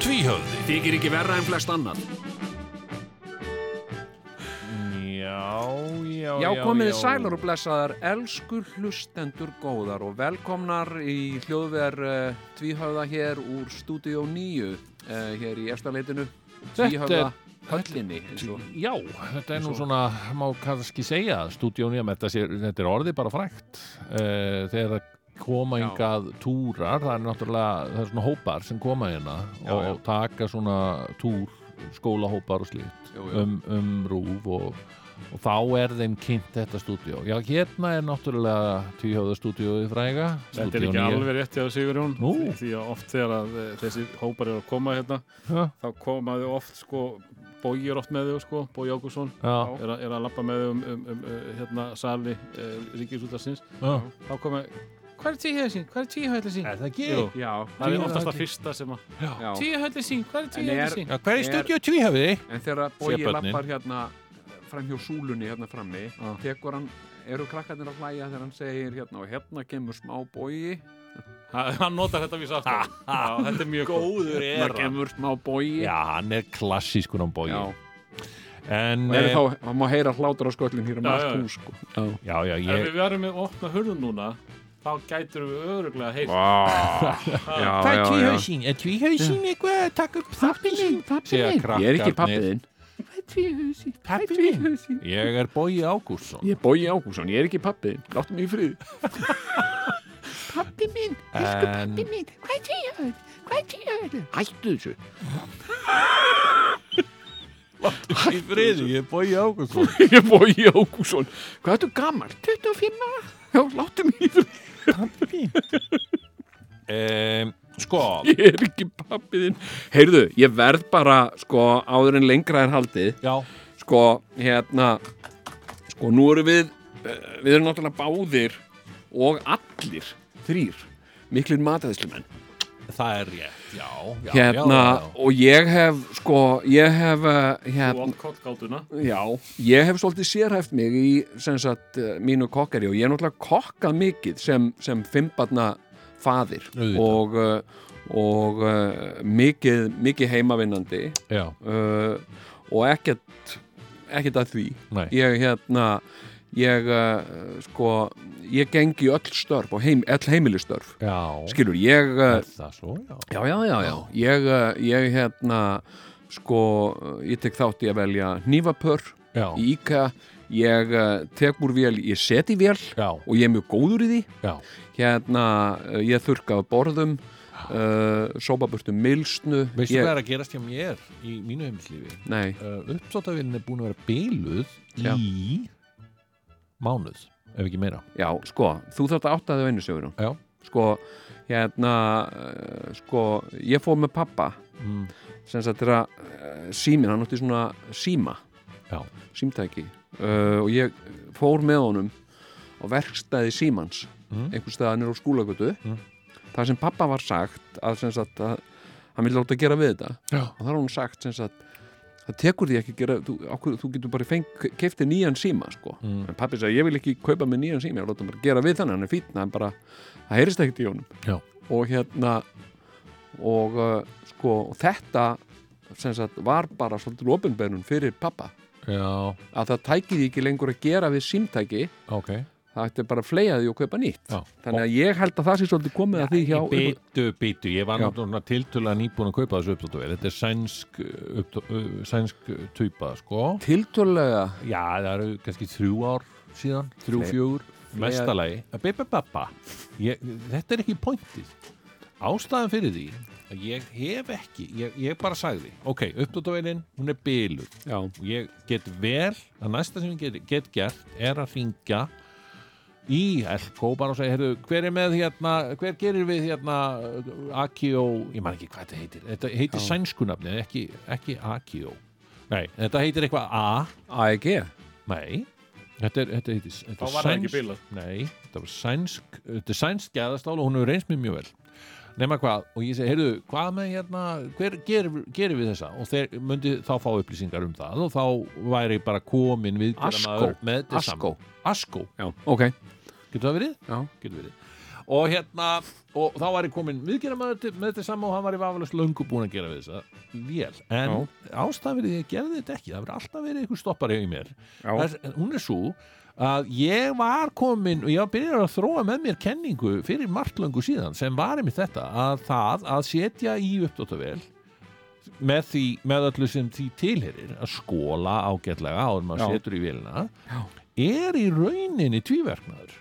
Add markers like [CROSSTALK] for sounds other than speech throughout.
Tvíhöfði Þykir ekki verra en flest annan. Já, já, Já, komið þið sælar og blessaðar, elsku hlustendur góðar og velkomnar í hljóðver uh, Tvíhöfða hér úr Studio 9, uh, hér í efstaleitinu, Þetta Tvíhöfða er- höllinni, eins og Já, þetta er nú svona, má kannski segja, stúdíóni að þetta, sé, þetta er orðið bara frægt. Uh, þegar það koma Já. hingað túrar, það er náttúrulega, það er svona hópar sem koma hérna Já, og já. taka svona túr, skólahópar og slíkt Jú, jú. um, um rúf og, og þá er þeim kynnt þetta stúdíó. Já, hérna er náttúrulega tvíhjóða stúdíóið fræga. Þetta er Stúdíó ekki níu. alveg rétt hjá Sigurjón Nú. því- því að oft þegar að eh, þessi hópar eru að koma hérna Já, þá koma þau oft sko Bói er oft með þau sko, Bói Ágússon já, er, að- er að lappa með þau um, um, um eh, hérna sali uh, Ríkisútarsins já. þá koma Hvað er tíhæðið sín? Hvað er tíhæðið sín? Er það ekki? Jú, Já, það er Tíu oftast höfði. það fyrsta sem að já, Tíhæðið sín, hvað er En er- tíhæðið sín? Já, hver Er- er stúdíó tvíhöfði? en þegar Bói Sébörnin. lappar hérna fram hjá súlunni hérna frammi, Já. tekur hann, eru krakkarnir að hlæja þegar hann segir hérna og hérna kemur smá Bói, Ha- Hann notar þetta vísa aftur Já, Þetta er mjög góður hérna kemur smá Bói. Já, hann er klassískun á bói Já, En, og eru eh, þá, hann má heyra hlátur á sköllin hér um Já, allt já. hús, sko. Já. já, já, Ef ég við verðum með opna hurðun núna þá gætur við öruglega heilt Vá, [LAUGHS] já, Hvað já, er já. tvíhausinn? Er tvíhausinn eitthvað að taka upp þáttinn minn? Segja Ég er ekki krakkarnir. pappiðinn Tvíhusi, Pabbi tvíhusi Ég er Bói Ágússon Ég er Bói Ágússon, ég er ekki pappiðinn Láttu mig í frið Pappi minn, En minn Hvað er tvíhusi, hvað er tvíhusi Hættu þessu [LAUGHS] í friði, ég er Bói Ágússon Ég er Bói Ágússon Hvað ertu gammal? 25 ára Já, láttu mig í frið um, Sko, Ég er ekki pappiðinn Heyrðu, ég verð bara, sko, áður en lengra er haldið já, Sko, hérna Sko, nú erum við eh, Við erum náttúrulega báðir Og allir, þrýr Miklir mataðislumenn það er rétt Já, já, hérna, já, og ég hef sko, ég hef uh, og hérna, átt kollgátuna já, ég hef svolítið sérhæft mig í sem sagt uh, mínu kokkari og ég er náttúrulega kokkað mikið sem, sem fimmbarna faðir Auðvitað. og, uh, og uh, mikið, mikið heimavinnandi já, já, uh, og ekkert ekkert að því nei ég hérna ég uh, sko ég gengi öll störf og heim, öll heimilistörf Já, skilur, ég uh, er það svo, já Já, já, já, já. Ég, eh, ég hérna, sko, ég tek þátt í að velja nývapör Já, í IKEA, ég eh, tek úr vél, ég seti vél já, og ég er mjög góður í því. já, Hérna, eh, ég þurka af borðum, uh, sópaburtu milsnu. veistu ég, hvað er að gerast hjá mér í mínu heimilislífi? Nei, uh, uppsáttavélin er búin að vera beiluð Já. í mánuð, ef ekki meira já, sko, þú þarft að átta þau einu sögurum. Já. Sko, hérna, eh, sko, ég fór með pappa, mm. sem sagt þegar uh, símin, hann átti svona síma Já. símtæki uh, og ég fór með honum á verkstæði símans Mm. einhvers staðar nýr á skúlagötu Mm. þar sem pappa var sagt að, sem sagt, að hann vil láta gera við þetta Já. og þar var hún sagt sem sagt það tekur því ekki að gera, þú, okkur, þú getur bara feng, keftið nýjan síma sko. Mm. en pappi sagði ég vil ekki kaupa með nýjan síma ég vil láta hann bara gera við þannig, hann er fínn hann bara, það heyrist ekkert í honum Já. og hérna og uh, sko, og þetta sem sagt var bara svolítið ofinbeinun fyrir pappa, Já, að það tæki því ekki lengur að gera við símtæki ok það ætti bara að fleia því og kaupa nýtt Já. þannig að ég held að það sé svolítið komið að því hjá Bitu, bitu, ég var Já. náttúrulega tiltölulega nýbúin að kaupa þessu uppsáttuvel Þetta er sænsk, upptá, uh, sænsk tupa, sko tiltölulega Já, það eru kannski þrjú ár síðan, þrjú, Fle- fjögur fleiri- Mestalagi, bebebabba Þetta er ekki pointið Ástæðan fyrir því að ég hef ekki, ég, ég bara sagði Ok, uppsáttuvelin, hún er biluð já, og ég get vel að næsta sem ég get, get gert er að ringja í Elko bara og segja, heyrðu, hver er með hérna hver gerir við hérna uh, Akio, ég man ekki hvað þetta heitir þetta heitir Já. sænskunafni, ekki, E ekki Akio nei, þetta heitir eitthvað A AEG nei, Þetta er, þetta er, þetta er, þetta Þá er var það ekki bilað. Nei, þetta var sænsk Þetta er sænsk gæðastál og hún hefur reynst mér mjög vel Nefna hvað, og ég segi, heyrðu, hvað með hérna Hver gerir, gerir við þessa? Og þeir myndi þá fá upplýsingar um það Og þá væri bara komin við Asko. með þetta Asko. saman. Asko, Já, ok, getur það verið? já, Getur verið Og hérna, og þá væri komin viðgerðamaður með þetta saman og hann var í vafalast löngu búin að gera við þessa vél. En Já. ástæðan fyrir því að ég gerði þetta ekki, það verið alltaf verið einhver stoppari í mér já. Þess, hún er svo að ég var komin og ég var byrjað að þróa með mér kenningu fyrir margt löngu síðan sem var einmitt þetta að það að setja í uppdóttavél með því, með öllu sem því tilherir að skóla ágætlega áður en maður Já. setur í vélina Já. er í rauninni tvíverknaður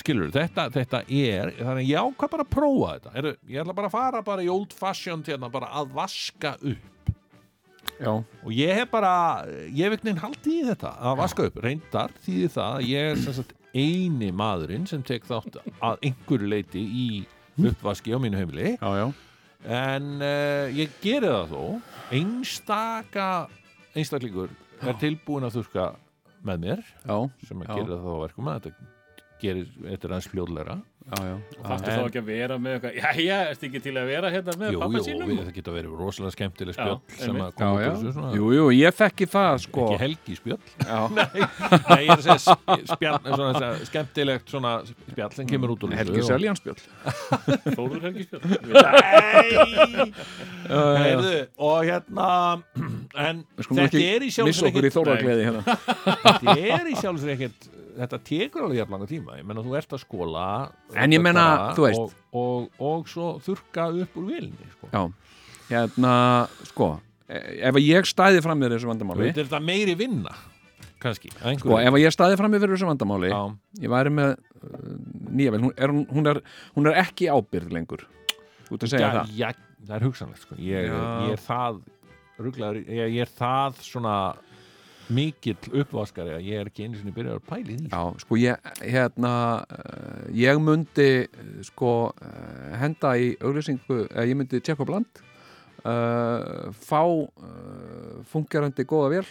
skilur þetta, þetta er þannig að ég ákvað bara að prófa þetta er, ég ætla bara að fara bara í old fashion til hérna bara að vaska upp já. og ég hef bara, ég hef einhvern veginn haldið í þetta að vaska upp, reyndar þýðir það að ég er sem sagt eini maðurinn sem tek þátt að einhverju leiti í uppvaski á mínu heimili Já, já. en uh, ég geri það þó einstaka einstaklingur er tilbúin að þurka með mér Já, sem að Já. gera það þá að verkum að þetta gerir, þetta er aðeins fljóðleira já, já. Þarftu en- þá ekki að vera með eitthvað Já, já, ertu ekki til að vera hérna með Jú, pappa jú, sínum við, það geta verið rosalega skemmtileg Já, spjöll sem að einmitt. koma Já, út já. úr þessu svona, Jú, jú, ég þekki það, sko. ekki helgi spjöll Já, Nei, ég er að segja sk- spjall, svona, svona, skemmtilegt svona spjall sem kemur út úr Mm. helgi seljanspjöld. Þóður Helgi Spjörn Heyrðu, og hérna en þetta er í Missa sjálfsveit okkur í ekkert þóragleði hérna. þetta er í sjálfsveit ekkert þetta tekur alveg jafn langa tíma ég menna þú ert að skóla En ég meina, bara, þú veist. og, og, og svo þurka upp úr vilni sko. Já, hérna, sko, e- ef að ég stæði fram yfir þessu vandamáli, þetta er þetta meiri vinna kannski, að sko, einhverju ef að ég stæði fram yfir þessu vandamáli, Já. ég væri með uh, nýja vel, hún er, hún, er, hún er ekki ábyrð lengur. Þú ert að segja Já, það. já, það er hugsanlegt sko. ég, Já. ég er það rugglaður, ég, ég er það svona mikill uppvaskari að ég er ekki einu sinni byrjað að pæli því Já, sko, ég, hérna, uh, ég myndi, uh, sko, uh, henda í auglýsingu, eða ég myndi tjekka á bland, uh, fá uh, fungerandi góða vél,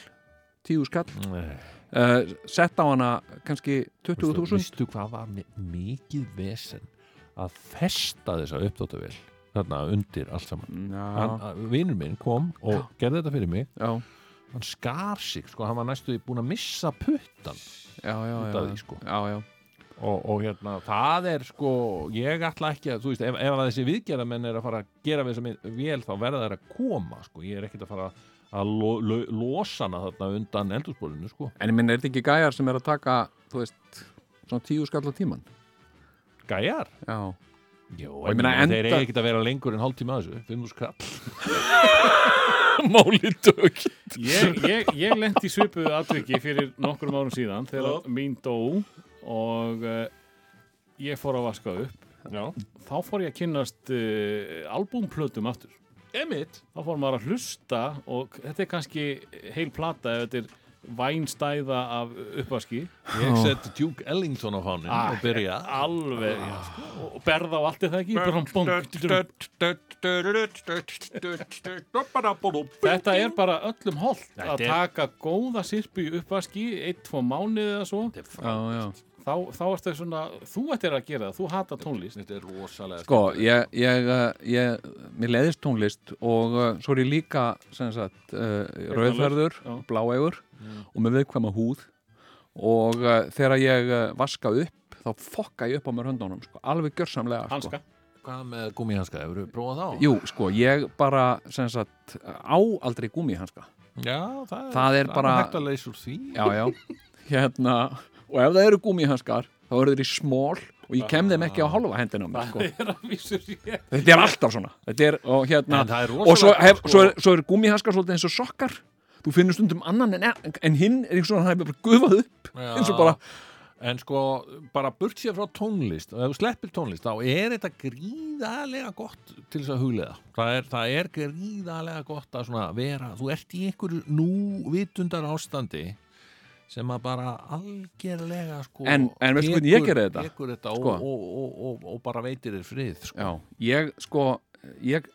tíu skall, Nei. uh, sett á hana kannski Veistu- 20.000 Veistu hvað var mi- mikið vesen að festa þessa uppdóttavél þarna undir allt saman Já, Hann- Vinur minn kom og gerði þetta fyrir mig já, hann skar sig, sko, hann var næstu búin að missa puttan já, já, Út já, af því, sko. já, já, og, og hérna, það er sko ég ætla ekki að, þú veist, ef, ef að þessi viðgerðamenn er að fara að gera við þessum vel þá verða þær að koma, sko, ég er ekkert að fara að lo, lo, losa hana þarna undan eldurspólinu, sko, En ég minna, er þetta ekki gæjar sem er að taka, þú veist, svona tíu skall á tíman? gæjar Já, Jó, ég ég meina, meina, þeir enda- eiga ekkert að vera lengur en hálftíma að þessu, finnum þú skall máli dög Ég, ég, ég lendi í svipuðu atviki fyrir nokkrum árum síðan þegar mín dó og uh, ég fór að vaska upp Já, þá fór ég að kynnast uh, albúmplötum aftur emitt þá fór maður að hlusta og þetta er kannski heil plata ef þetta er vænstæða af uppvaski Ah. Ég sett Duke Ellington á fánin Ah, og byrja alveg já, sko, og- og berða á allt er það ekki Brum, bum, þetta er bara öllum holt Þetta að er- taka góða sirpu í uppvaski eitt, tvo mánuði eða svo Já, já þá, þá ertu svona, þú ættir að gera það þú hata tónlist Þetta er rosalega Sko, ég, ég, uh, ég, mér leiðist tónlist og uh, svo er ég líka, sem sagt, uh, rauðferður, já. bláegur og með viðkvæma húð og uh, þegar ég uh, vaska upp, þá fokka ég upp á mér höndunum, sko, alveg gjörsamlega, sko. hanska Hvað með gummihanska, hefur við prófað þá? Jú, sko, ég bara, sem sagt, á aldrei gúmi hanska. Já, það er, Það er bara- hægt að leysa úr því Já, já, hérna, og ef það eru gúmi hanskar, þá eru þeir í smól og ég kem þeim ekki á hálfa hendina á mér, sko. það er að vísu rétt Þetta er alltaf svona. Þetta er, og hérna, En það er og svo, rosalega- hef, sko- svo, er, svo er gummihaskar svolítið eins og sokkar þú finnur stundum annan en, en hinn er eins og hann hefur bara gufað upp Já. eins og bara, En sko, bara burt sér frá tónlist og ef þú sleppir tónlist, þá er þetta gríðarlega gott til þess að huglega það er, það er gríðarlega gott að svona vera, þú ert í einhverju núvitundar ástandi sem að bara algerlega sko, En- en veistu hvernig ég gerði þetta? tekur þetta Sko. og, og, og, og, og bara veitir þér frið sko. já, ég sko ég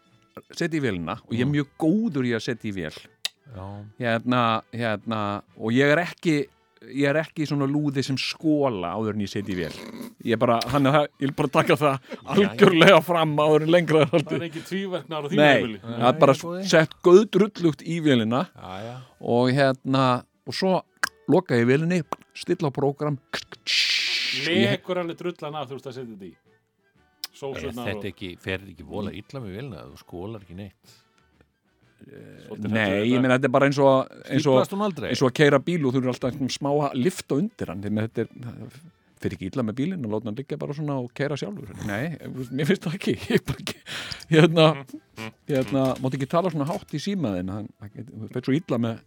seti í vélina og ég er mjög góður í að setja í vél já, hérna, hérna, og ég er ekki ég er ekki í svona lúði sem skóla áður en ég seti í vél ég er bara, hann er það, ég vil bara taka það algjörlega fram áður en lengra er Það er haldið ekki tvíverknar á því Nei, það er bara Nei, góði. sett göðdrullugt í vélina já, já. og hérna og svo loka ég vélinni stilla á prógram ég, Lekur alveg drullan af þú veist að setja þetta í Er Sósurnar Eh, þetta ekki, fer þetta ekki vola illa með vilna þú skólar ekki neitt svolítið Nei, ég hræddur við þetta. meina þetta er bara eins og eins og, Stíplast hún aldrei eins og að keira bíl og þú eru alltaf einhvern smá að lifta undir hann þannig að þetta er fyrir ekki illa með bílinn og láta hann liggja bara svona og keira sjálfur Nei, mér finnst það ekki [LAUGHS] ég bara ekki, hérna hérna, máttu ekki tala svona hátt í símaðin hann fyrir svo illa með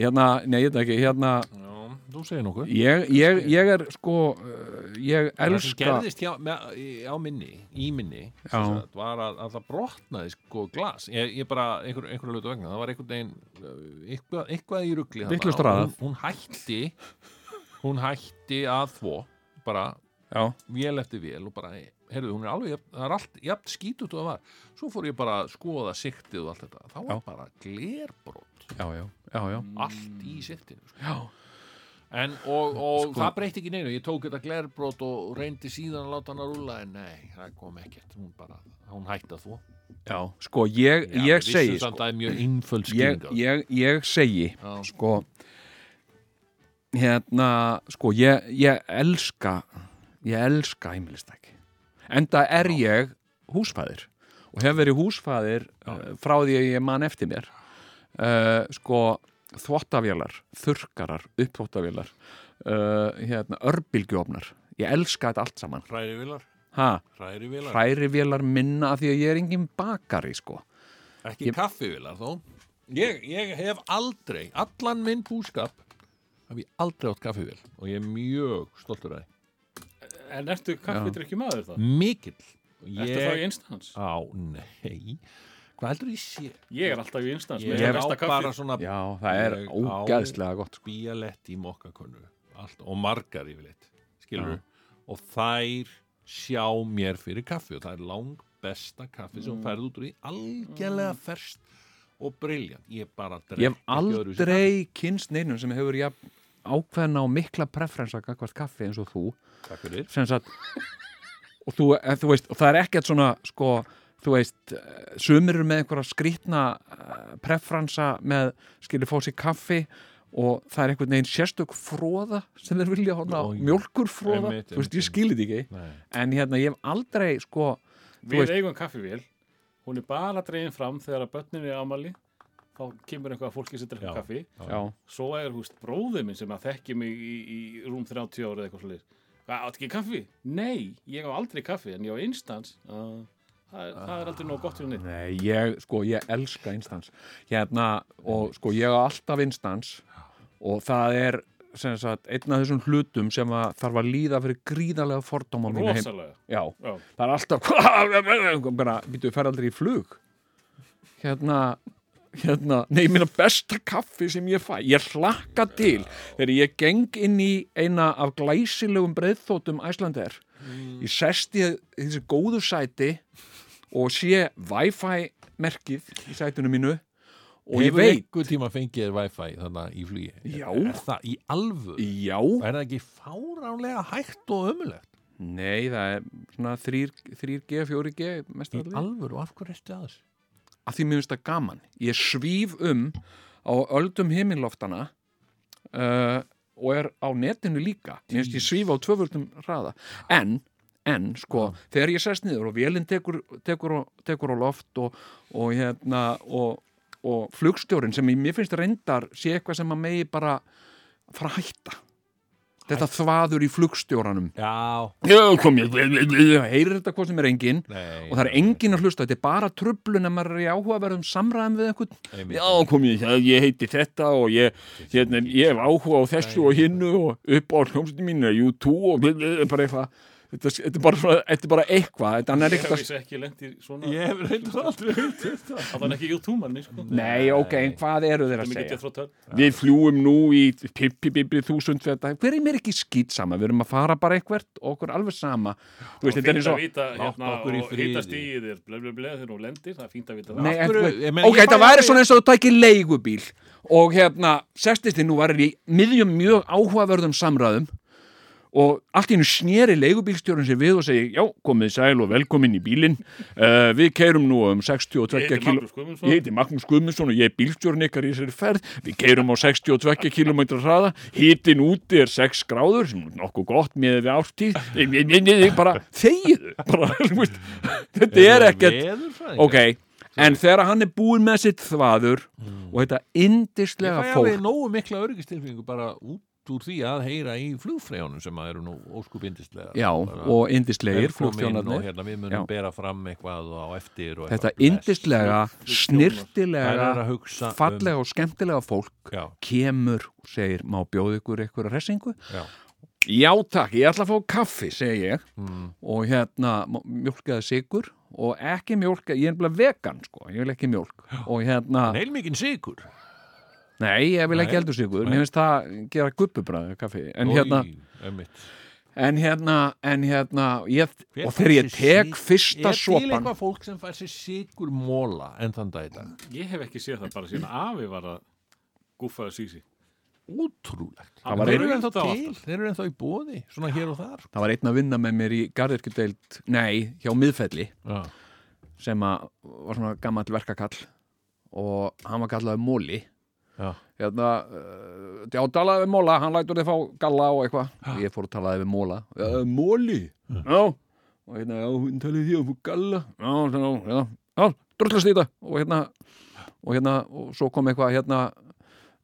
hérna, nei, ég veit ekki, hérna Já, Þú segir nokkuð ég, ég, ég er sko uh, ég Það sem elska gerðist hjá, með, í- á minni, í minni sem Já. sagt, var að, að það brotnaði sko glas, ég, ég bara einhver, einhverju hlutu vegna, það var einhvern veginn uh, eitthvað, eitthvað í rugli þarna Vitlaust og raðað. hún, hún hætti hún hætti að þvó bara já, vél eftir vél og bara, heyrðu, hún er alveg jafn- það er allt, jafn skítut og það var svo fór ég bara að skoða siktið og allt þetta þá var Já. bara glerbrot já, já, já, já. allt í siktinu sko. já. En, og, og Sko- það breytti ekki neinu, ég tók þetta glerbrot og reyndi síðan að láta hann að rúla en nei, það kom ekkert, hún bara hún hætti að þú já. sko, ég, ég segi sko. sko, það er mjög innföld ég, skýringa ég, ég segi Já. sko hérna sko ég, ég elska ég elska heimilistæki enda er ég húsfæðir og hef verið húsfæðir uh, frá því að ég man eftir mér uh, sko þvottavélar, þurkarar, uppþvottavélar uh, hérna, örbylgjófnar ég elska þetta allt saman Hrærivilar, ha, hrærivilar, hrærivélar minna af því að ég er engin bakari sko ekki Ég- kaffivilar þó ég, ég hef aldrei, allan minn búskap hef ég aldrei átt kaffivél og ég er mjög stoltur af En ertu kaffidrykki maður það? því mikill Ertu þá í ég, Ah. instans? á, nei hvað heldur ég sé Ég er alltaf í instans ég með það er á besta bara kaffi svona já, það er Ég á- ógæðslega gott sko. bíalett í mokkakönnu allt, og margar yfirleitt skilur og þær sjá mér fyrir kaffi og það er lang besta kaffi sem mm. færð út úr því algjörlega ferst og briljant ég bara drekk Ég hef ekki öðruvísi aldrei kynst neinum sem hefur jafn ákveðna og mikla preferensa gagvart kaffi eins og þú kaffi. Takk fyrir. sem sagt og þú, eh, þú veist, og það er ekkert svona sko, þú veist, eh, sumir eru með einhverja skrýtna eh, preferensa með skilur fá sér kaffi og það er einhvern veginn sérstök fróða sem þeir vilja horna á, Já, já. mjólkur fróða Einmitt, þú veist, ég einmitt, skil þetta ekki Nei. en hérna, ég hef aldrei sko, þú Við veist- eigum kaffivél Hún er bara dregin fram þegar að börnin er ámali Þá kemur eitthvað að fólki sem drekka Já. kaffi já, Svo er húst bróðið minn sem að þekki mig í, í rúm 30 ára eða eitthvað svolítið. Hvað, áttu ekki kaffi? Nei, ég á aldrei kaffi en ég á instans. Uh, það, er, það er aldrei nóg gott fyrir neitt. Nei, ég, sko, ég elska instans hérna, og sko, ég á alltaf instans og það er sem sagt, einn af þessum hlutum sem að þarf að líða fyrir gríðarlega fordóma mína heim. Rosalega. Já, Já. það er alltaf [LAUGHS] bara, býtu, fer aldrei í flug hérna hérna, nei, minna besta kaffi sem ég fæ, ég hlakka til þegar ég geng inn í eina af glæsilegum breyðþótum Æslander Mm. ég sest í þessi góðu sæti og sé Wi-Fi merkið í sætinu mínu og ég hefur veit einhver tíma fengið þér wifi þannig í flugi Já. er það í alvöru já, er það ekki fáránlega hægt og ömulegt nei, það er svona 3, 3G, 4G mest í allir alvöru og af hverju ertu að þessu að því mér finnst það gaman ég svíf um á öldum himinloftana uh, og er á netinu líka mér finnst ég svífa á tvöföldum hraða en, en sko þegar ég sest niður og vélinn tekur, tekur, á- tekur á loft og, og hérna og, og flugstjórin sem ég, mér finnst reyndar sé eitthvað sem að megi bara fara að hætta þetta þvaður í flugstjóranum já, Já, kom ég, heyrir þetta hvað sem er enginn nei og það er enginn að hlusta, þetta er bara tröflun ef maður er í áhugaverðum samræðum við einhvern Einmitt. já kom ég, það- ég heiti þetta og ég, hérna, ég hef áhuga á þessu og hinnu og upp á hljómsveitin mínu, jú, tú og bara eitthvað þetta, þetta, er bara, svona- þetta er bara eitthvað þetta hann er Ég hef eitthvað vissi ekki lengt í svona Ég hef reyndar aldrei hugtist það. Það var ekki YouTube-manni, sko Nei, ok, en hvað eru þeir að Það er segja? mikið þrótt höll Við fljúum nú í pippi-bibbi þúsund fyrir þetta. Hver er mér ekki skýt sama? Við erum að fara bara eitthvert og okkur alveg sama. Þú veist, þetta er eins Fínt að og... vita, hérna, Láttu okkur í og friði. hittast í þér Blö, blö, blö, þegar hún lendir, það er fínt að vita það Nei, Af en, hverju- hverju, ég meina, ok, ég þetta fæ væri aldrei- svona eins og þú tækir leigubíl og hérna, sestist þið nú var í miðjum mjög áhugaverðum samræðum og allt í hennu sneri leigubílstjórun sér við og segi já, komið sæl og velkomin í bílinn uh, við keirum nú um 62 Ég heiti kíló- Magnús Guðmundsson. ég heiti Magnús Guðmundsson og ég er bílstjórn ykkar í þessari ferð við keirum á 62 km hraða hitin úti er 6 gráður sem er nokkuð gott með við ástíð ég, ég, ég, ég bara þegiðu bara, [LAUGHS] þú veist, þetta er ekkert veðurfræðingar? ok, en þegar hann er búinn með sitt þvaður Mm. og þetta Ég indislega fæ alveg fólk nógu mikla öryggistilfingu bara út úr því að heyra í flugfreyjónum sem að eru nú óskupindislega já, og indislegir flugstjónarnir hérna, Við munum Já. bera fram eitthvað á eftir og þetta eitthvað. indislega, um- Þær eru snirtilega að hugsa um- fallega og skemmtilega fólk Já, kemur og segir, má bjóða ykkur eitthvað ressingu? já Já takk, ég ætla að fá kaffi, segi ég Mm. og hérna, má- mjólkaði sigur og ekki mjólka, ég er nefnilega vegan sko, ég vil ekki mjólk og hérna, nei, Neilmikinn sigur ég vil ekki Nei. eldur sigur, Nei. mér finnst það gera gubbubræði kaffi, en Oj, hérna einmitt. En hérna, en hérna, ég, Hver og fær þegar ég sér tek sig- fyrsta Er til sopan, eitthvað fólk sem fær sér sigur móla en þann dag í dag Ég hef ekki séð það bara síðan afi var að gúffaða sísi Útrúlegt Það var Þeir ein- eru ennþá Þá alltaf. til, þeir eru ennþá í bóði Svona hér og þar það var einn að vinna með mér í garðirkudeild, nei, hjá miðfelli, Já, sem að var svona gammal verkakall og hann var kallaði Móli. já Hérna, uh, já, talaði við Móla, hann lætur þið fá galla og eitthvað. Ég fór að talaði við Móla. Uh, Móli? Já. Og hérna, já, hún talaði því að fá galla. Já, já, já, já, drullast í þetta. Og hérna, og hérna, og svo kom eitthvað hérna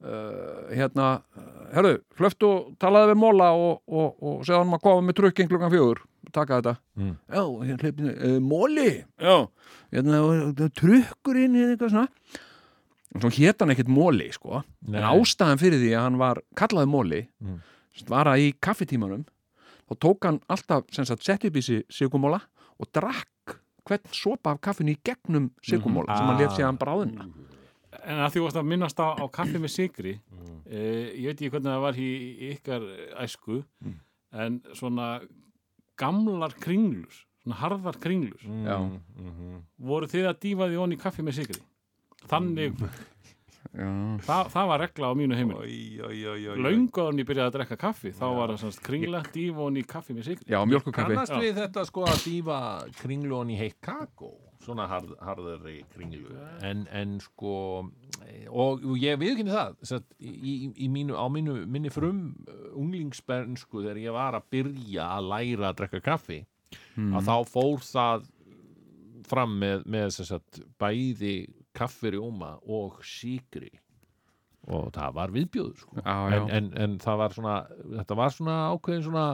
uh, hérna uh, herru, hlöftu og talaði við Móla og, og, og segði hann að koma með trukkin klukkan fjögur taka þetta Mm. já, hérna hlöfni, uh, Móli já, hérna, og- og trukkurinn hérna eitthvað svona og svo hét hann ekkert Móli, sko Nei. en ástæðan fyrir því að hann var kallaði Móli Mm. sem var að í kaffitímanum þá tók hann alltaf, sem sagt, sett upp í sig sigumóla og drakk hvern sopa af kaffinu í gegnum sigumóla Mm. sem hann Ah. lef sig að hann bráðina En að því varst að minnast á, á kaffi með sigri Mm, eh, Ég veit ekki hvernig það var í í ykkar æsku Mm. En svona gamlar kringlur Svona harðar kringlur Já. mm, Voru þið að dýfa því onni kaffi með sigri? Þannig, Mm. já það, það var regla á mínu heimil Löngu að hann ég byrjaði að drekka kaffi Þá var það svona kringla, dýfa onni kaffi með sigri Já, mjölkukaffi. Kannast við þetta sko að dýfa kringlun í heitt kakó svona harð, harðari kringlu en, en sko og ég viðkynni það satt, í, í- í mínu, á mínu, minni frum uh, unglingsbernsku þegar ég var að byrja að læra að drekka kaffi Mm. að þá fór það fram með, með sem sagt, bæði kaffirjóma og síkri og það var viðbjóður sko. Já, já. en, en, en það var svona þetta var svona ákveðin svona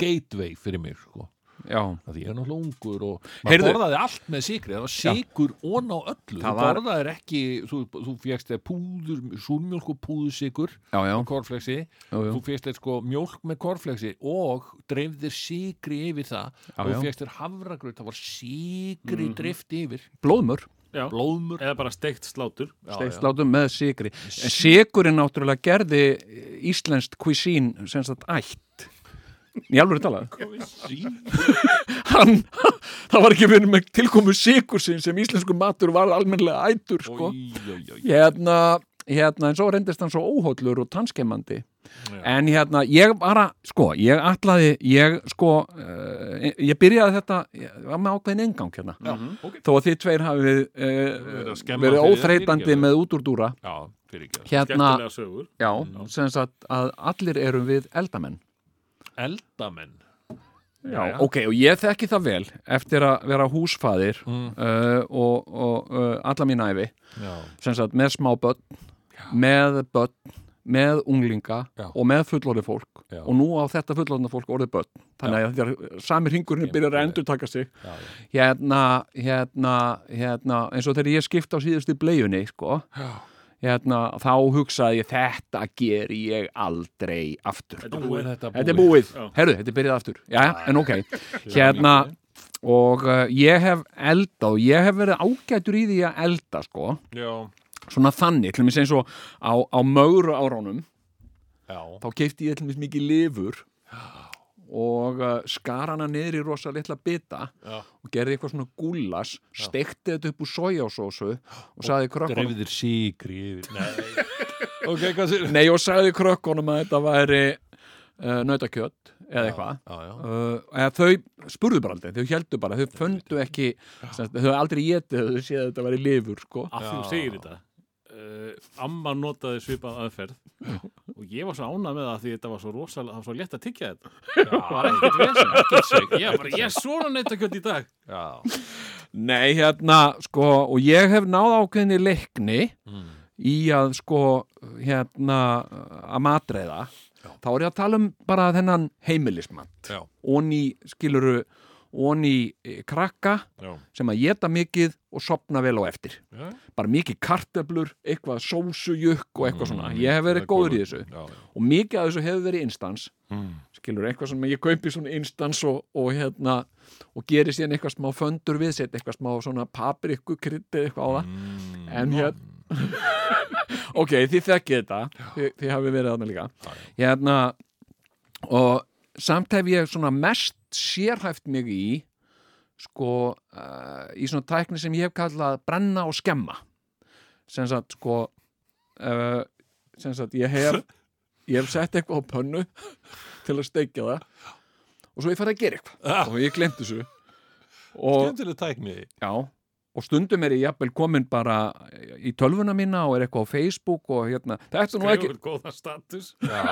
gateway fyrir mér sko. Já, að því ég er náttúrulega ungur og maður Heyrðu. borðaði allt með sikri, það var sikur ón á öllu, Það þú var- borðaðir ekki þú, þú fjöxt þér púður, súrmjólk og púðusikur, já, já, korflexi já, já. þú fjöxt þér sko mjólk með korflexi og dreifðir sikri yfir það Já, og já. þú fjöxt þér havragröð, það var sikri mm. dreift yfir, Blóðmör, Já, blóðmur eða bara steikt slátur steinslátum með sigri. En sigurinn náttúrulega gerði íslenskt kvísín sem sagt ætt. Í alveg talað. [LAUGHS] Hann, [LAUGHS] það var ekki verið með tilkomu sigursinn sem íslensku matur var almennlega ættur, sko. Hérna, hérna, en svo reyndist hann svo óhóllur og tannskemmandi. En hérna, ég var að, sko, ég atlaði, ég, sko, uh, ég byrjaði þetta, ég var með ákveðin engang hérna. Já, ok. Þó að þið tveir hafið að uh, skemma verið fyrir óþreytandi þetta, með útúrdúra. já, fyrir ekki Hérna, Skemmtilega sögur já, sem sagt að allir erum við eldamenn. eldamenn Já, ok, og ég þekki það vel eftir að vera húsfaðir uh, og, og uh, alla mín æfi, já, sem sagt með smá börn, með börn, með unglinga Já. og með fullorði fólk Já. og nú á þetta fullorðna fólk orðið börn þannig að þetta er sami hringurinn byrjar að endur taka sig já, hérna, hérna, hérna eins og þegar ég skipta á síðustu bleiunni sko, hérna, þá hugsaði ég þetta ger ég aldrei aftur Þetta er búið. þetta Þetta er búið, Já. herru, þetta er byrjað aftur Já, en ok, hérna og uh, ég hef elda og ég hef verið ágætur í því að elda sko, Já, svona þannig til mér segja svo á, á mögru árunum já, þá keipti ég til mér mikið lifur og uh, skar hana niður í rosa litla bita já. og gerði eitthvað svona gúlas stekti þetta upp úr sojásósu og sagði krökkunum Dreifðir síkri yfir. [LAUGHS] Nei. ok, hvað sér? Nei, og sagði krökkunum að þetta væri uh, nautakjött eða eitthvað Já, já. uh, eða þau spurðu bara aldrei, þau heldu bara þau föndu ekki, sem sagt, þau hefðu aldrei getið þau séð að þetta væri lifur sko. að því þú Já. segir þetta uh, amma notaði svipað aðferð og ég var svo ánað með það af því þetta var svo rosalega, það var svo létt að tyggja þetta það var ekkert vesen, ekkert sveik ég var bara, ég er svona neytakjöld í dag Já. Nei, hérna, sko, og ég hef náð ákveðinni leikni Mm. í að, sko, hérna, að matreiða. Þá er ég að tala um bara þennan heimilismat. Já. Onni, skiluru, onni eh, krakka Já. sem að geta mikið og sopna vel á eftir. Já. Bara mikið kartöflur, eitthvað sósujukk og eitthvað svona. Mm, Ég hef verið það er góður í góður. þessu. Já. Og mikið af þessu hefur verið instans Mm. skilur eitthvað sem ég kaupi svona instans og, og hérna og geri síðan eitthvað smá föndur við set eitthvað smá svona paprikku krytti eitthvað á það Mm. en hérna [LAUGHS] ok, þið þekkið þetta, þið, þið hafið verið þarna líka hérna og samt hef ég svona mest sérhæft mig í sko uh, í svona tækni sem ég hef kallað brenna og skemma sem sagt sko uh, sem sagt ég hef ég hef sett eitthvað á pönnu til að steikja það og svo ég farið að gera eitthvað og ég glemt þessu og, Skemmtileg tækni. Já, og stundum er ég jafnvel komin bara í tölvuna mína og er eitthvað á Facebook og hérna, þetta er nú, ekki, skrifur góða status Já.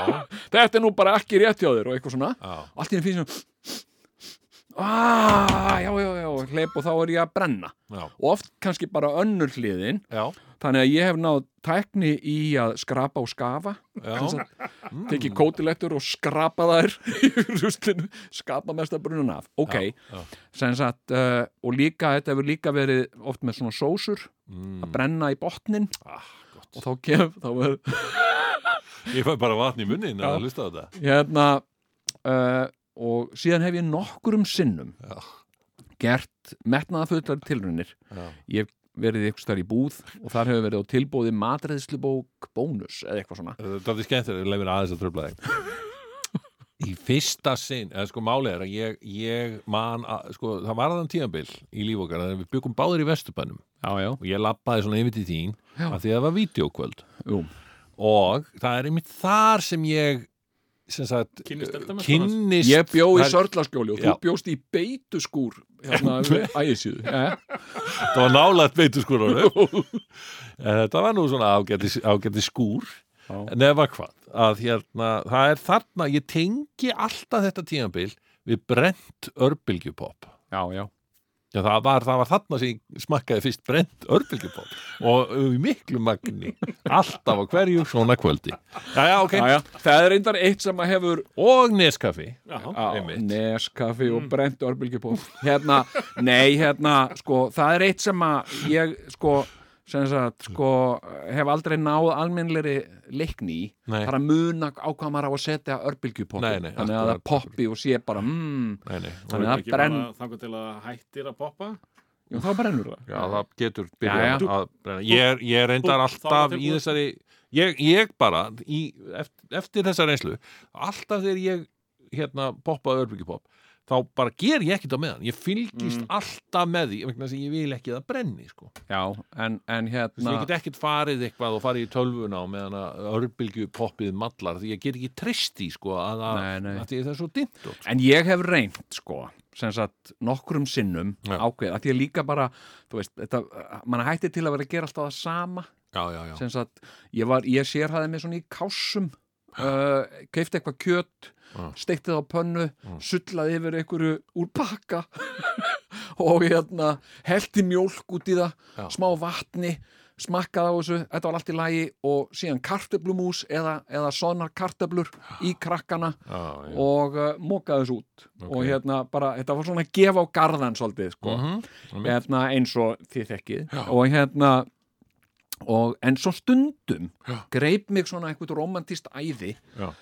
þetta er nú bara ekki rétt hjá þér og eitthvað svona. Já. Allt í henni finnst sem, aaa, já, já, já, hleyp og þá er ég að brenna. Já. Og oft kannski bara önnur hliðin, Já. þannig að ég hef náð tækni í að skrapa og skafa, Já. Mm. tekið kótilettur og skrapa þær [LAUGHS] í ruslinu, skapa mesta brunan af. Ok, Já. sem sagt, uh, og líka, þetta hefur líka verið oft með svona sósur, Mm. að brenna í botnin Ah, gott. og þá kem, þá er Ég fæ bara vatn í munnin Já. að hlusta á þetta. hérna uh, og síðan hef ég nokkurum sinnum Já. gert metnaðafullar tilrunir Já. ég hef verið ykkur starf í búð og þar hefur verið á tilbúði matreðslubók bónus eða eitthvað svona Þetta er skemmtileg, leið mér aðeins að tröfla [LAUGHS] þig Í fyrsta sinn eða sko málið er að ég, ég man að, sko, það var aðan tímabil í líf okkar að við byggum báðir í vesturbænum já, já, og ég labbaði svona yfir til þín Já. af því að það var vídeokvöld jú, og það er einmitt þar sem ég sem sagt Kynnist eldamennsku kynnist ég bjó í það- sörlaskjóli og Já. þú bjóst í beituskúr hérna [LAUGHS] við ægisíðu já, það var nálægt veitur skúr [LAUGHS] þetta var nú svona ágæti, ágæti skúr Já. nefa hvað að hérna, það er þarna, ég tengi alltaf þetta tímabil við brent örbylgjupopp já, já, Já, það, var, það var þarna sem ég smakkaði fyrst brent örbylgjupopp og uh, í miklu magni alltaf á hverju svona kvöldi já, já, ok, já, já. það er reyndar eitt sem að hefur og neskaffi já, Já, Einmitt. Neskaffi og brent örbylgjupóf hérna, nei, hérna sko, það er eitt sem að ég sko, sem sagt, sko hef aldrei náð almennleri leikni í, Nei. bara muna á hvað maður á að setja örbylgjupóf Nei, nei, þannig að það akkurat. poppi og sé bara mm, nei, nei, Þannig að Ekki brenn- bara þangað til að hættir að poppa já, þá brennur það Já, það getur Já, byrjað já. að brenna. Ég er, ég er reyndar Búpp, alltaf þangað til í búið. þessari ég, ég bara, í, eftir, eftir þessa reynslu alltaf þegar ég hérna, poppaði örbyggipopp þá bara ger ég ekkert á meðan ég fylgist alltaf með því vegna sem ég vil ekki að það brenni sko. já, en, en Þess, ég hérna get ekkert farið eitthvað og farið í tölvuna og meðan að örbylgjupoppið mallar því ég get ekki trist í sko, að, að, Nei, nei. að því það er svo dimmt sko. En ég hef reynt, sko, sem sagt, nokkrum sinnum Já. ákveð, að ég líka bara, þú veist, þetta, mann hættir til að vera að gera alltaf það sama já, já, já, sem sagt, ég, var, ég sérhæði mig svona í kásum uh, keifti eitthvað kjött Já. steikti það á pönnu, sullaði yfir einhverju úr pakka [LAUGHS] og hérna, helti mjólk út í það, Já. smá vatni smakkaði á þessu, þetta var allt í lagi og síðan kartöblumús eða, eða sonar kartöblur í krakkana já, já. og uh, mokaði þessu út Ok. og hérna bara, þetta var svona að gefa á garðan svolítið sko Mhm, einmitt. hérna, eins og þið þekkið og hérna og, en svo stundum Já. greip mig svona eitthvað romantist æði Já.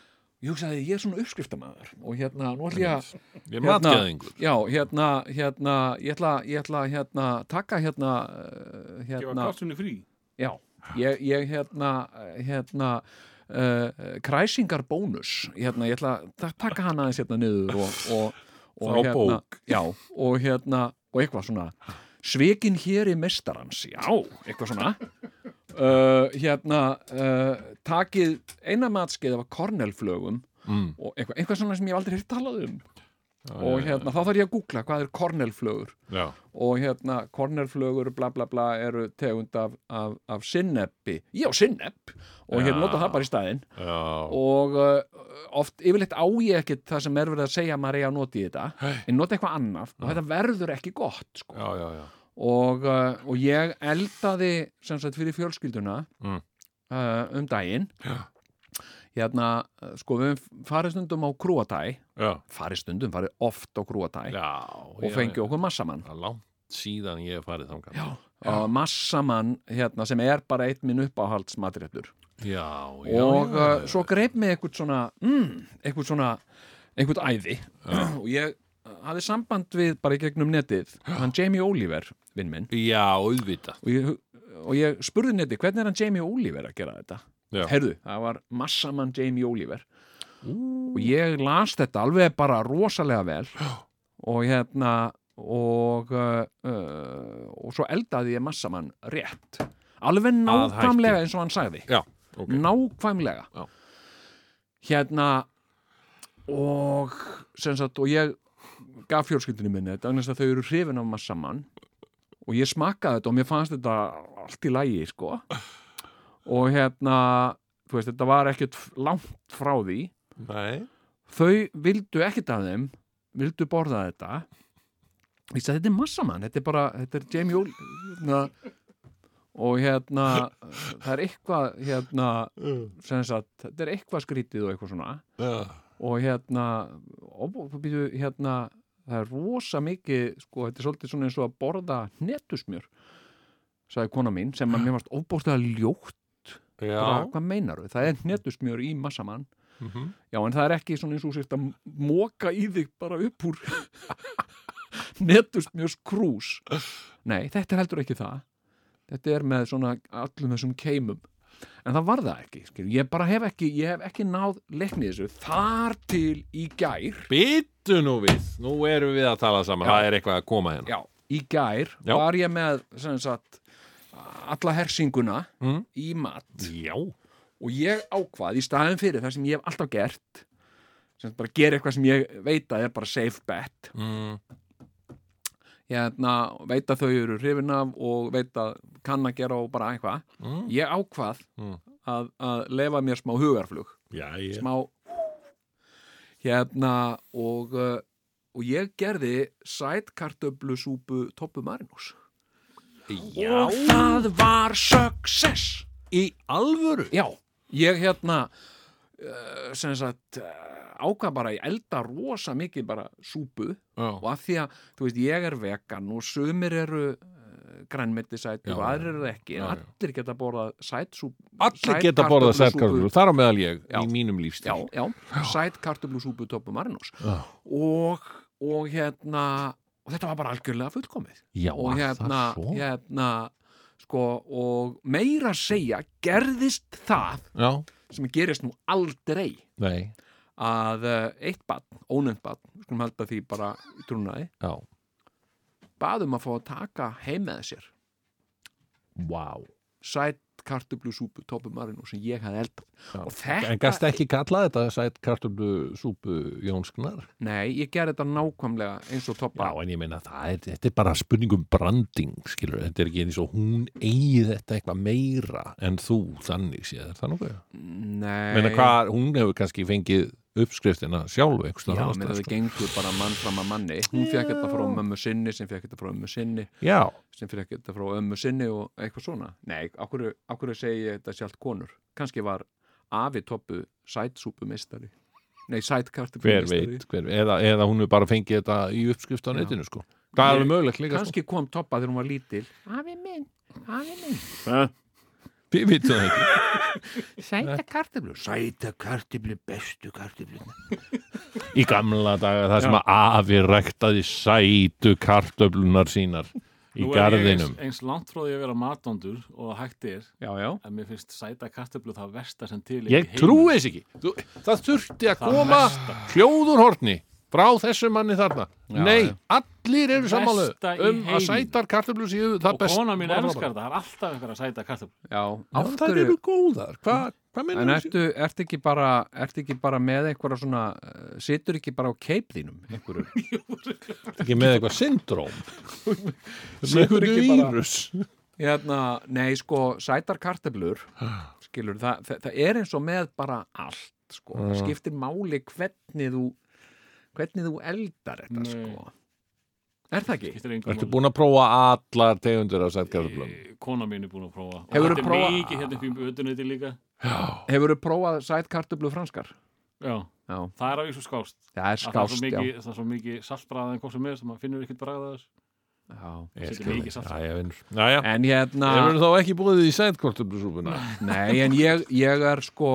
ég hugsaði ég er svona uppskriftamæður og hérna, nú ætlum ég að Ég er matgeðingur já, hérna, hérna ég ætla, ég ætla hérna, taka hérna eh, gefa hérna, kvartunni frí já ég, ég hérna, eh, hérna uh, kræsingar bónus hérna, ég ætla að ta- taka hana aðeins hérna niður og, [LAUGHS] og, og Frá hérna, bók. já, og hérna og eitthvað svona svekin hér í mestarans, já, eitthvað svona uh, hérna uh, takið eina matskeið af kornelflögum mm. og eitthvað, eitthvað svona sem ég hef aldrei hefði talað um Já, og já, hérna, þá þarf ég að googla hvað er kornelflögur já. og hérna, kornelflögur, bla bla bla eru tegund af, af, af sinnepi já, sinnepp og Já. hérna nota það bara í staðinn Já. og uh, oft, yfirleitt á ég ekkit það sem er verið að segja að maður eigi að nota í þetta Hey. en nota eitthvað annað og þetta verður ekki gott sko. já, já, já og, uh, og ég eldaði sem sagt fyrir fjölskylduna Mm. uh, um daginn hérna, uh, sko við höfum farið stundum á krúatæ Já, farið stundum, farið oft á krúatæ já og fengi okkur massamann Það er langt síðan ég hef farið þangar Já, og massamann hérna, sem er bara eitt minn uppáhaldsmatréttur já, já og já, uh, svo greip mig eitthvað svona mm, eitthvað svona eitthvað æði og ég uh, hafði samband við bara í gegnum netið hann Jamie Oliver, vinn minn Já, auðvitað og ég, og ég spurði netið, hvernig er hann Jamie Oliver að gera þetta? Já. Herðu, það var massamann Jamie Oliver og ég las þetta alveg bara rosalega vel og hérna og, uh, uh, og svo eldaði ég massamann rétt alveg Að hætti. nákvæmlega eins og hann sagði Já, ok nákvæmlega Já. hérna og sem sagt og ég gaf fjölskyldinu minni þetta vegna þess að þau eru hrifin af massamann og ég smakkaði þetta og mér fannst þetta allt í lægi sko og hérna þú veist þetta var ekkert langt frá því Nei þau vildu ekkert af þeim vildu borða þetta ég sagði þetta er massamann þetta er bara, þetta er Jamie Jól na, og hérna það er eitthvað hérna, sem sagt, þetta er eitthvað skrítið og eitthvað svona Já, og hérna, og, býtu, hérna það er rosa mikið sko, þetta er svolítið svona eins og að borða hnetusmjör sagði kona mín sem að mér varst óbóðslega ljótt bara, já. hvað meinar það er hnetusmjör í massamann mhm. Já, en það er ekki svona eins og sérst að móka í þig bara upp úr [LAUGHS] netust mjög skrús. Nei, þetta er heldur ekki það. Þetta er með svona allum þessum keimum. En það var það ekki, skil. Ég bara hef ekki, ég hef ekki náð leiknið þessu þar til í gær. Býttu nú við, nú erum við að tala saman Já. Það er eitthvað að koma hérna Já, í gær Já. var ég með, sem sagt, alla hersinguna Mm. í mat Já, og ég ákvað í staðin fyrir það sem ég hef alltaf gert, sem sagt bara gera eitthvað sem ég veit að er bara safe bet mm. hérna, veit að þau eru hrifin af og veit að kann að gera og bara eitthvað. Mm. Ég ákvað Mm. að, að lefa mér smá hugarflug, já, ég smá hérna og, uh, og ég gerði sætkartöflusúpu Toppu Marinús. Já, Og það var success! í alvöru Já, ég hérna uh, sem sagt uh, ákvað bara að elda rosa mikið bara súpu og Já, af því að, þú veist, ég er vegan og sumir eru uh, grænmetisæti Já, og aðrir eru ekki, já, en já. allir geta borða sætsúp, allir geta borðað særkarflur Þar á meðal ég, Já. í mínum lífstíl já, já, sætkartöflusúpu toppu marinós Já. og, og hérna og þetta var bara algjörlega fullkomið Já, og var hérna, það svo hérna sko, og meira að segja gerðist það Já, sem gerist nú aldrei nei, að eh, eitt barn, ónefnt barn við skulum halda því bara í trúnaði já baðum að fá að taka heim með sér Vá sætt kartöblusúpu Toppu Marino sem ég hafði eldað Já. og þetta, En gasta ekki kallað þetta særkarflu súpu Jónsknar nei, ég gerði þetta nákvæmlega eins og Toppa Já, en ég meina það er, þetta er bara spurning um branding, skilur, þetta er ekki eins og hún eigi þetta eitthvað meira en þú, þannig séð, er það nokkuð? nei, meina hvað, hún hefur kannski fengið uppskriftina sjálf já, einhvers staðar annars menn staðar, það sko. gengur bara mann fram að manni hún fekk þetta frá mömmu sinni sem fekk þetta frá ömmu sinni já, sem fekk þetta frá ömmu sinni og eitthvað svona nei, á hverju, á hverju segi ég þetta sjálft konur kannski var afi Toppu sætsúpumistari nei, hver sætkartöblusúpumistari veit hver, eða, eða hún hefur bara fengið þetta í uppskrift á Já. netinu, sko það er Ég- alveg mögulegt líka, sko. kannski kom Toppa þegar hún var lítil afi minn, afi minn Hæ? Við vitum það ekki. Sæta kartablu Sæta kartifli, bestu kartifli Í gamla daga það sem að afi ræktaði sætu kartöflunar sínar í Nú er ég garðinum. eins, eins langt frá því að vera matóndur og að hægt er Já, já, en mér finnst sæta kartöflu það versta sem til er Ég í heiminum. trúi þess ekki. Þú, það þurfti að Það koma versta. hljóður horni frá þessu manni þarna. Nei, já. allir eru sammálu Besta í um að heiminum. sætar kartöflur séu það og best. kona mín elskar það, það er alltaf einhverja sæta kartöflu já Já, Af það hverju- eru góðar. Hvað hva En minnum ertu, ertu, ekki bara, ertu ekki bara með einhverja svona, eh, situr ekki bara á keip þínum einhverju? Ekki með eitthvað syndróm. Situr Sigur ekki ekki bara- vírus. [LAUGHS] Hérna, nei, sko, sætar karteblur, skilur, það, það, það er eins og með bara allt, sko. Það Já. skiptir máli hvernig þú, hvernig þú eldar þetta, Nei. sko. Er það ekki? Ertu búin að prófa allar tegundur af sætkarflöflum? kona Eh, mín er búin að prófa og Hefurðu þetta er prófað- mikið hérna upp í ötuneyti líka Hefurðu prófað sæt karteblu franskar? já, Já, það er af því svo skást það er Að það er svo skást, já. mikið, það er svo mikið saltbræða en hvað sem er sem maður finnur ekkert bræða þess já. Ég Ég skil skil. ekki samt. Já, ég vinn. Já, já. En hérna, Þeir eru þá ekki búið í sætkartöflusúpuna. nei, en ég, ég er sko,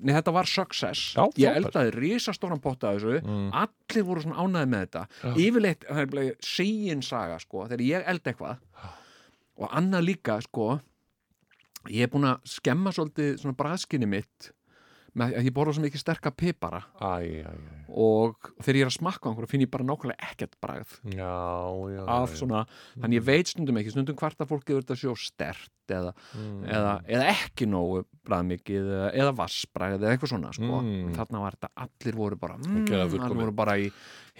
nei, þetta var success. Já, ég frábært. eldaði risastóran potta af þessu. Mm. allir voru svona ánæði með þetta yfirleitt, það er bleið síin saga sko, þegar ég elda eitthvað og annað líka sko ég er búin að skemma svolítið svona braðskinni mitt með því að ég borða svo mikið sterka pipara Æ, æ, æ. og þegar ég er að smakka á einhverju finn ég bara nákvæmlega ekkert bragð Já, já. af já, svona, þannig ég veit stundum ekki stundum hvart að fólki verður að sjó stert eða, Mm. eða, eða ekki nógu bræðmikið eða, eða vassbræð eða eitthvað svona sko. Mm. þarna var þetta, allir voru bara mm, Ekki að allir fullkomið. voru bara í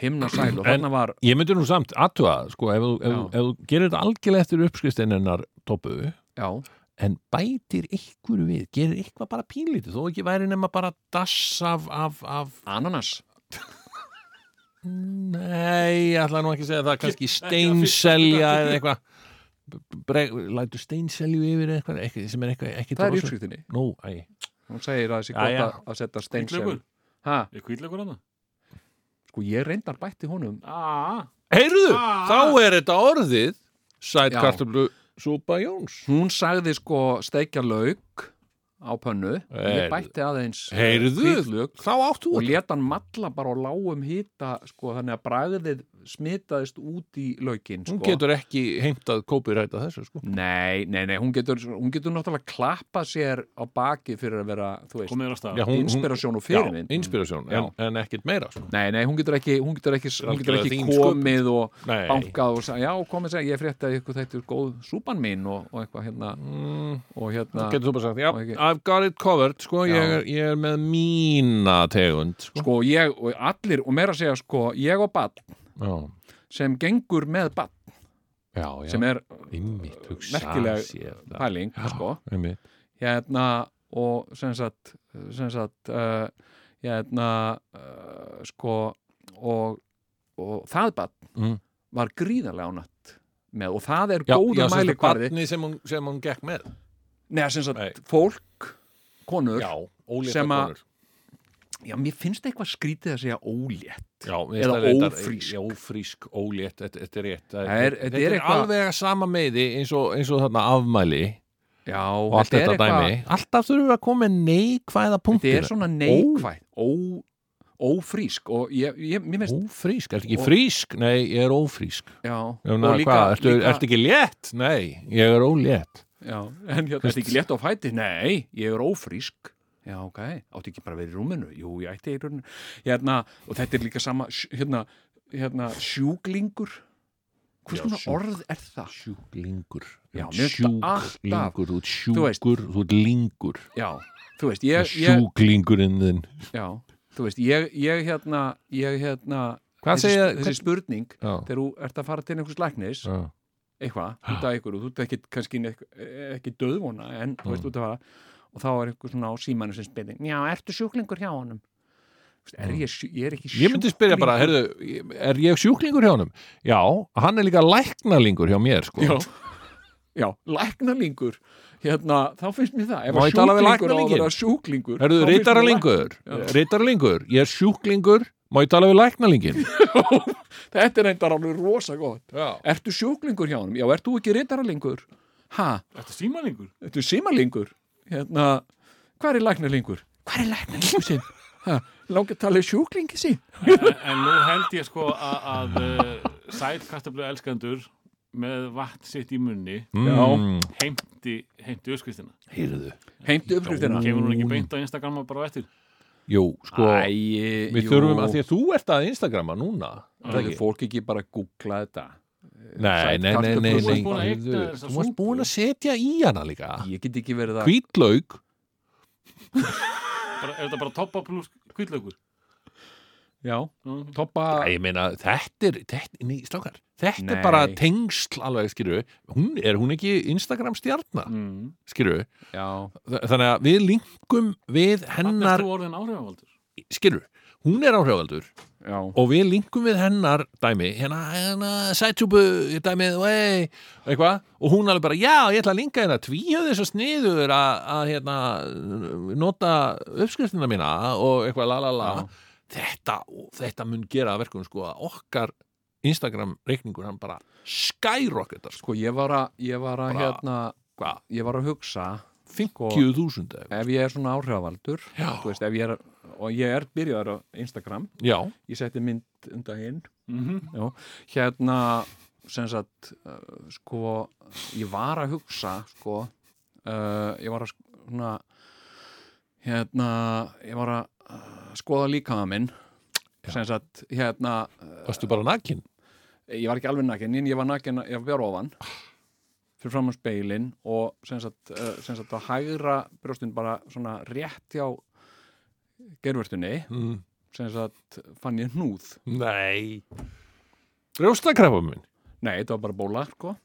himnasæl og En- þarna var Ég myndi nú samt aðtuga, sko, ef þú, ef, þú- Já. ef þú gerir þetta algjörlega eftir uppskristinennar toppu, já, en bætir ykkur við, gerir eitthvað bara pínlítið, þó ekki væri nema bara dass af, af, af ananas nei, ég ætla nú ekki að segja það, kannski steinselja eða eitthvað Breg, lætur steinselju yfir eða eitthvað, eitthvað sem er eitthvað, ekki það er í uppskriftinni, Nú, æ, hún segir að það sé Já, gott já. að- að setja steinsel Hvítlaukun? ha, er kvíðlegur hana? sko ég reyndar bætti honum aaa heyrðu, Ah. þá er þetta orðið sætt Já. kartöflu súpa Jóns hún sagði sko steikja lauk á pönnu, ég Heyrðu. bætti aðeins heyrðu, kvítlug þá áttu og leta hann matla bara á lágum hýta sko, þannig að bragðið smitaðist út í laukin sko. Hún getur ekki heimtað kópiræta þessu sko. nei, nei, nei, hún getur, hún getur náttúrulega klappað sér á baki fyrir að vera, þú veist, komið þér á stað Já, hún- inspirasjón og Já, fyrirmynd Mm. inspirasjón, en, en ekkert meira sko. nei, nei, hún getur ekki, hún getur ekki, hún getur Algjörlega ekki þín komið og Nei, bankað og sagði, já, komið segja, ég frétti að ykkur þetta er góð súpan mín og, og eitthvað hérna mm, og þá hérna, getur þú bara sagt já, Og ekki- I've got it covered sko, Já. ég, er, ég er með mína tegund sko. sko, ég og allir, og meira að segja, sko, ég og bann já, sem gengur með bann, já, já. sem er einmitt, hugsa merkileg sér það. pæling, sko, Einmitt. hérna og sem sagt, sem sagt uh, hérna uh, sko, og, og það bann Mm. var gríðarlega ánætt með, og það er já, já, góður sem sagt, mælikvarði, barni sem hún, sem hún gekk með neða, sem sagt, Nei. fólk konur, já, ólétta Sem að- konur. já, mér finnst eitthvað skrítið að segja ólétt Já, Eða mér finnst það reyndar- ófrísk. já, ófrísk, ólétt, þetta þetta er rétt Það Það er- þetta þetta er er eitthvað- alveg að sama meði eins og, eins og þarna afmæli Já, og allt er þetta eitthvað- dæmi alltaf þurfum við að koma með neikvæða punktir Þetta er svona neikvæð, ó, ófrísk og ég, ég, mér finnst, Ófrísk, ertu ekki Og- frísk? Nei, ég er ófrísk já, Ná, og líka, hvað, ertu, líka ertu ekki létt? Nei, ég er ólétt já, en hérna, ertu ekki létt á fæti? Nei, ég er ófrísk. Já, ok, áttu ekki bara að vera í rúminu? Jú, ég ætti í rúminu. Hérna, og þetta er líka sama, sj- hérna, hérna, sjúklingur. Hvers Já, konar sjúk- orð er það? Sjúklingur Já, Þú ert mér finnst það alltaf- Sjúklingur, þú ert Þú veist. sjúkur, þú ert lingur Já, þú veist, ég, ég, Sjúklingurinn þinn já, þú veist, ég, ég, hérna, ég, hérna, Hvað þessi, segja þessi spurning, hvað- Já, þegar þú ert að fara til einhvers læknis, já, eitthvað út af ykkur og þú ert ekki, kannski neik- ekki döðvona en þú Mm. veist út af það og þá er ykkur svona á símanu sem spyrir já, ertu sjúklingur hjá honum Þú veist, er ég, sjú- ég er ekki sjúklingur Mm. Ég myndi spyrja bara, heyrðu, er ég sjúklingur hjá honum? Já, hann er líka læknalingur hjá mér, sko já, já, læknalingur hérna, þá finnst mér það ef Má að ég tala sjúklingur við á að læknalinginn? vera sjúklingur Herðu, þá finnst mér reytaralingur, Já. reytaralingur, ég er sjúklingur, má ég tala við læknalingin? læk- þetta er reyndar alveg rosa gott Já, ertu sjúklingur hjá honum, já, ert þú ekki reytaralingur ha, Þetta er símalingur þetta er símalingur hérna, hvað er læknalingur? Hvað er læknalingur sinn? Ha, Langar að tala um sjúklingi sín? en, en nú held ég sko að, að uh, sæl kartablu elskandur með vatn sitt í munni Mm, heimti, heimti öskristina heyrðu. Heimtu uppskriftina kemur hún ekki beint á Instagram bara á eftir Jú, sko, Æ, við þurfum að því að þú ert að Instagrama núna. er það Það er ekki? fólk ekki bara að googla þetta Nei, Eh, Sæt nei, nei, kartöflur. nei, Þú varst nei. búin að heyrðu. eykta þessa Þú varst súpu. búin að setja í hana líka. Ég get ekki verið að Hvítlaug. bara, er þetta bara toppa pluss kvilllaukur Já, Mm. toppa Æ, Ég meina, þetta er, þetta, nei, slákar, þetta Nei. er bara tengsl alveg, skilju. Hún, er hún ekki Instagram stjarnar, Mm. skilju? Já, Þannig að við linkum við Þannig er hennar, þú orðin áhrifavaldur skilju, hún er áhrifaldur já og við linkum við hennar dæmi, hérna, hérna, sætjúbu, dæmið, vei, eitthvað, og hún alveg bara, já, ég ætla að linka hérna, tvíhjöðu þessu sniður að, að, hérna, nota uppskriftina mína og eitthvað, la, la, la, Já. þetta, þetta mun gera að verkum, sko, að okkar Instagram-reikningur, hann bara skyrocketar, sko, Sko, ég var að, ég var að, Bara- hérna, hvað, ég var að hugsa sko, 50.000 eða, ef ég er svona áhrifavaldur sko. Já. þú veist, ef ég er, og ég er byrjaður á Instagram, já, ég setti mynd um daginn, mm já, hérna sem sagt, uh, sko ég var að hugsa, sko uh, ég var að sk- svona hérna ég var að uh, skoða líkaða minn sem sagt, hérna uh, varstu bara nakin, ég var ekki alveg nakin, en ég var nakin ég var ofan fyrir fram á speilin og sem sagt, uh, sem sagt að hægra brjóstin bara svona rétt hjá gervörtunni mm. sem sagt fann ég hnúð nei, brjóstakrafa minn, nei, þetta var bara bóla sko.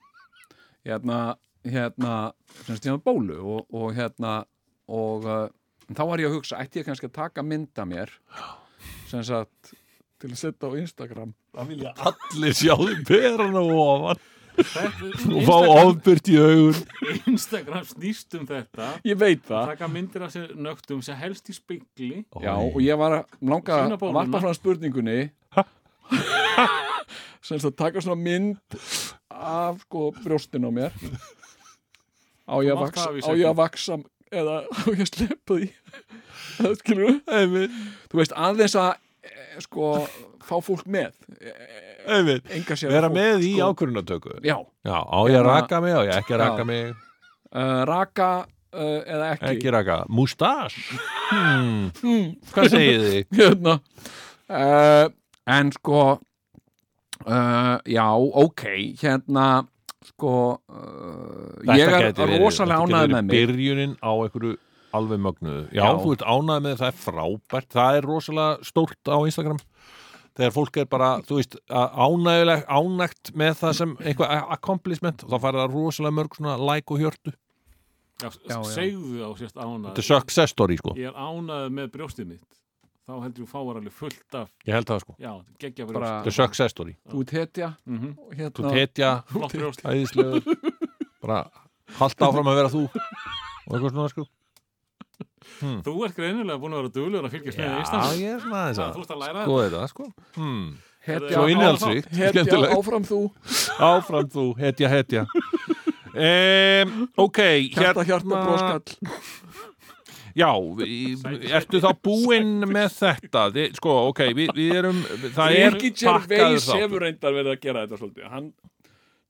hérna, hérna sem sagt ég var bólu og, og hérna og uh, þá var ég að hugsa, ætti ég kannski að taka mynda mér sem sagt til að setja á Instagram allir sjáðu peran og ofan, [LAUGHS] og fá Instagram, ofbyrt í augun Instagram snýst um þetta ég veit það taka myndir af sér nögtum sem helst í spegli Já, og ég var að langa Sýna að bóluna. varpa frá spurningunni sem þess að taka svona mynd af sko brjóstin á mér á ég að mátt vaksa, hafa í á ég seglum. að vaksa eða á ég að sleppa því [LAUGHS] það skilur við þú veist aðeins að eh, sko fá fólk með eh, Einmitt. enga sér vera fólk, með í sko. ákvörunatöku já, já, á ég að Hérna- raka mig, á ég ekki að Já. raka mig uh, raka uh, eða ekki, ekki raka, mústas hmm. hvað segið þið? [LAUGHS] hérna uh, en sko uh, já, ok hérna sko uh, Þetta ég gæti er verið- rosalega þetta gæti ánægð verið með mig byrjunin á einhverju alveg mögnuðu já, Já. þú ert ánægð með það, það er frábært það er rosalega stórt á Instagram þegar fólk er bara, þú veist ánægulegt, ánægt með það sem eitthvað accomplishment og þá færi það rosalega mörg svona like og hjörtu já, Já, já. segðu á sérst ánað þetta er success story sko, ég er ánað með brjóstið mitt þá heldur þú fáar alveg fullt af ég held það sko já, geggja Bara- brjóst þetta er success story, þú ert hetja mm og hérna, þú tetja flott brjóst æðislegur bara halda áfram að vera þú og eitthvað svona sko þú ert greinilega búin að vera duglegur að fylgjast með já, Instagram ég er svona aðeins Já, þú að ert að læra sko þetta sko hmm. hetja, svo Já, innihaldsvíkt, hetja skemmtilegt áfram þú áfram þú, hetja, hetja um, ok hérna- hjarta, hjarta, broskall já, í- ertu þá búinn með þetta Þi, sko, ok, við, við erum það er Ricky pakkaður Gervais þáttur hefur reyndar verið að gera þetta svolítið hann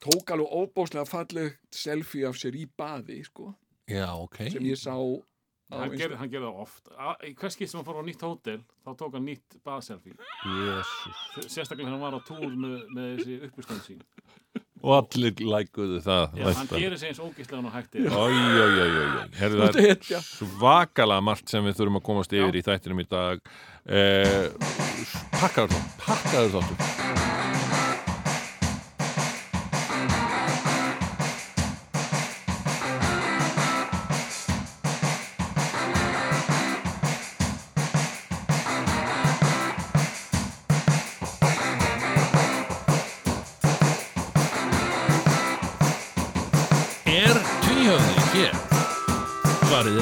tók alveg óbóðslega falleg selfie af sér í baði sko, já, ok sem ég sá á hann Insta- gerði hann gerði það oft Á- í hvers skipt sem hann fór á nýtt hótel þá tók hann nýtt baðselfie Jesus. sérstaklega þegar hann var á túr með, með þessi uppistand sín og allir lækuðu það já, hann gerir sig eins ógistlega hann hægt er Oj, oj, oj, oj, oj. Herðu, Þú ert [LAUGHS] það er hetja. svakalega margt sem við þurfum að komast yfir í þættinum í dag eh, pakkaður þá pakkaður þáttur Er tvíhöfði hér? Svarið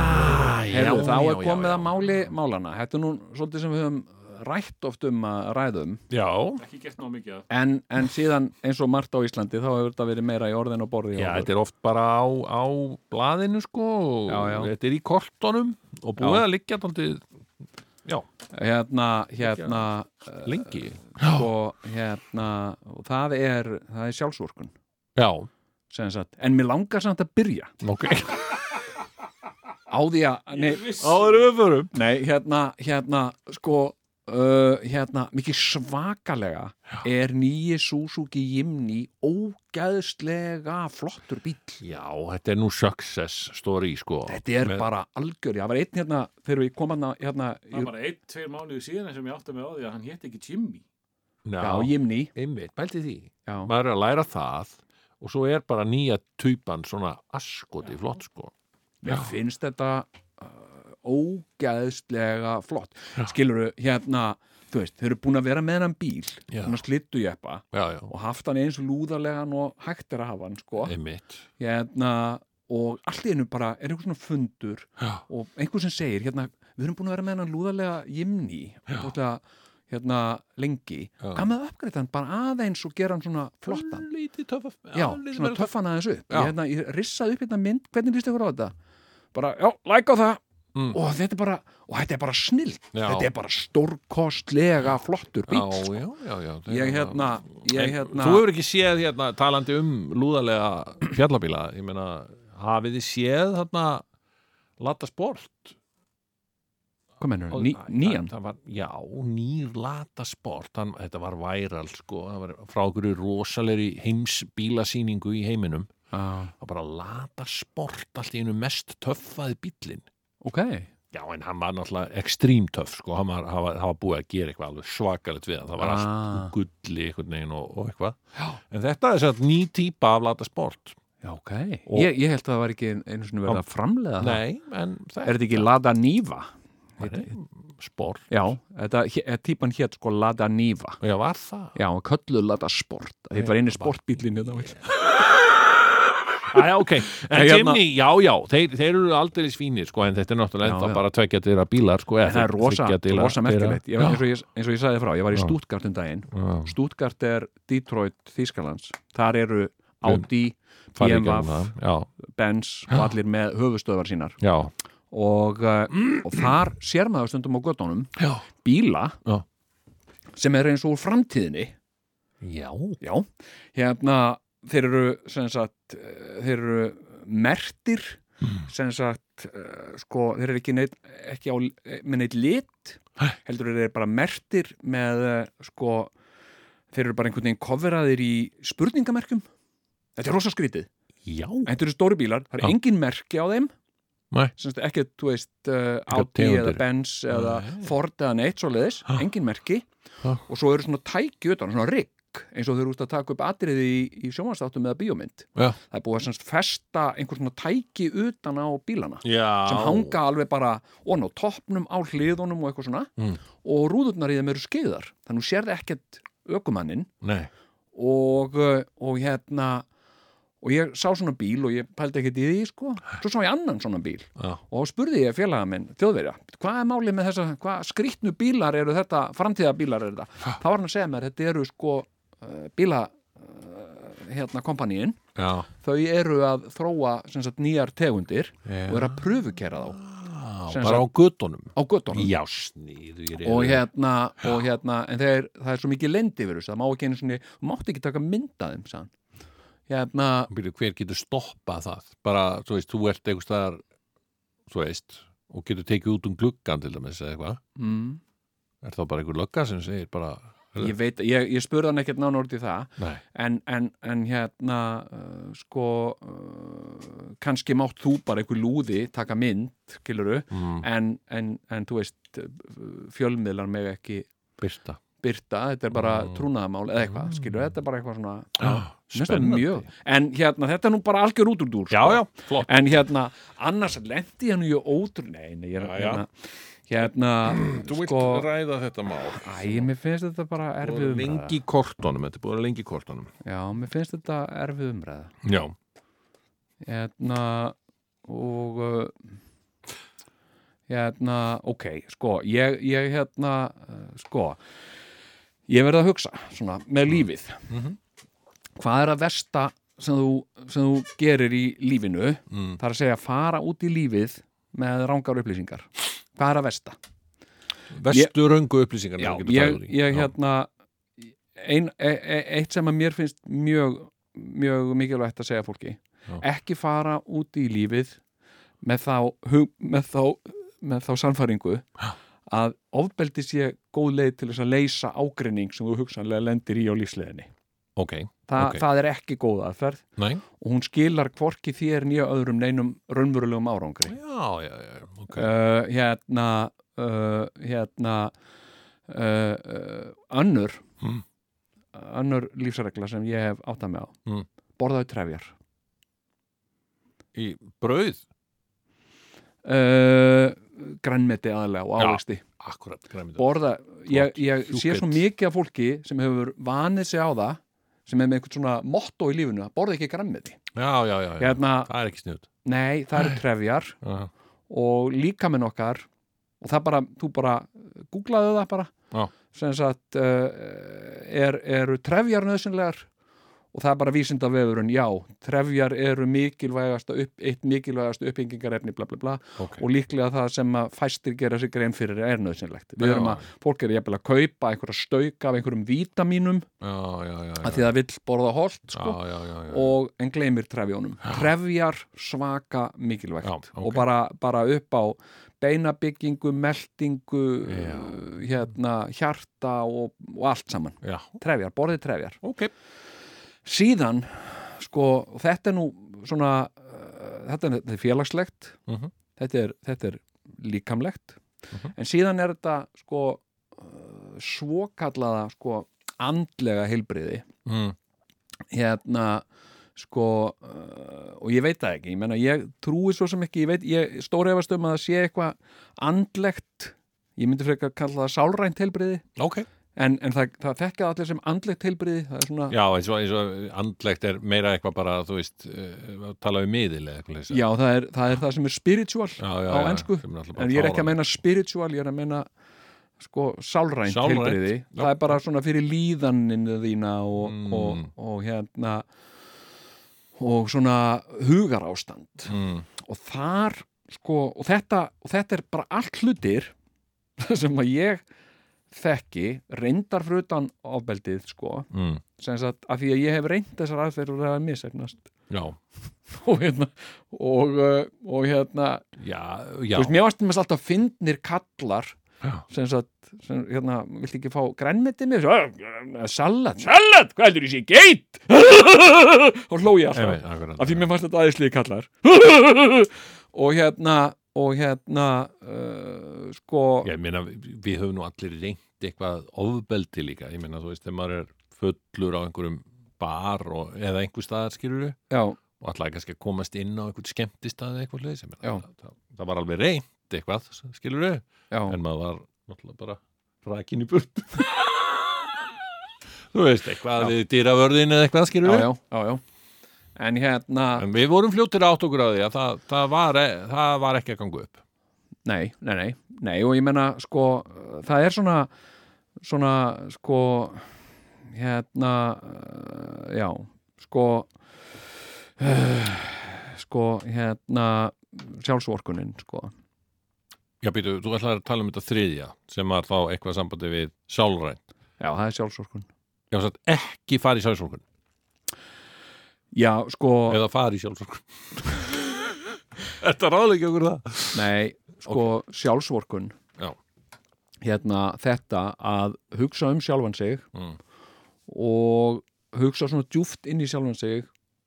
já, er já, komið já. að máli málana þetta er nú svolítið sem við höfum rætt oft um að ræðum Já, ekki gert ná mikið af en, en síðan eins og margt á Íslandi þá hefur þetta verið meira í orðin og borði já, þetta er oft bara á, á blaðinu sko og Já, já. þetta er í kortunum og búið Já. að liggja tóndið hérna, hérna eh, lengi sko, hérna og það er, það er sjálfsvorkun Já, sem sagt, en mér langar samt að byrja [LAUGHS] ok á því að, nei, Áður en við förum Nei, hérna, hérna, sko uh, hérna, mikið svakalega er nýji Suzuki Jimny ógæðslega flottur bíll Já, þetta er nú success story sko Þetta er Með- bara algjör, það var einn hérna þegar við komum hérna, hérna það var bara einn, tveir mánuði síðan sem ég átti með á því að hann hétt ekki Jimmy já, Jimny einmitt, pælti því já, maður er að læra það og svo er bara nýja töypan svona askoti flott sko mér finnst þetta uh, ógæðslega flott skilurðu, hérna þú veist, þeir eru búin að vera með hann bíl Já. svona slittu jeppa já, já, og haft hann eins lúðarlegan og hægt er að hafa hann sko einmitt hérna, og allt í einu bara er einhver svona fundur Já. og einhver sem segir, hérna, við erum búin að vera með hann lúðarlega jimni bóðlega, hérna, lengi Já. Mm, hvað með að uppgreita hann bara aðeins og gera hann svona flottan lítið töff já, svona töffan aðeins upp Já. ég, hérna, ég rissaði upp hérna mynd, hvernig líst ykkur á þetta bara, já, læk á það Mm. og þetta er bara, og þetta er bara snillt Já. þetta er bara stórkostlega flottur bíl já, já, já, já það ég er- hérna, ég En hérna þú hefur ekki séð hérna talandi um lúðalega fjallabíla ég meina, hafið þið séð hérna Lata Sport hvað mennur, ný, nýjan Það var, já, nýr Lata Sport hann, þetta var væral sko það var frá okkur rosalegri heimsbílasýningu í heiminum ah, og bara lata sport allt í einu mest töffaði bíllinn ok, Já, en hann var náttúrulega ekstrím töff, sko, hann var, hann var, hann var búið að gera eitthvað alveg svakalegt við hann, það var allt úr Ah. gulli einhvern veginn og, og eitthvað. Já. En þetta er satt ný típa af lata sport. Já, ok. Og- Ég, ég held að það var ekki einu svona verið að framlega það. Nei, en þetta Er þetta ekki Lada Niva? sport. Já, þetta, hé- típan hétt sko Lada Niva. Já, var það? Já, hann kölluð Lada Sport. Þetta var einu sportbílinni hérna, þá. Æja, [LAUGHS] ok. En Nei, hérna- Jimny, já, já, þeir, þeir eru aldrei svínir, sko, en þetta er náttúrulega Já, enda já. bara tvekja til að bílar, sko. Það er rosa, rosa merkilegt. Ég, var- hérna- eins, og Já, ég, eins og ég sagði frá, ég var í Já. Stuttgart um daginn. já, Stuttgart er Detroit, Þýskalands. Þar eru Audi, farið í gegnum BMW, það. já, Benz og allir með höfustöðvar sínar. já, Og, uh, og þar sér maður stundum á göttunum já, bíla Já. sem er eins og úr framtíðinni já, Já, hérna þeir eru sem sagt eh, þeir eru mertir sem sagt eh, sko, þeir eru ekki, neitt, ekki á, eh, með neitt lit Hæ? heldur þeir eru bara mertir með eh, sko þeir eru bara einhvern veginn kofveraðir í spurningamerkjum Þetta er rosa skrítið já, En Þetta eru stóri bílar, það er Já. engin merki á þeim Nei. Sem sagt, ekkert, þú veist uh, Engar Audi eða tegundir. Benz eða Nei. Ford eða neitt svoleiðis, Ha. engin merki Ha. og svo eru svona tæki utan, svona rigg eins og þau eru út að taka upp atriði í, í sjómanstáttum eða bíómynd Já. það er búið að sem sagt festa einhver svona tæki utan á bílana já. sem hanga alveg bara on á toppnum, á hliðunum og eitthvað svona Mm. og rúðurnar í þeim eru skeiðar þannig þú sérði ekkert ökumannin Nei, og, uh, og hérna og ég sá svona bíl og ég pældi ekkert í því sko, svo sá ég annan svona bíl já. og þá spurði ég félaga minn, þjóðverja hvað er málið með þessa, hvað skrýtnu bílar eru þetta, framtíðabílar eru þetta þá var hann að segja mér, þetta eru sko uh, bíla uh, hérna kompaníin, Já, þau eru að þróa sem sagt nýjar tegundir og eru að pröfukera þá Sem bara á göttunum á göttunum Já, snýður og hérna, og hérna en þeir, það er svo mikið lendi verið það má ekki einu svona, þú mátt ekki taka myndaðum sann hérna, Býrðu, Hver getur stoppað það? Bara, þú veist, þú ert einhvers staðar þú veist, og getur tekið út um gluggan til dæmis eða eitthvað mm. Er þá bara einhver lögga sem segir bara ég veit, ég, ég spurði hann ekkert nána út í það Nei, en, en, en hérna uh, sko uh, kannski mátt þú bara einhver lúði taka mynd, kiluru mm, en, en, en þú veist uh, fjölmiðlar með ekki byrta byrta, þetta er bara Mm. trúnaðamál eða eitthvað, skilur, þetta er bara eitthvað svona Mér finnst það Ah, Spennandi mjög, en hérna, þetta er nú bara algjör út úr dúr Já, já, flott en hérna, annars lendi hann í ótrú, nei, nei, ég er Já, já. hérna, hérna sko, ræða þetta mál æ, mér finnst þetta bara erfið Búið umræða lengi í kortunum, þetta er búið að vera lengi í kortunum já, mér finnst þetta erfið umræða Já, hérna og uh, hérna, ok, sko ég, ég hérna, eh, sko ég verði að hugsa svona, með lífið hvað er að versta sem þú, sem þú gerir í lífinu Mm. það er að segja fara út í lífið með rángar upplýsingar hvað er að versta? Vestu röngu upplýsingar Já, ég, ég hérna ein, e, e, eitt sem að mér finnst mjög, mjög mikilvægt að segja fólki Já. ekki fara út í lífið með þá, hug- með þá, með þá sannfæringu að ofbeldi sé góð leið til þess að leysa ágreining sem þú hugsanlega lendir í á lífsleðinni Ok, Þa, Ok. það er ekki góð aðferð næ og hún skilar hvorki þér nýja öðrum neinum raunverulegum árangri Já, já, já, ok uh, hérna uh, hérna uh, uh, önnur Mm. önnur lífsregla sem ég hef áttað mig á Mm. borðaðu trefjar Í brauð uh, grænmeti aðalega og Já. ávexti Akkurat, græmið borða, ég, ég Flott, sé svo sjúkett. mikið af fólki sem hefur vanið sig á það sem er með einhvern svona motto í lífinu að borða ekki grænmeti Já, já, já, já. hérna, það er ekki sniðut nei, það eru trefjar Já, og líkaminn okkar og það bara, þú bara eh, googlaðu það bara Já. sem sagt uh, er, eru trefjar nöðsynlegar og það er bara vísindavefurinn, já trefjar eru mikilvægasta upp, eitt mikilvægasta uppbyggingarefni bla bla bla ok og líklega það sem að fæstir gera sig grein fyrir er nöðsynlegt við Já. erum að, fólk er jafnvel að kaupa einhverja stauk af einhverjum vítamínum Já, já, já, að já því það vill borða holt sko, Já, já, já, já. og en gleymir trefjónum trefjar svaka mikilvægt Já, ok. og bara, bara upp á beinabyggingu, meltingu Já. hérna, hjarta og, og allt saman Já, trefjar, borðið trefjar ok síðan, sko, og þetta er nú svona uh, þetta er, þetta er félagslegt Mhm. þetta, er, þetta er líkamlegt Mhm. en síðan er þetta sko uh, svokallaða sko andlega heilbriði mm. hérna sko uh, og ég veit það ekki, ég menna ég trúi svo sem ekki, ég veit, ég stóri efast um að það sé eitthvað andlegt ég myndi frekar kalla það sálrænt heilbriði Ok en, en það, það þekkja það allir sem andlegt heilbriði það er svona, Já, eins og, eins og andlegt er meira eitthvað bara, þú veist, uh, tala um miðil eða eitthvað leysa. já, það, er, það er það sem er spiritual já, já, á já, ensku, sem náttúrulega bara en ég er ekki fáránlegt. að meina spiritual, ég er að meina sko sálrænt, Sálrænt, heilbriði já. það er bara svona fyrir líðaninu þína og, Mm. og, og hérna og svona hugarástand mm. og þar sko, og þetta, og þetta er bara allt hlutir [LAUGHS] sem að ég þekki, reyndar fyrir utan ofbeldið sko, Mm. sem sagt af því að ég hef reynd þessar aðferður og það er misefnast Já, [LAUGHS] og hérna og, uh, og hérna, já, já, þú veist, mér varst með alltaf fyndnir kallar já. sem sagt, sem, hérna, viltu ekki fá grænmeti með þessu, salat salat, hvað heldur þessi, geit [LAUGHS] og hló ég alltaf Einmitt, akkurat. af því mér fannst þetta aðeinslíði kallar [LAUGHS] og hérna og hérna uh, sko Ég meina, við höfum nú allir reynt eitthvað ofbeldi líka, ég meina, þú veist, þegar maður er fullur á einhverjum bar og, eða einhver staðar skilur við já, og alltaf kannski að komast inn á einhvern skemmtistað eða eitthvað leys, ég meina, Já. það, það, það var alveg reynt eitthvað, skilur við, já, en maður var náttúrulega bara rakin í burt. þú veist, eitthvað við dýravörðin eða eitthvað skilur já, við. já, já, já en hérna, En við vorum fljóttir átt okkur að því að það, það, var, e- það var ekki að ganga upp. nei, nei, nei nei, og ég menna sko uh, það er svona svona sko hérna uh, já, sko [SIGHS] uh, sko hérna sjálfsvorkunin sko Já, býtu, þú ætlar að tala um þetta þriðja sem var þá eitthvað sambandi við sjálfræn. já, það er sjálfsvorkun Já, satt ekki fara í sjálfsorgun já, sko, eða fara í [LAUGHS] sjálfsorgun. Þetta ráðleik okkur það. Nei, sko sjálfsvorkun Já. hérna þetta að hugsa um sjálfan sig Mm. og hugsa svona djúft inn í sjálfan sig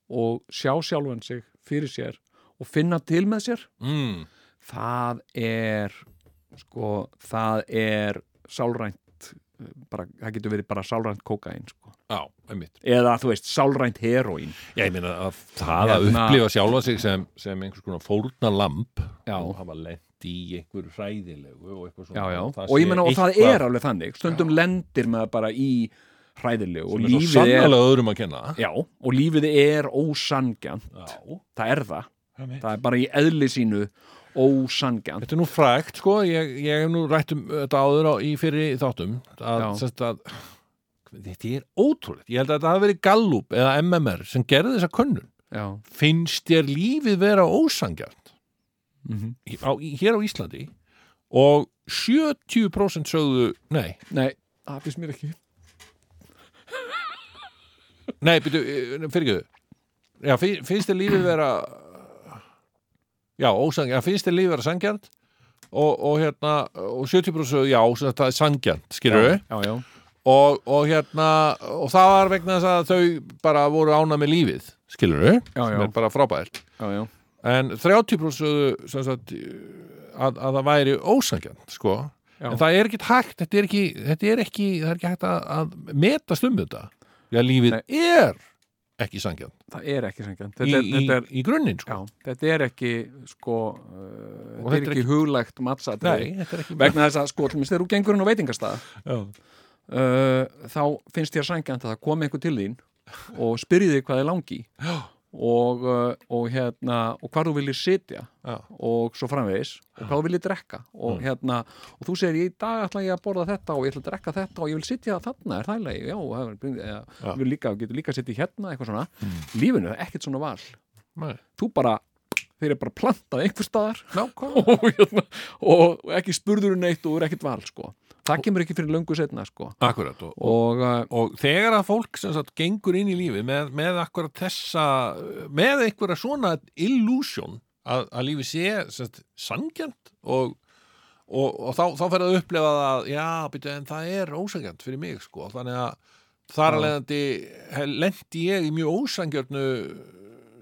og sjá sjálfan sig fyrir sér og finna til með sér Mm. það er sko, það er sálrænt eh, bara, það getur verið bara sálrænt kókain sko. Já, einmitt. eða þú veist, sálrænt heroín Já, ég meina að það að Hérna- upplifa sjálfa sig sem, sem einhvers konar fórna lamp Já. og hafa lent í einhver hræðilegu og eitthvað svona. já, já, Það og ég sé meina og það eitthvað er alveg þannig stundum lendir maður bara í hræðilegu og sem er svo lífið er sannlega öðrum að kenna. Já, og lífið er ósangjant, Já, það er það, einmitt. það er bara í eðli sínu ósangjant Þetta er nú frægt, sko, ég, ég hef nú rætt um þetta áður á, í fyrir þáttum að, Já. sérst, að þetta er ótrúlegt, ég held að þetta hafi verið Gallup eða MMR sem gerði þessa könnun Já, finnst þér lífið vera ósangjart Mhm. á, í- hér á Íslandi og 70% sögðu, nei, nei, það finnst mér ekki nei, byrju, fyrirgjöðu já, fi- finnst þér lífið vera já, ósangjart, finnst þér lífið vera sangjart og, og hérna og 70% sögðu, já, sem þetta er sangjart skilur við? Já, já, og, og hérna og það var vegna þess að þau bara voru ána með lífið, skilur við Já, já. sem er bara frábært já, já. en 30% sögðu, sem sagt, eh, að, að það væri ósangjant sko. Já. en það er ekkit hægt þetta er ekki, þetta er ekki, það er ekki hægt að, að metast um þetta því að lífið er ekki sangjant það er ekki sangjant í, þetta, er- í, þetta, er, í grunninn sko. já, þetta er ekki sko, uh, þetta þetta er er ekki huglægt matsatrið Nei, þetta er ekki vegna þess að sko, til minnst þegar þú gengur inn á veitingastað Já. uh, þá finnst þér sangjant að það komi einhver til þín og spyrji þig hvað þið langi og, uh, og hérna og hvar þú viljir sitja Já. og svo framvegis og hvað þú viljir drekka og Mm. hérna, og þú segir, í dag ætla ég að borða þetta og ég ætla að drekka þetta og ég vil sitja þarna, er það leið, já, það er- eða, Já. Mm. við líka, getur líka að sitja hérna, eitthvað svona lífinu, það er ekkert svona val Nei. þú bara, þeir eru bara plantað einhver [LAUGHS] staðar Nákvæmlega. og, hérna, og ekki spurður um neitt og er ekkert val, sko það kemur ekki fyrir löngu setna, sko Akkurat, og, og uh, og þegar að fólk sem sagt gengur inn í lífið með, með akkurat þessa með einhverja svona illusion að, að lífið sé sem sagt, sangjant og, og, og þá, þá fer að upplefa það að já, byrju, en það er ósangjant fyrir mig sko, þannig að þar að leiðandi lendi ég í mjög ósangjörnu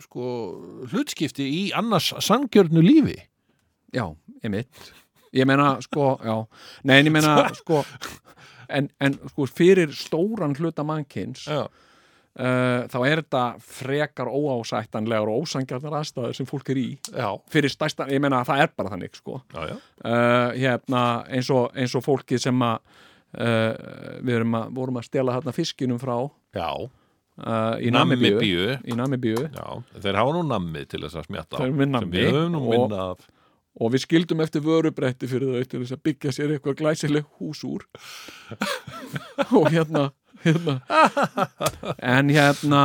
sko, hlutskipti í annars sangjörnu lífi já, einmitt ég meina, sko, já nei, en ég meina, sko en, en sko, fyrir stóran hluta mannkins Já, uh, þá er þetta frekar óásættanlegar og ósangjarnar aðstæður sem fólk er í já, fyrir stærstan, ég meina að það er bara þannig sko. já, já. uh, hérna, eins, og, eins og fólkið sem að uh, við erum að, vorum að stela hérna fiskinum frá uh, já. í Namibíu Namibíu í Namibíu Já, þeir hafa nú nammið til þess að smjatta á, Þeir eru með nammi sem við höfum nú og- minna af og við skildum eftir vörubretti fyrir þau til þess að byggja sér eitthvað glæsileg hús úr [LAUGHS] og hérna, hérna en hérna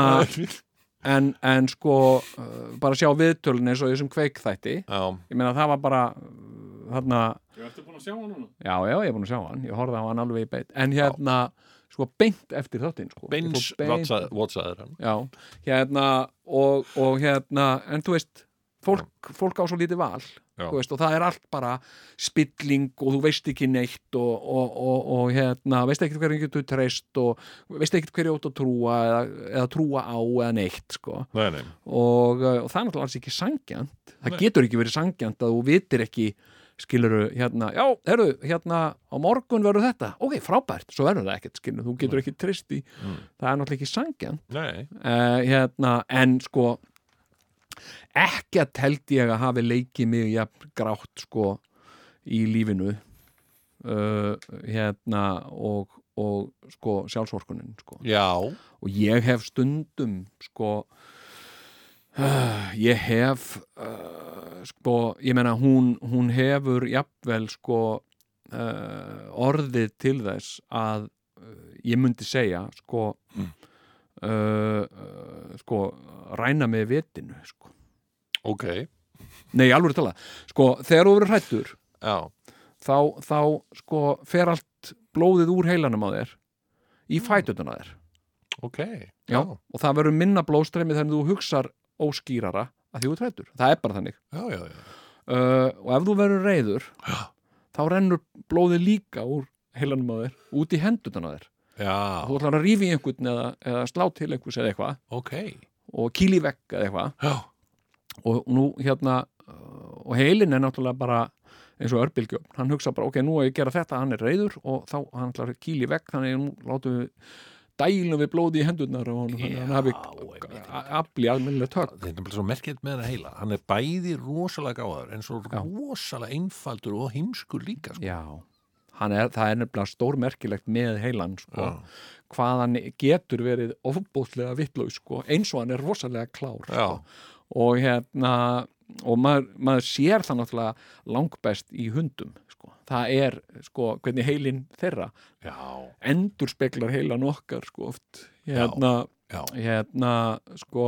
en, en sko uh, bara sjá viðtölun eins og þessum kveikþætti Já, ég meina það var bara uh, þarna, Ég ertu búin að sjá hann núna? já já ég er búin að sjá hann ég horfði á hann alveg í beitt en hérna sko beint eftir þáttinn sko. Ég beins fór beint- vatsaðir hann já, hérna og, og hérna, en þú veist fólk, fólk á svo lítið val Já. þú veist, og það er allt bara spilling og þú veist ekki neitt og, og, og, og hérna, veist ekki hverju getur treyst og veist ekki hverju átt að trúa eða, eða trúa á eða neitt sko. Nei, nei, og, uh, og það er náttúrulega alls ekki sangjant það getur ekki verið sangjant að þú vitir ekki skiluru hérna, já, herru, hérna á morgun verður þetta, ok, frábært svo verður það ekkert, skilur, þú getur ekki trist í það er náttúrulega ekki sangjant nei uh, hérna, en sko ekkert held ég að hafi leikið mig jafn grátt sko í lífinu uh, hérna og, og sko sjálfsvorkunin sko Já, og ég hef stundum sko [SIGHS] uh, ég hef uh, sko, ég meina hún, hún hefur jafnvel sko uh, orðið til þess að uh, ég myndi segja sko uh, uh, sko ræna með vetinu sko. ok nei, alveg tala sko, þegar þú verður hrættur Já, þá, þá sko fer allt blóðið úr heilanum á þér í fætutun á þér ok Já, og það verður minna blóðstreymi þegar þú hugsar óskýrara að því þú trættur. Það er bara þannig. já, já, já. Uh, og ef þú verður reyður, þá rennur blóði líka úr heilanum á þér, út í hendutan á þér. já Þú ætlar að rífi einhvern eða, eða slá til einhvers eða eitthvað ok og kýli vekk eða eitthvað Já, og nú hérna, uh, og heilin er náttúrulega bara eins og örbylgjum, hann hugsa bara ok, nú að ég að gera þetta, hann er reyður og þá hann ætlar að kýli vekk, þannig að nú látum við dælum við blóði í hendurnar og hann, hann hafi einmitt. afli almennilega tök Þetta er bara svo merkjönd með hennar heila Hann er bæði rosalega gáður en svo Já. rosalega einfaldur og heimskur líka sko. Já, hann er, það er nefnilega stórmerkilegt með heilan sko, Já. hvað hann getur verið ofbóðlega vittlaug sko, eins og hann er rosalega klár Já. sko. og hérna og maður, maður sér það náttúrulega langbest í hundum sko. það er sko, hvernig heilin þeirra já, endur speklar heilan okkar sko, oft Já, hérna, já. hérna sko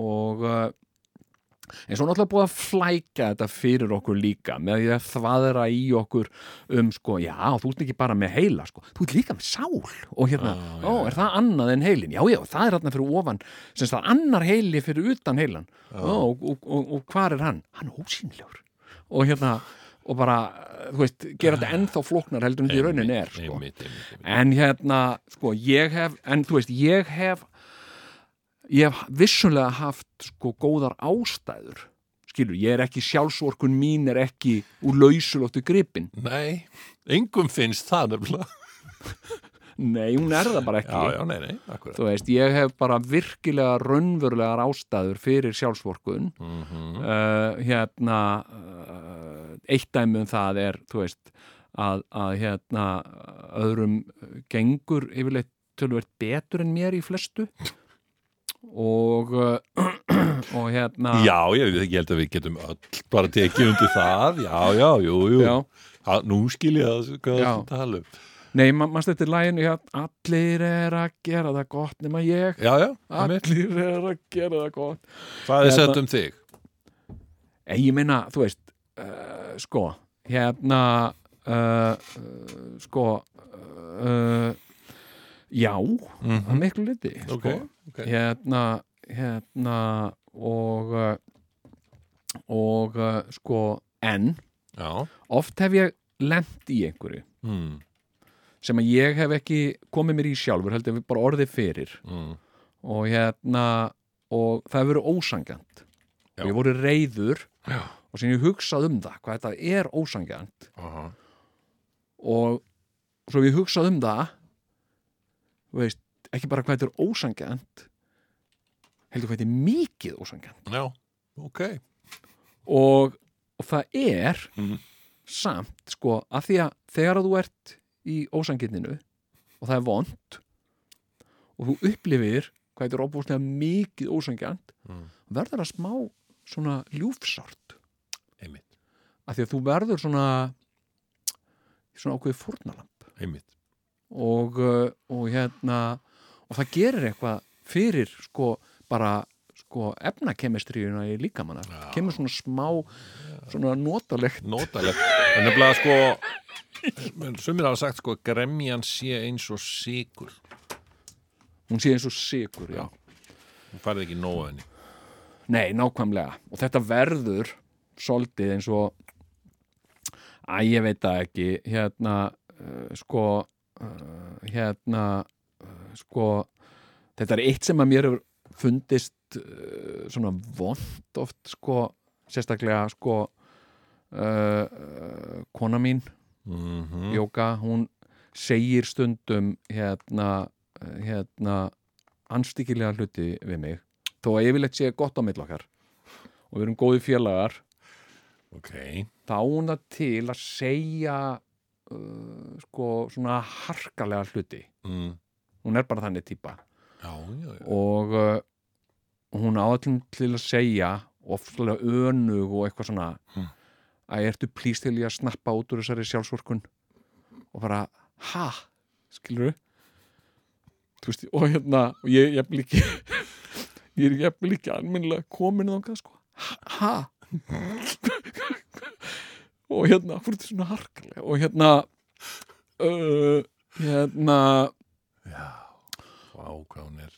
og uh, en svo náttúrulega búið að flækja þetta fyrir okkur líka með því að þvaðra í okkur um sko, já, þú ert ekki bara með heila sko, þú ert líka með sál og hérna, Ah, Já, ó, já, er það annað en heilin? Já, já, það er hérna fyrir ofan sem það er annar heili fyrir utan heilan ó, og, og, og, og hvar er hann? Hann er ósýnlegur og hérna, og bara, þú veist gera þetta ennþá flóknar heldur en því raunin er sko. Ah. einmitt, einmitt, einmitt. En hérna, sko, ég hef, en þú veist, ég hef, ég hef vissulega haft, sko, góðar ástæður, skilur, ég er ekki, sjálfsvorkun mín er ekki úr lausulóttu gripin. Nei, engum finnst það nefnilega. Nei, hún er það bara ekki. Já, já, nei, nei, akkurat. Þú veist, ég hef bara virkilega raunverulegar ástæður fyrir sjálfsvorkun. Mm uh, hérna uh, eitt dæmi um það er þú veist að, að hérna öðrum gengur yfirleitt tölvert betur en mér í flestu og uh, [CLEARS THROAT] og hérna Já, ég, ég held að við getum öll bara tekið undir það, já, já, jú, jú. Já. Ha, nú skil ég það, hvað Já. það tala um. nei, ma maður stættir læginu hérna, allir er að gera það gott nema ég, Já, já, einmitt. allir er að gera það gott hvað er Hérna- sett um þig? En Eh, ég meina, þú veist, uh, sko, hérna, uh, uh, sko, uh, já, að miklu liti, sko, Mhm. Ok, ok. hérna, hérna, og, uh, og, uh, sko, en, Já. oft hef ég lent í einhverju Mm, sem að ég hef ekki komið mér í sjálfur, heldur við bara orðið fyrir mm, og hérna og það hefur verið ósangjant Já. og ég voru reyður Já. og sem ég hugsað um það, hvað þetta er ósangjant aha. og svo hef ég hugsað um það þú veist, ekki bara hvað þetta er ósangjant heldur hvað þetta er mikið ósangjant Já, ok. og, og það er Mhm. samt sko að því að þegar að þú ert í ósanginninu og það er vond og þú upplifir hvað þetta er opbúrslega mikið ósangjant Mm. verður það smá svona ljúfsárt Einmitt, af því að þú verður svona svona ákveðið fórnalamb einmitt. og, uh, og hérna og það gerir eitthvað fyrir sko bara sko efnakemistríuna í líkamanna Já. kemur svona smá svona notalegt Nótalegt. En nefnilega sko, sumir hafa sagt sko, gremjan sé eins og sigur. hún sé eins og sigur já. Hún farið ekki nóg af henni. nei, nákvæmlega og þetta verður soldið eins og að ég veit það ekki hérna uh, sko uh, hérna uh, sko þetta er eitt sem að mér hefur fundist uh, svona vond oft sko sérstaklega sko uh, uh, kona mín Mm Jóka, hún segir stundum hérna, hérna anstíkilega hluti við mig þó að yfirleitt sé gott á milli okkar og við erum góði félagar Ok, þá á hún það til að segja uh, sko svona harkalega hluti mm. hún er bara þannig típa já, já, já. og uh, hún áallum til að segja ofslega önug og eitthvað svona Mm. að ertu plís til ég að snappa út úr þessari sjálfsvorkun og bara, ha, skilur þú veist, og hérna og ég, ég er ekki [LAUGHS] ég er ekki líka almennilega komin þangað sko, ha, ha. [LAUGHS] og hérna, hvað er þetta svona harkalega og hérna uh, hérna Vá, hvað hún er.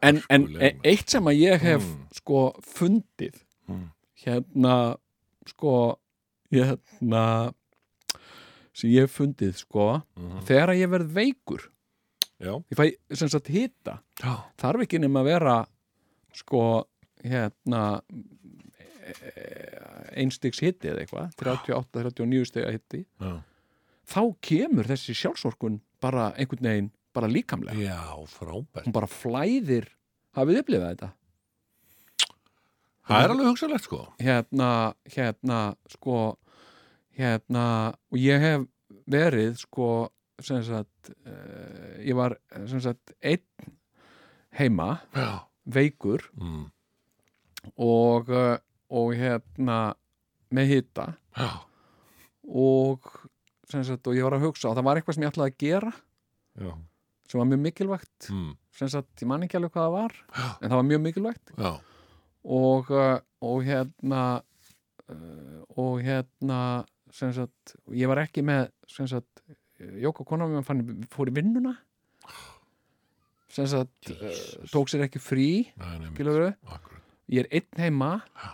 en, en e, Hörkuleg, maður. eitt sem að ég hef Mm. sko fundið Mm. hérna sko hérna sem ég hef fundið sko Mhm. þegar að ég verð veikur Já. ég fæ sem sagt hita Já. þarf ekki nema að vera sko hérna einstigs hiti eða eitthvað 38-39 stiga hiti Já. þá kemur þessi sjálfsorkun bara einhvern veginn bara líkamlega Já, frábært. hún bara flæðir hafið upplifað þetta Það er alveg hugsalegt, sko. hérna, hérna, sko, hérna, og ég hef verið, sko, sem sagt, uh, ég var, eh, sem sagt, einn heima, Já. veikur Mm. og, uh, og hérna með hita Já. og sem sagt og ég var að hugsa og það var eitthvað sem ég ætlaði að gera Já. sem var mjög mikilvægt Mm. sem sagt ég man ekki alveg hvað það var en það var mjög mikilvægt Já. og, uh, og hérna uh, og hérna sem sagt, ég var ekki með sem sagt, Jóka kona mér fann, fór í vinnuna sem sagt uh, Jesus. tók sér ekki frí Nei, nei, mitt. skilurðu. Akkurat. ég er einn heima Já.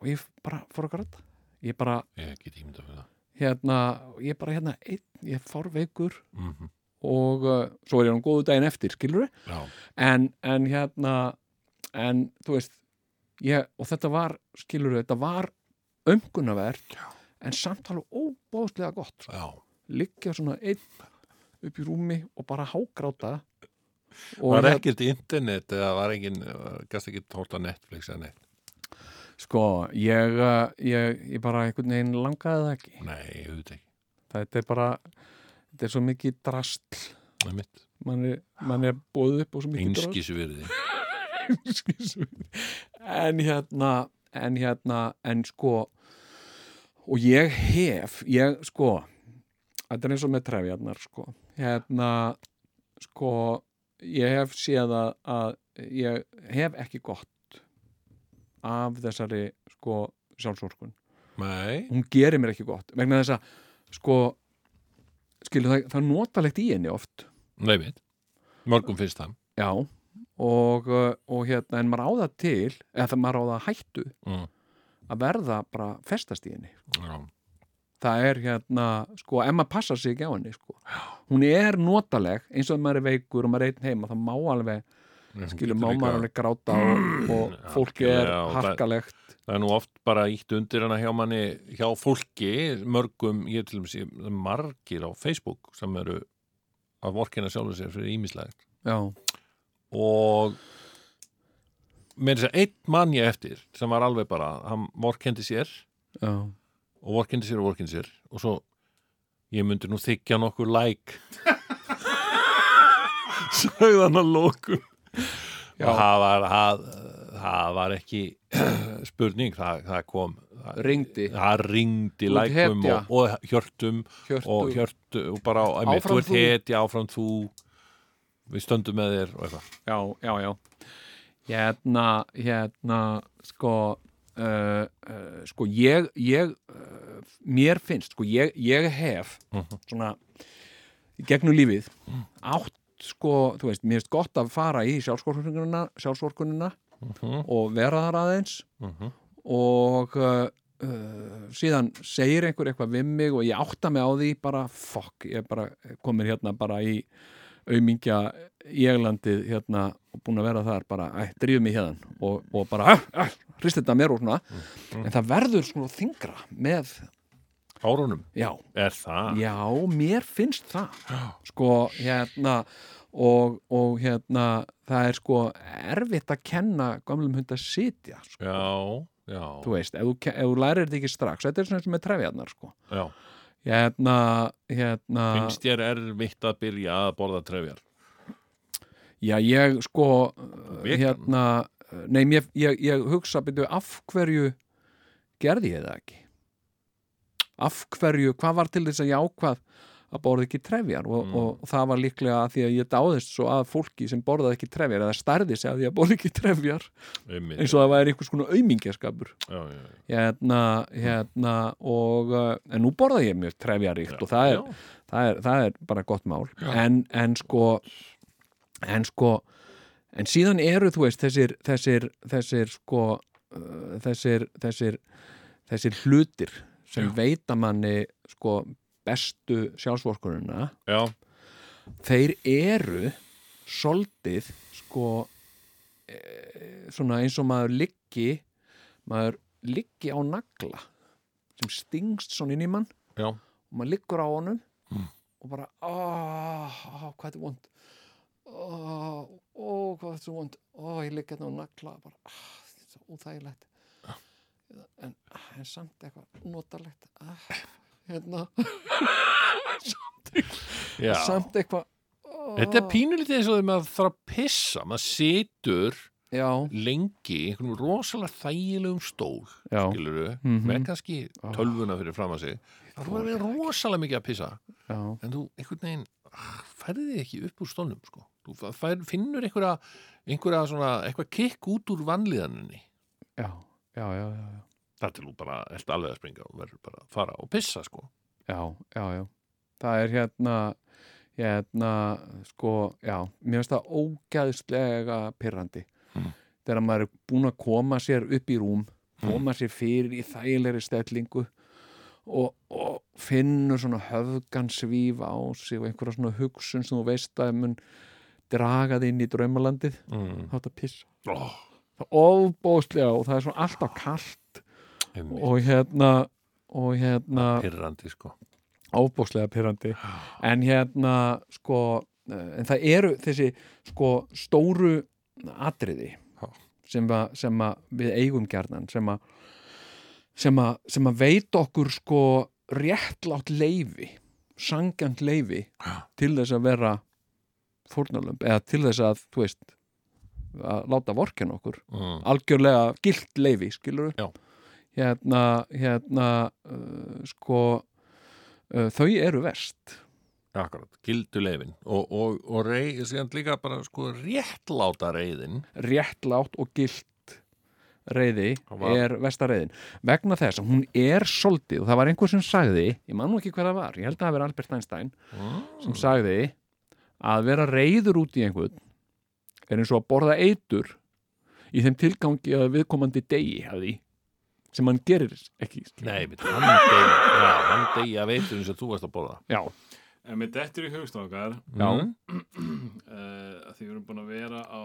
og ég bara fór að gráta ég bara Ég get ímyndað fyrir það. hérna ég bara hérna einn, ég fór veikur Mm og uh, svo er ég hann góðu daginn eftir skilur Já. en, en hérna en þú veist ég, og þetta var, skilur þetta var umkunnavert Já. en samt alveg óbóðslega gott sko. Já. liggja svona einn upp í rúmi og bara hágráta og Var hérna, ekkert internet eða var engin, eh, gæst ekki tórta Netflix eða neitt? sko ég, uh, ég, ég bara einhvern veginn langaði það ekki Nei, auðvitað ekki. þetta er bara, þetta er svo mikið drastl Það er mitt. mann er, man er bóðið upp og svo mikið drastl. Einskísverði. [LAUGHS] en hérna en hérna, en sko og ég hef ég sko þetta er eins og með trefjarnar sko hérna, sko ég hef séð að, að ég hef ekki gott af þessari sko sjálfsorkun Nei. hún gerir mér ekki gott vegna þess að sko skilu það, það er notalegt í henni oft Nei, mitt. Mörgum finnst það. Já, og, uh, og hérna, en maður á það til, eða það maður á það hættu Mm. að verða bara festast í henni. Já. Það er hérna, sko, ef maður passar sig ekki á henni, sko. Hún er notaleg, eins og ef maður er veikur og maður er einn heima, þá má alveg, Hún skilur, getur má líka- maður alveg gráta og, og Mm, fólki er algjörlega, og það- harkalegt. það er nú oft bara ítt undir hana hjá manni hjá fólki, mörgum ég til þess að margir á Facebook sem eru að vorkina sjálfur sér fyrir ímislegt Já, og með þess að segja einn mann ég eftir sem var alveg bara, hann vorkendi sér já, og vorkendi sér og vorkendi sér og svo ég myndi nú þykja nokkur like [LAUGHS] sagðan að lókum Já. og það var það, það var ekki [CLEARS THROAT] spurning, það, það kom það, Rigndi. það Þú ringdi ert lækum hetja. og, og hjörtum hjörtu. og hjörtu og bara, Áfram einmitt, þú ert þú. hetja áfram þú við stöndum með þér og eitthvað Já, já, já. Hérna, hérna, sko, uh, uh, sko, ég, ég, uh, mér finnst, sko, ég, ég hef, Mhm. svona í gegnum lífið átt sko, þú veist, mér finnst gott að fara í sjálfsvorkunina, sjálfsvorkunina Mhm. og vera þar aðeins Mhm. og uh, uh, síðan segir einhver eitthvað við mig og ég átta mig á því bara fuck, ég er bara komin hérna bara í aumingja í Eglandið hérna og búin að vera þar bara, æ, drífum mig hérna og, og bara, æ, æ, hrist þetta mér úr svona en það verður svona þingra með, Árunum, já, er það? Já, mér finnst það sko, hérna og, og hérna það er sko erfitt að kenna gamlum hund að sitja sko. Já, já, þú veist, ef þú, ke- ef þú lærir þetta ekki strax þetta er svona eins og með trefjarnar sko. já. hérna, hérna finnst þér erfitt að byrja að borða trefjar já, ég sko Vegan? hérna, nei, mér, ég, ég hugsa byrju, af hverju gerði ég það ekki af hverju, hvað var til þess að ég ákvað að borða ekki trefjar og, Mm. og það var líklega að því að ég dáðist svo að fólki sem borðaði ekki trefjar eða stærði sig að því að borða ekki trefjar Einmitt. eins og það væri einhvers konar aumingjaskapur já, já, já. hérna, hérna og, uh, en nú borða ég mér trefjaríkt og það er, Já. það, er, það er bara gott mál en, en sko en sko en síðan eru þú veist þessir þessir, þessir sko uh, þessir, þessir, þessir hlutir sem veita manni sko bestu sjálfsvorkununa já, þeir eru soldið sko e, svona eins og maður liggi maður liggi á nagla sem stingst svona inn í mann já, og maður liggur á honum og bara oh, hvað þetta er vond oh, oh, hvað þetta er vond oh, ég ligg hérna á nagla bara, oh, þetta er svo úþægilegt en, en samt eitthvað notalegt ah, hérna, já. samt eitthvað oh, þetta er pínulítið eins og þegar maður þarf að pissa maður situr já, lengi í einhvernum rosalega þægilegum stól Já. skiluru, Mhm. með kannski tölvuna fyrir fram að sig þá var við rosalega mikið að pissa já, en þú einhvern veginn ah, færði þig ekki upp úr stólnum sko. þú fa- fær, finnur einhverja, einhverja svona, eitthvað kikk út úr vanlíðaninni já, já, já, já, já. þar til þú bara ert alveg að springa og verður bara að fara og pissa sko. Já, já, já. Það er hérna, hérna, sko, já, mér finnst það ógæðslega pyrrandi. Mm. Þegar maður er búin að koma sér upp í rúm, koma sér fyrir í þægilegri stellingu og, og finnur svona höfgan svífa á sig og einhverja svona hugsun sem þú veist að mun draga þig inn í draumalandið, mm. þá þetta pissa. oh, Það er óbóðslega og það er svona alltaf kallt og hérna, og hérna pyrrandi sko. ábókslega pyrrandi en hérna sko eh, en það eru þessi sko stóru atriði Já. sem að, sem að við eigum gjarnan sem að sem að, sem að veit okkur sko réttlátt leifi sangjant leifi Já. til þess að vera fórnarlömb eða til þess að, þú veist að láta vorken okkur mm. algjörlega gilt leifi, skilur Já. hérna, hérna uh, sko uh, þau eru verst Akkurat, gildu leifin og, og, og rey, síðan líka bara sko réttláta reyðin réttlátt og gilt reyði Það var- er vestareiðin vegna þess að hún er soldið og það var einhver sem sagði, ég man nú ekki hver það var ég held að það vera Albert Einstein Mm. sem sagði að vera reyður út í einhvern er eins og að borða eitur í þeim tilgangi að viðkomandi degi af því sem hann gerir ekki skilur. Nei, mitt, hann deyja Já, hann deyja veiturinn sem þú varst að borða Já, En með dettur í hugstokkar Já. Mm. uh, því við erum búin að vera á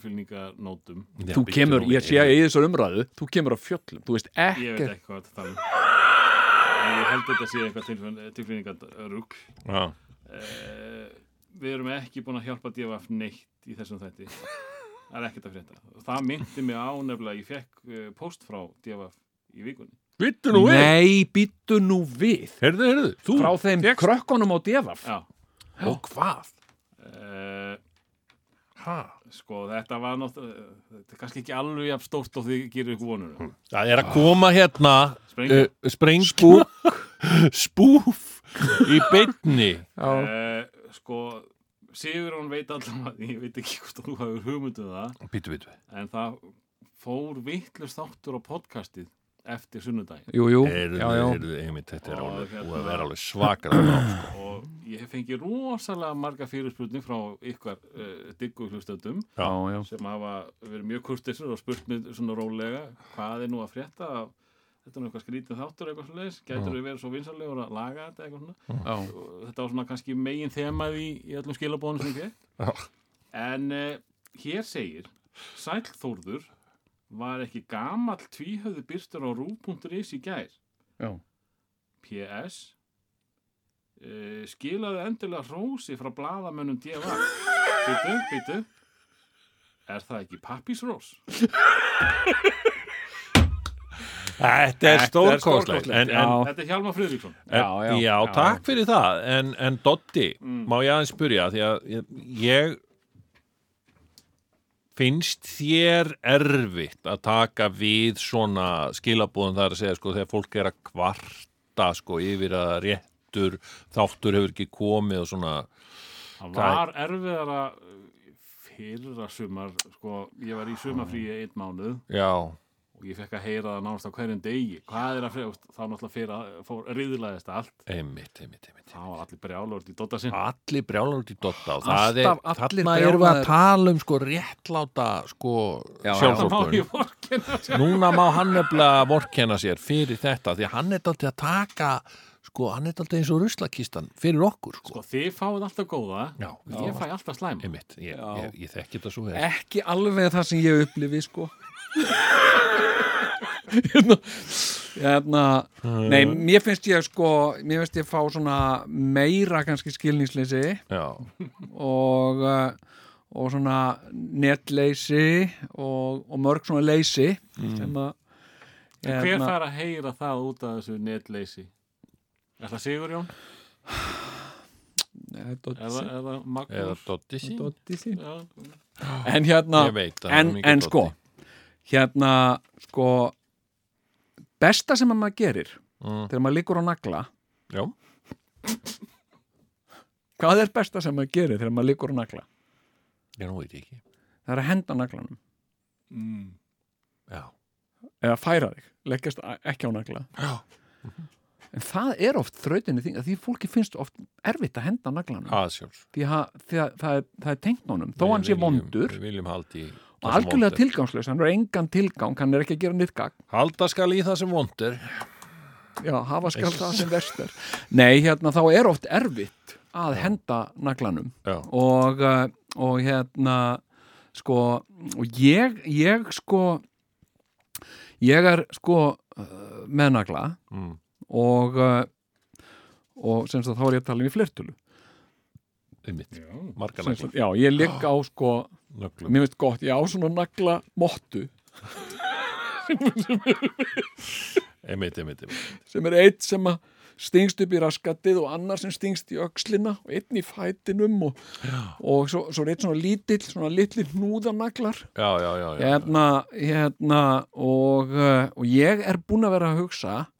tilfylninganótum Já, þú bíddu kemur, nú ég við. sé í þessar umræðu þú kemur á fjöllum, þú veist ég ekki veit ekki hvað þetta tala um En ég held að þetta sé eitthvað tilfylningarugl Já, uh, við erum ekki búin að hjálpa DFF neitt í þessum þætti það er ekkert að frétta það myndi mig á nefnilega að ég fekk uh, post frá DFF í vikunni Byttu nú við, Nei, býttu nú við heyrðu, heyrðu Þú, frá þeim fékkst- krökkunum á devaf já og hvað? uh, Ha? sko þetta var náttúrulega þetta er kannski ekki alveg jafn stórt og þið gerir ykkur um. vonur Það er að koma hérna Sprengja. uh, Sprengu Spúf Í beinni Já, uh, sko Sigurón veit allavega, ég veit ekki hvort þú hafur hugmyndum það, Byttu, byttu en það fór vittlust þáttur á podcastið eftir sunnudaginn jú, jú Heyrðu, já, já. heyrðu, einmitt, þetta er Og alveg hérna- búið að vera alveg svakar og ég hef fengið rosalega marga fyrirspurnir frá ykkar uh, diggu hlustöndum Já, já. sem hafa verið mjög kurtisur og spurt mér svona rólega hvað er nú að frétta af þetta er nú eitthvað skrítið þáttur eitthvað svona leis gætur við verið svo vinsalegur að laga þetta eitthvað svona Já. og þetta var svona kannski megin þemað í, í öllum skilabónum sem ég fekk. en uh, hér segir Sæll Þórður var ekki gamall tvíhöfðu byrstur á rú.is í gær Já. PS uh, skilaði endilega rósi frá bladamönnum D.V. Býtu, býtu Er það ekki pappísrós? [CLEARS THROAT] Þetta er stórkostlegt stórkostlegt, En, en, já. Þetta er Hjalmar Friðriksson Já, já, já. Mm. takk fyrir það En, en Doddi, má ég aðeins spyrja Því að ég- ég finnst þér erfitt að taka við svona skilabúðum þar að segja sko þegar fólk er að kvarta sko yfir að réttur þáttur hefur ekki komið og svona Það var erfiðara eh, fyrra sumar sko, ég var í sumarfríi einn mánuð já, og ég fekk að heyra það nánast á hverjum degi hvað er að fregust, þá náttúrulega fyrir að fór riðlaðist allt, einmitt, einmitt, einmitt þá var allir brjálort í dotta sinn Allir brjálar út í Dodda og Alltaf það er, allir þarna erum við að brjálaðir. tala um sko réttláta sko Já, já. þá má sjálfsvorkunn. ég vorkina Núna má hann nefnilega vorkenna sér fyrir þetta því að hann er daldið að taka sko, hann er daldið eins og ruslakistan fyrir okkur sko. sko, þið fáið alltaf góða Já, ég fæ alltaf slæm einmitt, ég, Já. ég, ég þekki þetta svo vel Ekki alveg það sem ég upplifi sko [LAUGHS] Hérna, hérna Nei, mér finnst ég sko mér finnst ég fá svona meira kannski skilningsleysi Já, og eh, og svona netleysi og, og mörg svona leysi Mm. sem að Hver hérna- fær að heyra það út af þessu netleysi? Er það Sigurjón? eh, er það, Doddi er það Eða Magnús? Doddi sín? Doddi sín Já, en hérna, Ég veit að en, hann er mikið en Doddi. sko hérna sko besta sem að maður gerir Mm. þegar maður liggur á nagla Já. hvað er besta sem maður gerir þegar maður liggur á nagla Ég nú veit ég ekki. það er að henda naglanum mm. Já. eða færa þig, leggjast a- ekki á nagla Já. en það er oft þrautinni þing að því fólki finnst oft erfitt að henda naglanum Að sjálfs. því að því að það er, það er tengt honum þó Við hann sé viljum- vondur Við viljum haldi í það og sem algjörlega vont er. tilgangslös, hann er engan tilgang hann er ekki að gera nýtt gagn Halda skal í það sem vondur. Já, hafa skal Eish. það sem verst er Nei, hérna, þá er oft erfitt að henda naglanum Já. og, uh, og hérna sko, og ég ég sko ég er sko uh, með nagla Mm. og uh, og sem sagt þá er ég að tala um í flertölu Einmitt. já, Marga Sem nagla. sagt, Já, ég ligg á sko Nöglum. mér finnst gott, ég á svona nagla mottu Einmitt, einmitt, einmitt. sem er eitt sem að stingst upp í raskatið og annar sem stingst í öxlina og einn í fætinum og, og svo, svo er eitt svona lítill, svona litlir hnúðanaglar Já, já, já. já. hérna, hérna og, uh, og ég er búinn að vera að hugsa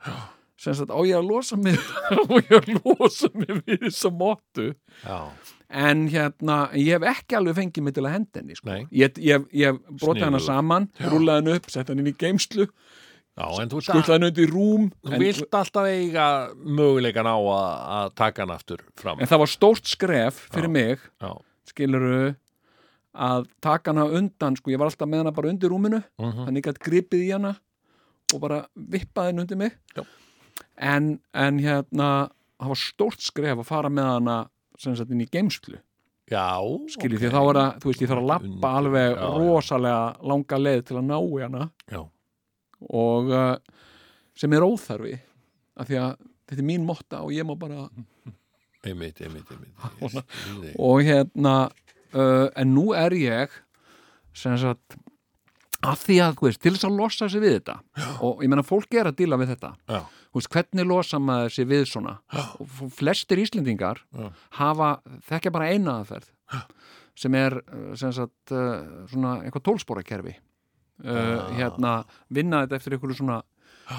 sem sagt á ég að losa mig [LAUGHS] og ég að losa mig við þessa móttu já. en hérna, ég hef ekki alveg fengið mig til að henda henni sko. Nei. ég, ég, ég brotaði hana Sniðugur. saman, rúlaði henni upp setti henni inn í geimslu, Já, en þú ert skuttlaði henni undir í rúm Þú en- vilt alltaf eiga möguleikan á að, að taka hann aftur fram. En það var stórt skref fyrir Já. mig, Já. skiluru, að taka hana undan, sko, ég var alltaf með hana bara undir rúminu, Mm -hmm. þannig að gripið í hana og bara vippaði henni undir mig. Já. En, en hérna, það var stórt skref að fara með hana sem sagt inn í geimslu, Já. skilju, ok. því að þá var það, þú veist, ég þarf að lappa Undir, alveg já, já. rosalega langa leið til að ná í hana Já. og uh, sem er óþarfi, af því að þetta er mín motta og ég má bara Einmitt, einmitt, [LAUGHS] einmitt. Ég skil þig. og hérna uh, en nú er ég sem sagt að því að, þú veist, til þess að losa sig við þetta og ég meina fólk er að díla við þetta Já. Þú veist, hvernig losa maður sig við svona og f- flestir Íslendingar Já. hafa, þekkja bara eina aðferð sem er uh, sem sagt uh, svona einhvað tólsporakerfi uh, Ah. hérna vinna þetta eftir einhverju svona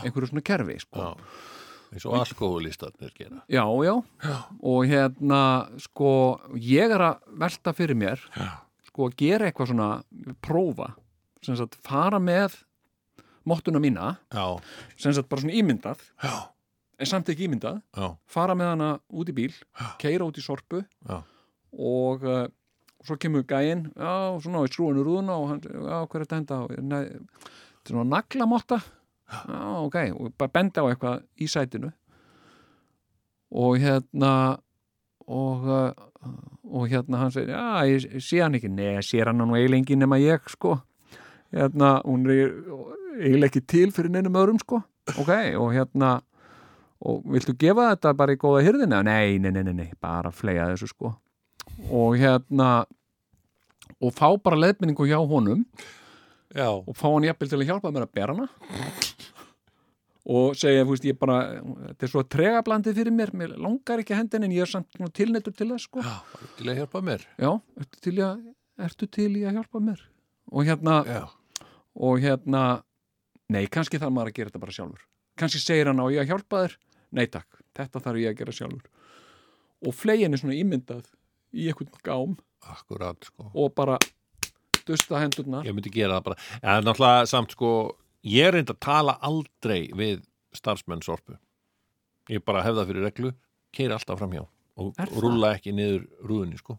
einhverju svona kerfi sko. Já. Eins og alkoholistarnir gera. Já, já, og hérna sko, ég er að velta fyrir mér Já. sko að gera eitthvað svona prófa, sem sagt fara með mottuna mína Já. sem sagt bara svona ímyndað Já. en samt ekki ímyndað, Já. fara með hana út í bíl, Já. keira út í sorpu Já. og uh, svo kemur gæinn, já, svona í skrúinu rúðuna og hann, já, hver er þetta henda á Nei, þetta er svona naglamotta já, ok, og bara benda á eitthvað í sætinu og hérna og uh, og hérna hann segir, já, ég ég sé hann ekki nei, ég sé hann nú eiginlega engin nema ég, sko hérna, hún er eiginlega ekki til fyrir neinum öðrum, sko ok, og hérna og viltu gefa þetta bara í góða hirðinu? Nei, nei, nei, nei, nei, bara flega þessu sko og hérna og fá bara leðminningu hjá honum Já. og fá hann jafnvel til að hjálpa mér að bera hana og segja, þú veist, ég bara þetta er svo tregablandið fyrir mér, mér langar ekki að hendin en ég er samt svona tilneittur til það sko Já. Til að hjálpa mér. já, ertu til, í að, ertu til í að hjálpa mér og hérna, Já. og hérna nei, kannski þarf maður að gera þetta bara sjálfur kannski segir hann á ég að hjálpa þér nei takk, þetta þarf ég að gera sjálfur og flegin er svona ímyndað í einhvern gám Akkurat, sko. og bara dusta hendurna Ég myndi gera það bara. En náttúrulega samt, sko, ég er reynd að tala aldrei við starfsmenn sorpu. Ég bara hef það fyrir reglu, keira alltaf framhjá og Er það? rúlla ekki niður rúðunni, sko.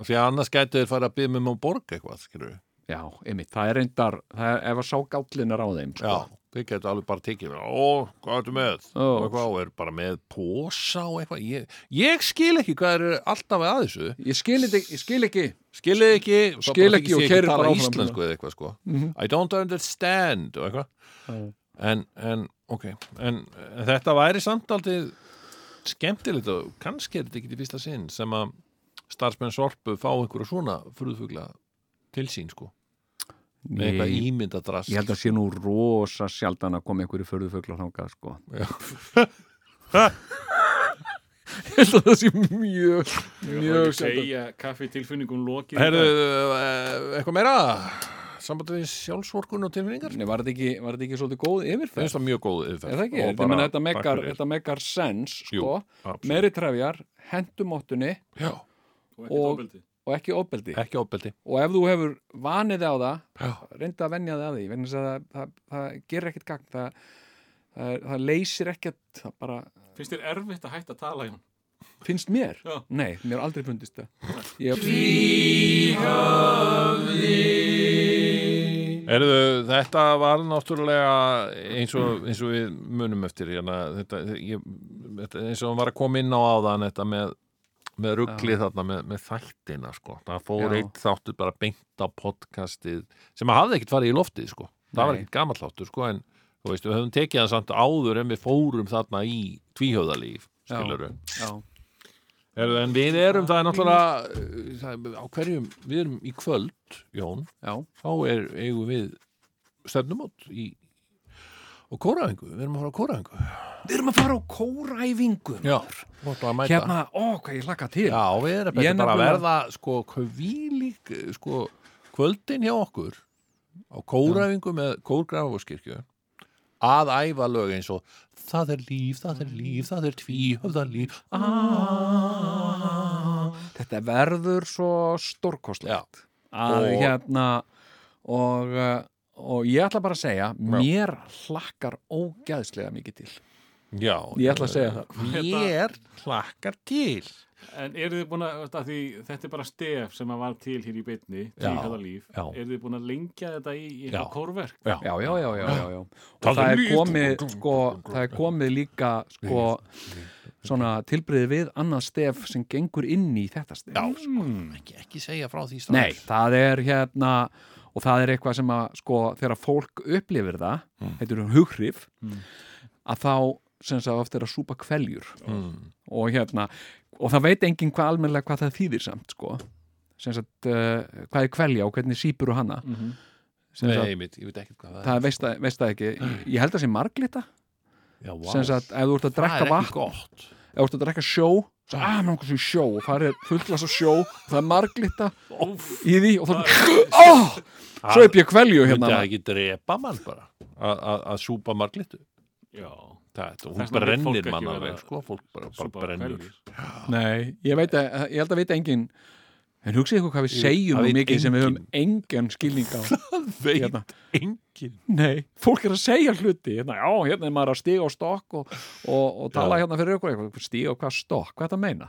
Af Því að annars gætu þeir fara að byggja mig um að borga eitthvað, skilur við. já, einmitt, það er reyndar það er, ef að sá gállin er á þeim sko. Já, þið getur alveg bara tekið Ó, hvað ertu með? Ó. Og eitthvað, og er bara með posa og eitthvað Ég, ég skil ekki hvað er alltaf að þessu ég skil ekki, ég skil ekki Skilið ekki þá Skil bara ekki þykist og ég keyrir tala bara áfram um Mhm. íslensku eða eitthvað sko I don't understand og eitthvað en, en, ok en, en þetta væri samt aldrei skemmtilegt og kannski er þetta ekki í fyrsta sinn sem að starfsmenn sorpu fá einhverja svona fruðfugla til sín sko með eitthvað Nei, ímyndadrast ég held að sé nú rosa [LAUGHS] sjaldan að koma einhverju förðuföglar þangað sko. held að það sé mjög Mjög mjög sjaldan. segja kaffi tilfinningum lokið í Herðu, dag. eh, eitthvað meira? Sambandi við sjálfsvorkun og tilfinningar? Nei, var þetta ekki, var þetta ekki svolítið góð Það yfirferð finnst það mjög góð yfir Er það ekki? Þetta, meina, þetta, megar, þetta megar sens sko, meiri trefjar, hendum óttunni Já, Og ekkert og- ofbeldi. og ekki ofbeldi ekki ofbeldi. og ef þú hefur vanið á það Já. reynda að venja þig að því vegna þess að það, það, það gerir ekkert gagn það, það, er- það leysir ekkert það bara Finnst þér erfitt að hætta að tala hérna? Jón? finnst mér Já. nei, mér har aldrei fundist það ég, Erðu, þetta var náttúrulega eins og, eins og við munum eftir hérna, þetta, ég, þetta, eins og hann var að koma inn á áðan þetta með, með ruggli þarna með, með þættina sko. það fór Já. eitt þáttur bara beint á podcastið sem að hafði ekkert farið í loftið sko. það var Nei. ekkert gamall þáttur sko, en þú veist, við höfum tekið hann samt áður en við fórum þarna í tvíhjóðalíf Já. skilur já, Erðu, en við erum, það er náttúrulega uh, það, er- á hverjum, við erum í kvöld Jón, já, þá er, eigum við stefnumót í og kóraðingu, við erum að fara á kóraðingu við erum að fara á kóræfingu Já, þú ætlum að mæta hérna, ó, hvað ég laka til Já, við erum Ég betur bara að nefnilega- verða sko, kvílík sko, kvöldin hjá okkur á kóraðingu með kórgrafurskirkju að æfa lög eins og það er líf, það er líf, það er tvíhöfða líf þetta verður svo stórkostlegt að Og- hérna og, uh, og ég ætla bara að segja mér hlakkar ógæðslega mikið til Já, ég ætla að segja það Mér hlakkar til En eru þið búin að, veist, að því, þetta er bara stef sem að var til hér í bytni, tíkaða líf já. eru þið búin að lengja þetta í, í Já. eitthvað kórverk? Já, já, já, já, já, já, já. og Það það er er líf. komið sko, það er komið líka sko svona tilbriði við annað stef sem gengur inn í þetta stef Já, sko, ekki, ekki segja frá því strax Nei, það er hérna og það er eitthvað sem að sko þegar fólk upplifir það, Mm. heitir hún hughrif að þá sem sagt ofta er að súpa kveljur Mm. og hérna, og það veit enginn hvað almennilega hvað það þýðir samt sko sem sagt, uh, hvað er kvelja og hvernig sípur og hana Mhm. sem Nei, sagt, ég veit, ég veit ekkert hvað það veist það, veist það ekki ég held að sé marglita, Já, vá. sem sagt ef þú ert að drekka Það er vatn, ekki gott ef þú ert að drekka sjó svo, að, mér langar svo í sjó, og það er fullast af sjó það er marglita í því og þá, ó, svo upp ég kvelju Myndi hérna það ekki drepa mann bara að- að að súpa marglitu Já. Það, hún Þess vegna vill fólk brennir ekki mann vera alveg sko, fólk bara, bara súpa brennur [LAUGHS] hveljur. Nei, ég veit að, ég held að veit engin en hugsið ykkur hvað við segjum það og veit mikið sem við höfum enginn. engan skilning [LAUGHS] á Veit Hérna. enginn Nei, fólk er að segja hluti hérna, já, hérna er maður að stíga á stokk og, og, og tala hérna fyrir ykkur eitthvað, stíga á hvað stokk, hvað er þetta að meina?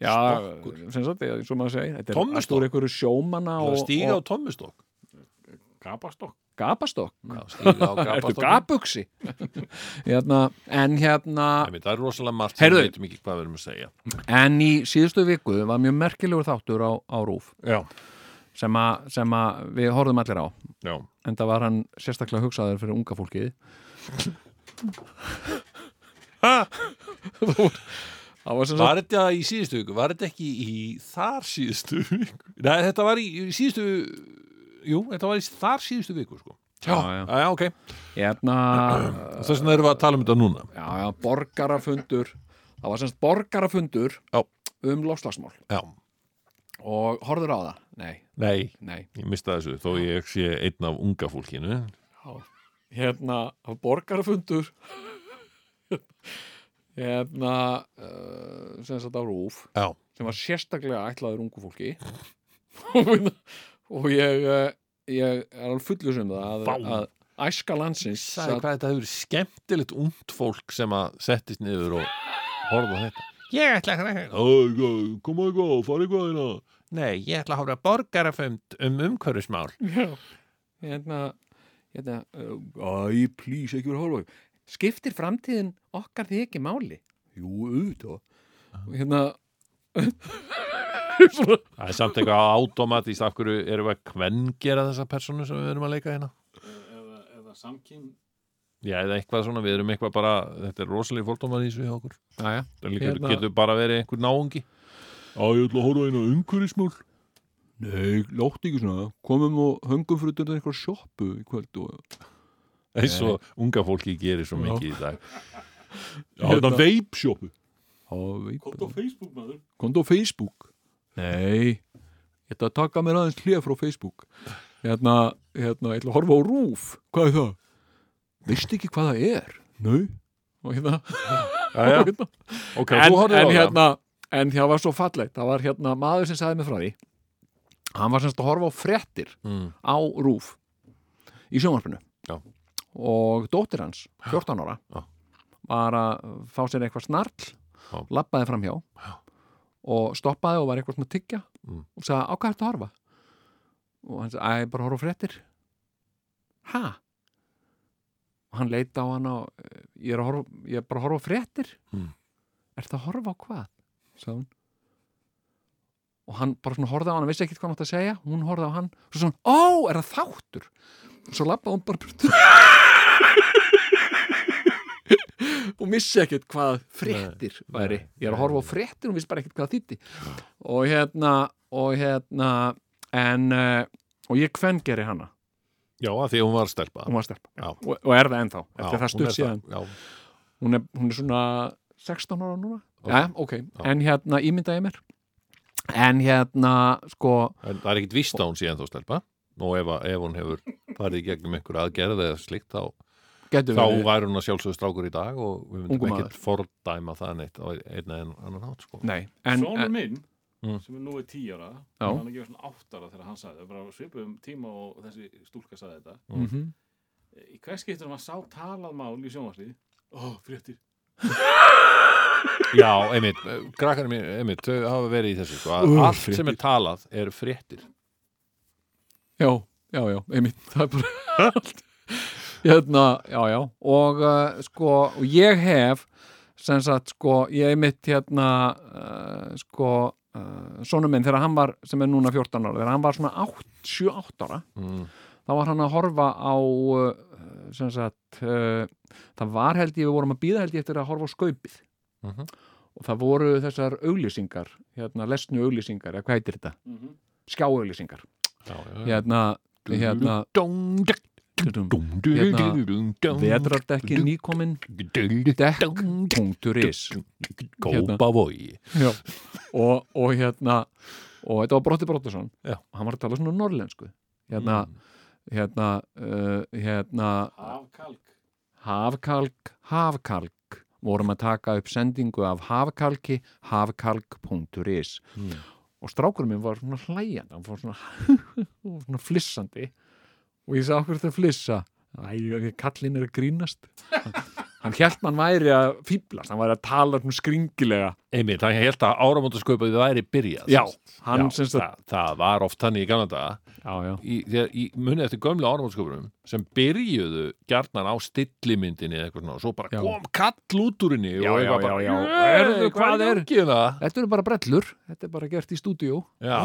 Já, sem sagt, ég- eins og maður segja þetta er Tommustokk. allt úr ykkur sjómanna Það og, stíga á og tommustokk Gapastokk. gapastokk Já, stíga [LAUGHS] á Ertu gapastokk gapuxi? [LAUGHS] hérna, en hérna Einmitt, Það er rosalega margt sem Heyrðu. við veitum ekki hvað við erum að segja en í síðustu viku var mjög merkilegur þáttur á, á Rúf Já, sem, a, sem að við horfðum allir á já en það var hann sérstaklega hugsaður fyrir unga fólkið það var sem sagt Var þetta í síðustu viku? Var þetta ekki í þar síðustu viku? Nei, þetta var í í síðustu Jú, þetta var í þar síðustu viku sko. Já, já. já, ok hérna, Þess vegna erum við að tala um þetta núna já, já, borgarafundur það var sem sagt borgarafundur Já. um lofslagsmál Já, og horfður á það nei, nei, nei ég mista þessu þó ég sé einn af unga fólkinu hérna, það var borgarafundur hérna uh, sem sagt á rúf Já, sem var sérstaklega ætlaður ungu fólki [LAUGHS] hérna, og ég, eh, ég er alveg fullur sem það Vá. að, að æska landsins sagði sat- hvað þetta hefur verið skemmtilegt ungt fólk sem að settist niður og horfðu á þetta Ég ætla að hræða Koma eitthvað, fara eitthvað hérna Nei, ég ætla að horfa borgarafönd um umhverfismál hérna, hérna uh, æ, please, ekki verið horfa á þau." skiptir framtíðin okkar þig ekki máli jú, auðvitað og hérna svona, Það er samt eitthvað automatist af hverju erum við að kvengera þessa personu sem við erum að leika hérna Eða, eða samkinn. Já, eða eitthvað svona, við erum eitthvað bara þetta er rosalega fólkdómar í þessu hjá okkur aðja, Það líka, Hérna- getur bara verið einhver náungi Já, ég ætla að horfa einu umhverfismál um- nei, látt ekki svona komum og höngum fyrir þetta eitthvað sjoppu í kvöld og Hérna. eins og unga fólki gerir svo mikið í dag Já, þetta veipsjópu Hérna. og ég Kótt á Facebook maður komdu á Facebook nei, ég ætla að taka mér aðeins hlið frá Facebook hérna, hérna, ég ætla að horfa á rúf hvað er það? veistu ekki hvað það er? nei og hérna, Jæja, hérna. ok, en, þú horfður á en, það hérna, en það var svo fallegt það var hérna maður sem sagði mig frá því hann var semst að horfa á fréttir Mm. á rúf í sjónvarpinu Já. og dóttir hans, 14 ára Já. var að fá sér eitthvað snarl Já. labbaði framhjá Já. og stoppaði og var eitthvað svona að tyggja Mm. og sagði á hvað ertu að horfa og hann sagði, æ, bara horfa á fréttir ha? og hann leita á hann og eh, ég er, að horfa, ég er bara að horfa á fréttir Mm. ertu að horfa á hvað? sagði hún og hann bara svona horfði á hann, hann vissi ekkert hvað hann átt að segja hún horfði á hann, svo svona, ó, er það þáttur svo lappaði hún bara burt [LAUGHS] og missi ekkert hvað fréttir væri, ég er að horfa á fréttir og vissi bara ekkert hvað það þýtti og hérna, og hérna en, eh, og ég hvenn geri hana Já, af því að hún var stelpa hún var stelpa, Já. og, og er það ennþá Já, eftir það hún er stutt síðan, Já, hún er, hún er svona 16 ára núna, Ok. já, ok en hérna, ímynda ég mér en hérna, sko En það er ekkit víst að hún sé ennþá stelpa og ef, að- ef hún hefur farið í gegnum einhver aðgerð eða slíkt þá, getur þá verið væri hún að sjálfsögðu strákur í dag og við myndum Ungur ekkit fordæma það neitt á einna en annan hátt sko. Nei, en, Sónur en, minn, Mm. sem er nú er tíu ára Já. hann er ekki svona átt ára þegar hann sagði það bara á svipuðum tíma og þessi stúlka sagði þetta mm í hvers getur hann sá talað mál í sjónvarslið ó, fréttir Já, einmitt, krakkarnir mín, einmitt, þau hafa verið í þessu sko, að Úff, allt sem er talað eru fréttir já, já, já, einmitt [LAUGHS] það er bara allt hérna, já, já, og uh, sko, og ég hef sem sagt, sko, ég einmitt hérna, uh, sko uh, sonum minn, þegar hann var, sem er núna 14 ára, þegar hann var svona 7-8 ára mm. þá var hann að horfa á uh, sem sagt uh, það var held ég, við vorum að býða held ég eftir að horfa á skaupið Mhm. og það voru þessar auglýsingar hérna, lesnu auglýsingar, eða hvað heitir þetta? mm Skjáauglýsingar Já, já, já hérna, hérna Dong, dong, dong, dong, Hérna, dong, dong, dong, vetardekki nýkomin dong, dong, dong, dekk.is Hérna. Kópavogi og, og hérna og þetta var Brotti Brottason Já. Mm. hann var að tala svona norlensku hérna, hérna, uh, hérna afkalk hafkalk, hafkalk vorum að taka upp sendingu af hafkalki, hafkalk.is Mm. og strákurinn minn var svona hlæjand hann var svona, [LAUGHS] svona flissandi og ég sagði okkur þetta flissa Æ, kallinn er að [LAUGHS] grínast hann held mann væri að fýblast, hann væri að tala svona skringilega Einmitt, hann held að áramótasköpaði væri byrjað já, sem sagt. hann Já, sem sagt það, það var oft hann í gamla daga já, já, í, þegar, í munið eftir gömlu áramótasköpunum sem byrjuðu gjarnan á stillimyndinni eða eitthvað svona og svo bara Já. kom kall út úr henni Já, og já, eitthvað já, já. bara Heyrðu, "Hey, hvað hvað er?" er gengið það? þetta eru bara brellur þetta er bara gert í stúdíó Já.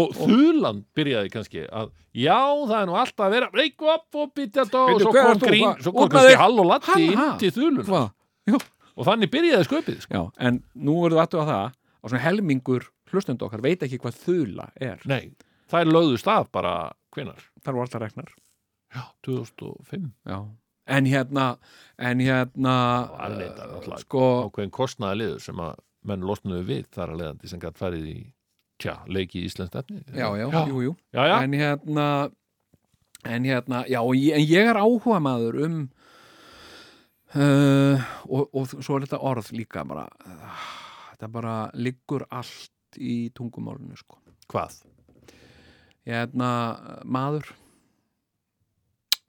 og þulan byrjaði kannski að já það er nú alltaf að vera reykvap og bytja dó og Bíddu, svo hver kom ert þú? grín, Hva- svo kom út með kannski þig? hall og latti Ha, inn ha. til þulun hvað? já, og þannig byrjaði sköpið sko. Já, en nú verðum við aðtöða það og svona helmingur hlustund okkar veit ekki hvað þula er. nei, það er lögðust af bara hvenar, Þar voru alltaf reknar. 2005 Já. En hérna, en hérna, Það var reyndar náttúrulega. sko, ákveðin kostnaði liður sem að menn losnuðu við þar að leiðandi sem gætt farið í tja, leiki í Íslands efni já, já, já, jú, jú. já, já. En hérna, en hérna, já, og ég- en ég er áhuga maður um, uh, og, og svo er þetta orð líka bara, uh, þetta bara liggur allt í tungumálinu, sko. hvað? Hérna, maður,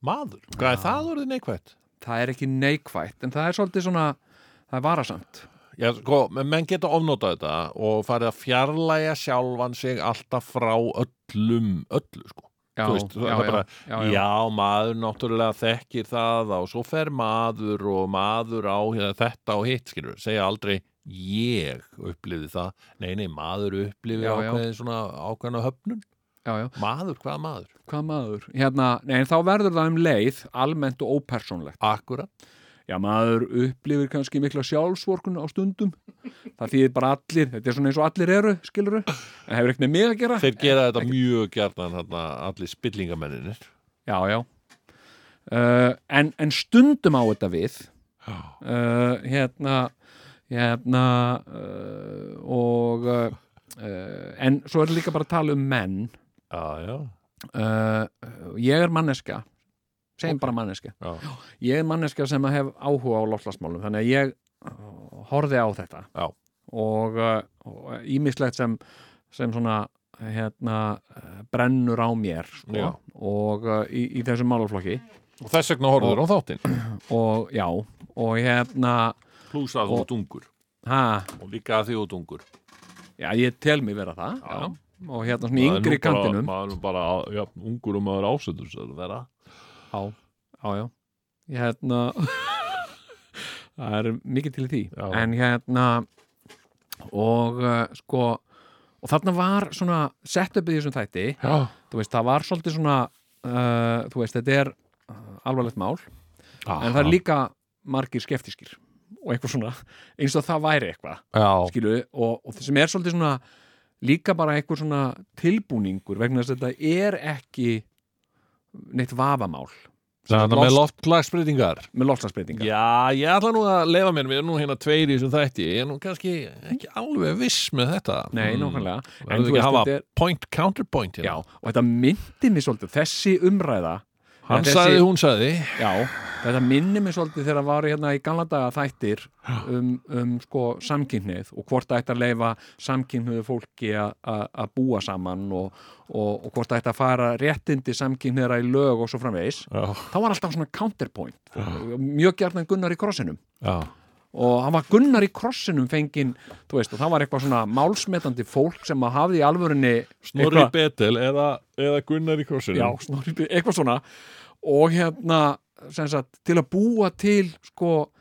maður? hvað er það orðið neikvætt? það er ekki neikvætt, en það er svolítið svona, það er varasamt. Já, sko, menn geta ofnotað þetta og farið að fjarlæga sjálfan sig alltaf frá öllum öllu, sko já, Þú veist, það- já, það bara- já, Já, já, já. maður náttúrulega þekkir það og svo fer maður og maður á hérna, þetta og hitt, skilur, segja aldrei ég upplifði það nei, nei, maður upplifði Já, já. ákveðin svona ákveðna höfnun, já, já. maður, hvað maður? hvað maður hérna, nei, en þá verður það um leið almennt og ópersónlegt Akkurat já, maður upplifir kannski mikla sjálfsvorkun á stundum það þýðir bara allir, þetta er svona eins og allir eru skiluru, en hefur ekkert með mig að gera Þeir gera þetta mjög gjarnan þarna, allir spillingamenninir já, já uh, en, en stundum á þetta við Já. uh, hérna hérna uh, og uh, uh, en svo er líka bara að tala um menn já, já, uh, ég er manneska segjum bara manneska já, ég er manneska sem að hef áhuga á loftlagsmálum þannig að ég uh, horfði á þetta Já. og uh, og ímislegt sem, sem svona hérna uh, brennur á mér Já. sko, og uh, í, í þessum málaflokki og þess vegna horfður á þáttinn og já, og hérna pluss að þú ert ungur ha, og líka að því út ungur já, ég tel mig vera það Já. og hérna svona í Maður er nú yngri bara- kantinum maður er nú bara, já, ungur og maður ásöndur sér vera Já, já, já Ég hérna [LAUGHS] Það er mikið til í því Já. En hérna Og uh, sko Og þarna var svona setupið í þessum þætti já, Þú veist, það var svolítið svona uh, Þú veist, þetta er uh, alvarlegt mál Ah. En það er líka margir skeftiskir Og eitthvað svona Eins og það væri eitthvað já, skilu, og, og það sem er svolítið svona líka bara eitthvað svona tilbúningur vegna þess að þetta er ekki neitt vafamál það er Loft- með loftlagsbreytingar með loftslagsbreytinga Já, ég ætla nú að leifa mér, við erum nú hérna tveir í þessum þætti, ég er nú kannski ekki alveg viss með þetta. Nei, Mm. nákvæmlega En þú Verður ekki að veist, hafa þetta er- point counterpoint Já, hérna. og þetta myndi mér svolítið þessi umræða Hann þessi- sagði, hún sagði, Já, þetta minni mér svolítið þegar var hérna í gamla daga þættir um, um sko samkynnið og hvort það ætti að leifa samkynniðu fólki a- a- að búa saman og, og, og hvort það ætti að fara réttindi samkynniðra í lög og svo framvegis já, þá var alltaf svona counterpoint mjög gjarnan Gunnar í krossinum já, og hann var Gunnar í krossinum fengin, þú veist, og það var eitthvað svona málsmetandi fólk sem að hafði í alvörunni Snorri Betel eða, eða Gunnar í korsinu. já, snorri, Björn, eitthvað svona og hérna, sem sagt, til að búa til sko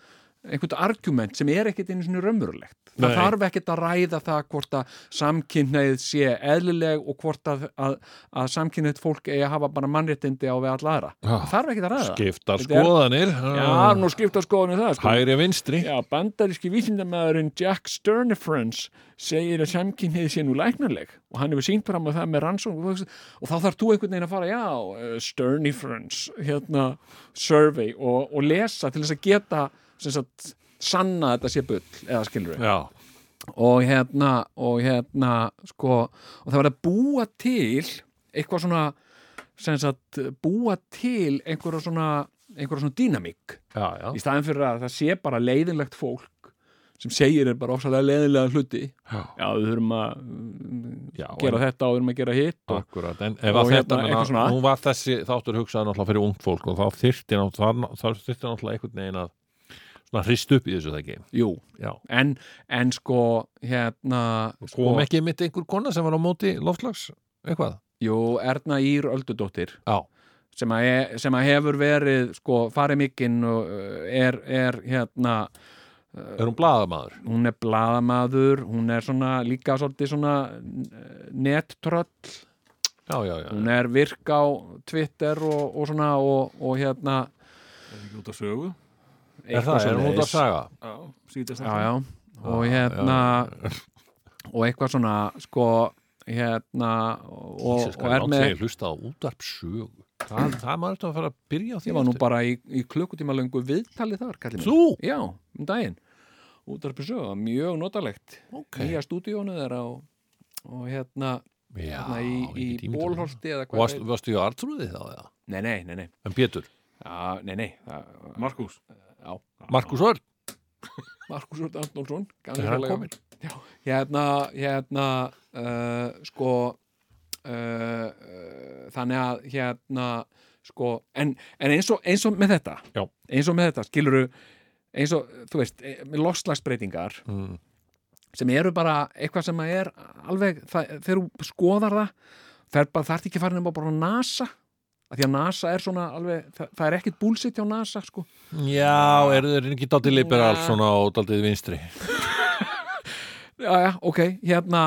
einhvern argument sem er ekkit einu svona raunverulegt það Nei. þarf ekkit að ræða það hvort að samkynneið sé eðlileg og hvort að, að, að samkynneið fólk eigi að hafa bara mannréttindi á við alla aðra Já. það þarf ekkit að ræða Skiptar Þetta er- skoðanir, Já, já, nú skipta skoðinu það sko. hægri vinstri. Já, bandaríski vísindamæðurinn Jack Sternifrens segir að samkynniði sé nú læknarleg og hann hefur sínt fram að það með rannsókn og, og þá þarf þú einhvern veginn að fara, já, eh, Sternifrens, hérna, survey og, og lesa til þess að geta, sem sagt, sanna að þetta sé bull, eða skilur við. Já, Og hérna, og hérna, sko, og það var að búa til eitthvað svona, sem sagt, búa til einhverja svona, einhverja svona dýnamík já, já, í staðin fyrir að það sé bara leiðinlegt fólk sem segir er bara ofsalega leiðinlega hluti Já. við þurfum að mm, já. gera þetta og við þurfum að gera hitt og, Akkurat, en ef Og að hérna, þetta menna, eitthvað svona. nú var þessi þáttur hugsað náttúrulega fyrir ungt fólk og þá þyrfti náttúrulega, þá þyrfti náttúrulega einhvern veginn að svona hrist upp í þessu þekki. jú, Já. en, en sko hérna sko, kom ekki mitt einhver kona sem var á móti loftlags eitthvað jú, Erna Ír Öldudóttir Já. sem að, he- sem að hefur verið sko farið mikinn og uh, er, er hérna er hún blaðamaður hún er blaðamaður, hún er svona líka svolítið svona eh, nettröll já, já, já, hún er virk á Twitter og, og svona og, og hérna ekki út af sögu er það, er hún út að saga já, síðast já, já. og hérna og eitthvað svona sko hérna og, Jesus, og er með ég hlusta á útarpsög það, það maður þetta að fara að byrja á því ég var nú aftur. bara í, í klukkutíma löngu viðtalið þar kallið mér þú, já, um daginn útarpi sög, mjög notalegt ok nýja stúdíónu þeirra og, og hérna, já, hérna í, ég get í ímyndað mér. bólholti eða Og hvað varst, það varstu í Artrúði þá eða? er- nei, nei, nei, nei, en Pétur, já, nei, nei það- Markus Markus Örn Markus Örn Antonsson gamli er hann félagi komin minn. Já, hérna, hérna uh, sko uh, uh, þannig að hérna sko, en, en eins, og, eins og með þetta Já. eins og með þetta, skiluru eins og, þú veist, eh, með loftslagsbreytingar mm. sem eru bara eitthvað sem að er alveg, það, þegar þú skoðar það fer bara, það er ekki farin nema bara á NASA að því að NASA er svona alveg, það, það er ekkit búlsitt hjá NASA, sko já, eru þeir ekki daldið liberal Já. svona og daldið vinstri já, já, ok, hérna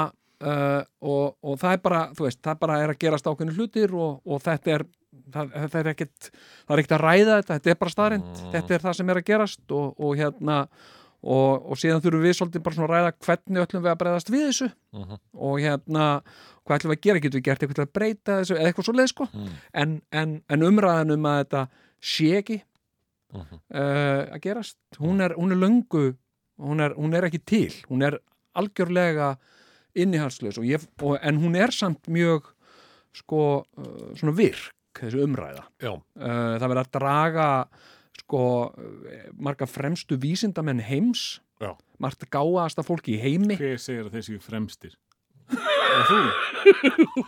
uh, og, og það er bara, þú veist, það bara er að gerast ákveðinu hlutir og, og þetta er það, það er ekkit, það er ekkit að ræða þetta þetta er bara staðrind, Mm. þetta er það sem er að gerast og, og hérna og, og síðan þurfum við svolítið bara svona að ræða hvernig öllum við að breyðast við þessu Mhm. og hérna, hvað ætlum við að gera, getum við gert eitthvað til að breyta þessu eða eitthvað svo leið sko Mm. en, en, en umræðan um að þetta sé ekki Mhm. uh, að gerast hún er, hún er löngu hún er, hún er ekki til, hún er algjörlega innihalslaus og ég, og, en hún er samt mjög sko, uh, svona virk þessi umræða Já. uh, það verður að draga sko, eh, marga fremstu vísindamenn heims Já. margt gáðasta fólki í heimi Hver segir að þeir séu fremstir? Er þú?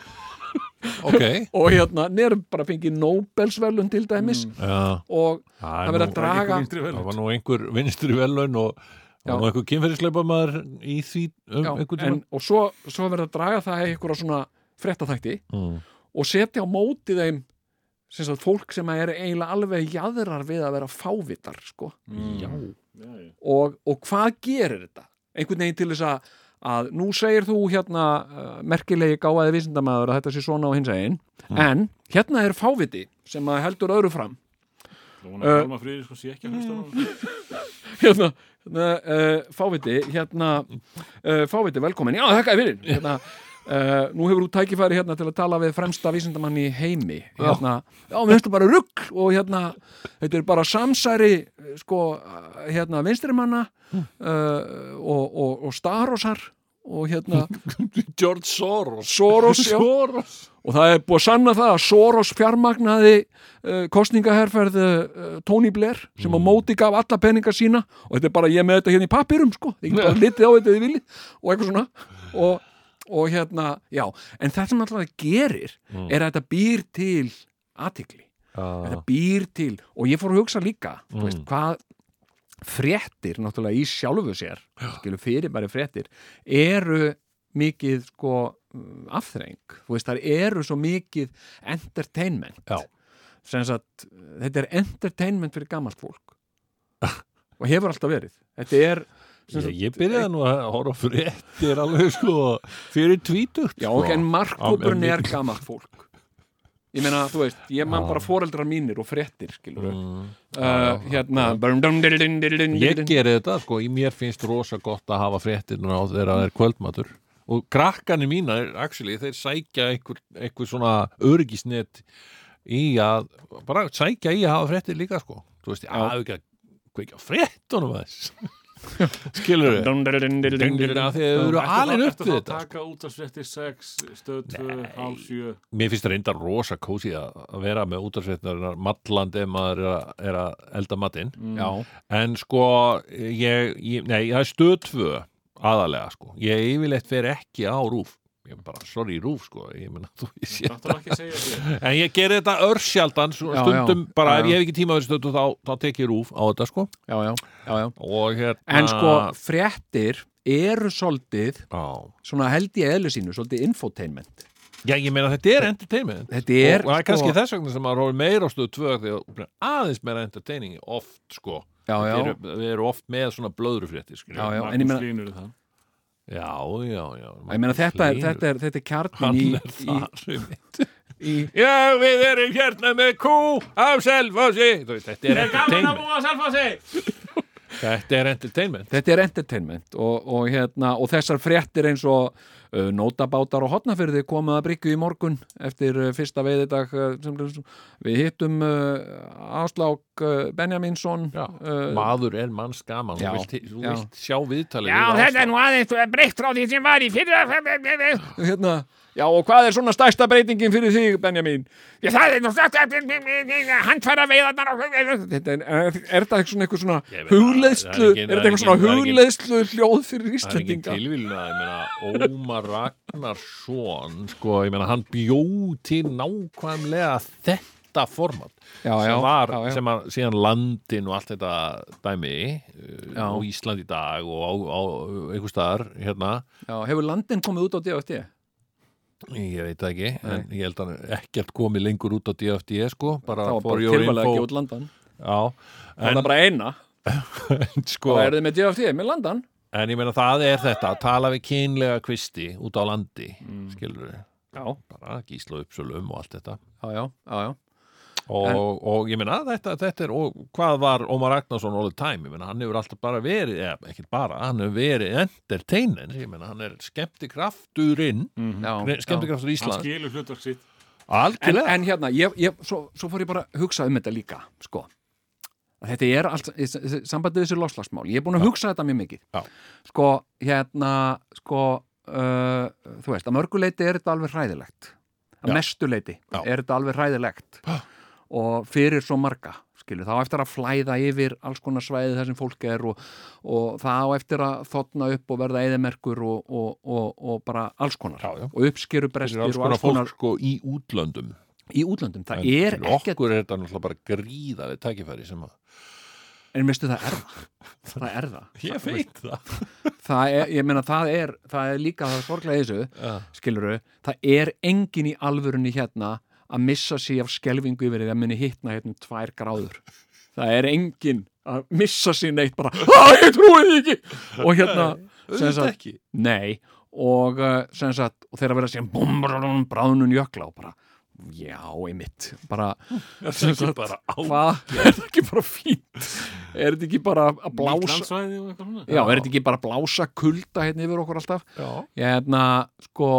ok og hérna, nerum bara fengið Nobelsverlun til dæmis Já, og það, það er verður nú, að draga Einhver vinstri vel. það var nú einhver vinstri velun og Já. það var nú einhver kynferðisleipa maður í því um já, einhvern en, tímann og svo, svo verður að draga það í einhverja svona frettaþætti mm. og setja á móti þeim sem sagt, fólk sem er eiginlega alveg jæðrar við að vera fávitar sko. Mm. Já. já. og, og hvað gerir þetta? einhvern veginn til þess að, að nú segir þú hérna uh, merkilegi gáðaði vísindamaður að þetta sé svona á hins einn en hérna er fáviti sem að heldur öðru fram Það vona að Kalma Friðir sko sé ekki að hlusta á hann. hérna, hérna uh, fáviti hérna, uh, fáviti velkomin já, þakka fyrir hérna, uh, nú hefur þú tækifæri hérna til að tala við fremsta vísindamann í heimi hérna, já, mér finnst það bara rugg og hérna, þetta er bara samsæri eh, sko, eh, hérna, vinstrimanna uh, og, og, og starosar og [LAUGHS] hérna George Soros Soros, já Soros og það er búið að sanna það að Soros fjármagnaði uh, kostningaherferð uh, Tony Blair sem á móti gaf alla peninga sína og þetta er bara ég er með þetta hérna í pappirum sko, ég get bara litið á þetta ef þið vilji og eitthvað svona og, og hérna, já, en það sem alltaf það gerir Mm. er að þetta býr til athygli, Hmm. Já, Mm. þetta býr til og ég fór að hugsa líka, þú veist, hvað fréttir náttúrulega í sjálfu sér, skilur fyrirbæri fréttir eru mikið sko mm, afþreng þú veist, þar eru svo mikið entertainment Já. sem sagt, þetta er entertainment fyrir gamalt [LAUGHS] fólk og hefur alltaf verið þetta er sem ég, sagt, eh, ég byrjaði nú að horfa á fréttir alveg sko fyrir tvítugt já, sko. ok, en markkópurinn Já, en- er gamalt fólk ég meina, þú veist, ég man bara foreldrar mínir og fréttir, skilur Mm. uh, hérna Ég ég geri þetta sko, í mér finnst rosa gott að hafa fréttirnar á þegar það er kvöldmatur og krakkanir mínar, actually, þeir sækja einhver, einhver svona örgisnet í að, bara sækja í að hafa fréttir líka sko þú veist, ég hafa ekki að kveikja á fréttunum aðeins [LAUGHS] skilur þau þegar þau eru alin upp við þetta Ertu þá að sko. taka út af svetti 6, stöð 2, hálf 7? mér finnst það reynda rosa kósi að að vera með útarsveitnar mallandi ef maður er að, er að elda matinn Mm. já, En sko, ég, ég, nei, það er stöð tvö aðalega, sko. Ég yfirleitt fer ekki á rúf. Ég er bara, sorry, rúf, sko. Ég meina, þú veist [LAUGHS] ég. Þetta var ekki að segja þér. En ég geri þetta örsjaldan, svona Já, já. stundum, bara Já, ef já. ég hef ekki tíma að þessu stöðu, þá, þá tek ég rúf á þetta, sko. já, já, já, já. Og hérna... en sko, fréttir eru svolítið Já, svona held í eðlu sínu, svolítið infotainment já ég meina, þetta er entertainment. þetta er, og það er kannski sko, þess vegna sem maður horfir meira á stöðu tvö þegar aðeins meira entertaining oft, sko. já, Við já, erum, við erum oft með svona blöðrufréttir, sko. já, já, en ég Magnús meina, Línur er það. já, já. já. ég meina þetta, er, þetta, er, þetta er kjarnin í, Hann er þar um í, í Já, við erum hérna með kú á selfossi Þú veist, Þetta er entertainment búa að selfa sig! Þetta er entertainment þetta er entertainment og, og, hérna, og þessar fréttir eins og uh, nótabátar og hotnafyrði komu að bryggju í morgun eftir uh, fyrsta veiðidag uh, sem, við hittum uh, áslák uh, Benjaminsson Já, uh, Maður er manns gaman Já, Þú vilt, þú já. vilt sjá viðtalið nú aðeins eh, breytt frá því sem var í fyrra Já, hérna, já og hvað er svona stærsta breytingin fyrir þig Benjamin það er nú eh, sagt Handfæra veiðarnar og eh, þetta er, er, er þetta svona eitthvað svona Ég meina, hugleiðslu, það er er þetta engin- það er eitthvað svona engin- það er engin- hugleiðslu hljóð fyrir Það er ekki Íslandinga tilvílun að ég meina Ómar Ragnarsson sko, ég meina hann bjó til nákvæmlega þetta format Já, já, sem var, já, já. sem að síðan landin og allt þetta dæmi uh, Já. á Ísland í dag og á, á einhver staðar hérna, já, hefur landin komið út á DFT Ég veit það ekki, en ég held að hann er ekkert komið lengur út á DFD sko, bara það var for bara your tilvæmlega info ekki út landan Já, það en, var bara eina, sko, hvað er þið með DFT með landan en ég meina það er þetta að tala við kynlega kvisti út á landi Mm. skilur við, já, bara gísla uppsölum og allt þetta já, já, já, já. og, og ég meina þetta, þetta er og hvað var Ómar Ragnarsson all the time, ég meina hann hefur alltaf bara verið eða, ekkert bara, hann hefur verið entertainer, ég meina hann er skemmtikrafturinn Já, já. skemmtikraftur Hann Ísland, skilur hlutverk sitt. En, algjörlega en hérna, ég, ég, svo, svo fór ég bara að hugsa um þetta líka sko þetta er allt í s- s- sambandi við þessi loslagsmál, ég er búin að hugsa þetta mjög mikið Já. sko, hérna sko, uh, þú veist, að mörguleiti er þetta alveg hræðilegt að Já. mestuleiti Já. er þetta alveg hræðilegt og fyrir svo marga skilur, þá á eftir að flæða yfir alls konar svæði þar sem fólk er og, og það á eftir að þotna upp og verða eðimerkur og, og, og, og bara alls konar Já, já. og uppskerubrestir Þetta er alls og konar fólk sko í útlöndum í útlöndum, það En er fyrir ekkert okkur er þetta náttúrulega bara gríðaleg tækifæri sem að en veistu það er það [LAUGHS] það er það ég [LAUGHS] veit það það er, ég meina það er, það er líka það er sorglega í þessu, Já. skiluru það er engin í alvörunni hérna að missa sig af skelfingu yfir því að muni hittna hérna um tvær gráður það er engin að missa sig neitt bara, að ég trúi því ekki og hérna, sem auðvitað sagt, ekki nei og eh, sem sagt, og þeirra verða síðan búm, búm, búm, bráðnun jökla og bara já, einmitt, bara er það ekki bara á hvað, er þetta ekki bara fínt er þetta ekki bara að blása landsvæði og eitthvað svona já, er þetta ekki bara að blása kulda hérna yfir okkur alltaf já, ég hérna, sko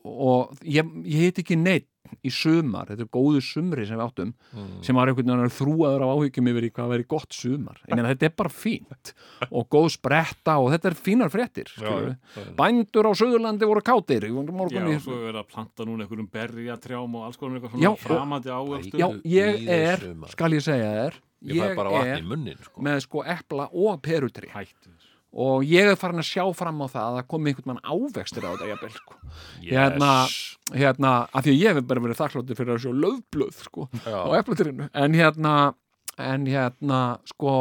og ég, ég heit ekki neitt í sumar, þetta er góðu sumri sem við áttum Mm. sem var einhvern veginn þrúaður af áhyggjum yfir í hvað veri gott sumar ég meina þetta er bara fínt og góð spretta og þetta er fínar fréttir skilurðu. bændur á Suðurlandi voru kátir í Já, morgun í og svo er verið að planta núna einhverjum berja, trjám og alls konar eitthvað Já, svona og- framandi áöftu já, ég Líður er, sumar. skal ég segja þér ég fæ bara vatn í er munnin sko. með sko epla og perutri Hættu þér. og ég er farin að sjá fram á það að það komi einhvern mann ávextir á þetta jafnvel sko. hérna, hérna, af því að ég hef bara verið þakkláttur fyrir að sjá löfblöð sko, Já. á eflatirinu en hérna, en hérna sko,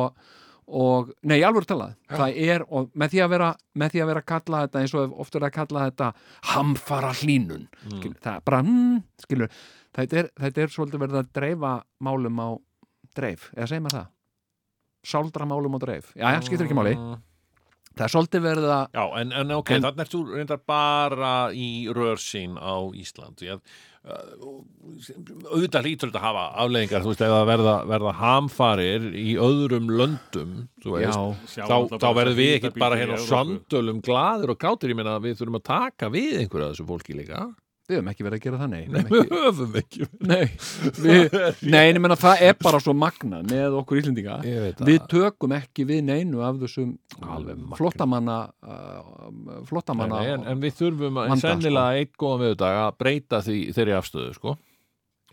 og, nei, alveg talað það er, og með því að vera með því að vera að kalla þetta, eins og oftur að kalla þetta hamfara hlínun skilur, það er bara, mm, skilur þetta er, þetta er svolítið verið að dreifa málum á dreif, eða segjum maður það sáldra málum á dreif já, já, skiptir ekki máli, það er svolítið verið að Já, en, en ok, En- en, þannig er þú reyndar bara í rörsinn á Ísland ég, uh, auðvitað hlýtur þetta að hafa afleðingar, þú veist, ef það verða, verða hamfarir í öðrum löndum þú veist, já, Sjá þá, náttúrulega þá bara verðum við þessa ekki bíla bara í hérna á Evrópu. söndölum glaðir og kátir, ég meina að við þurfum að taka við einhverja af þessu fólki líka við höfum ekki verið að gera það, nei, Nei, [LAUGHS] við höfum ekki Nei, við, nei, ég menna það er bara svo magna með okkur íslendinga Ég veit Við tökum ekki við neinu af þessum Alveg magnað. flottamanna uh, Nei, flottamanna nei, en, en við þurfum að, Vanda, sko. en sennilega einn góðan viðudag að breyta því, þeirri afstöðu, sko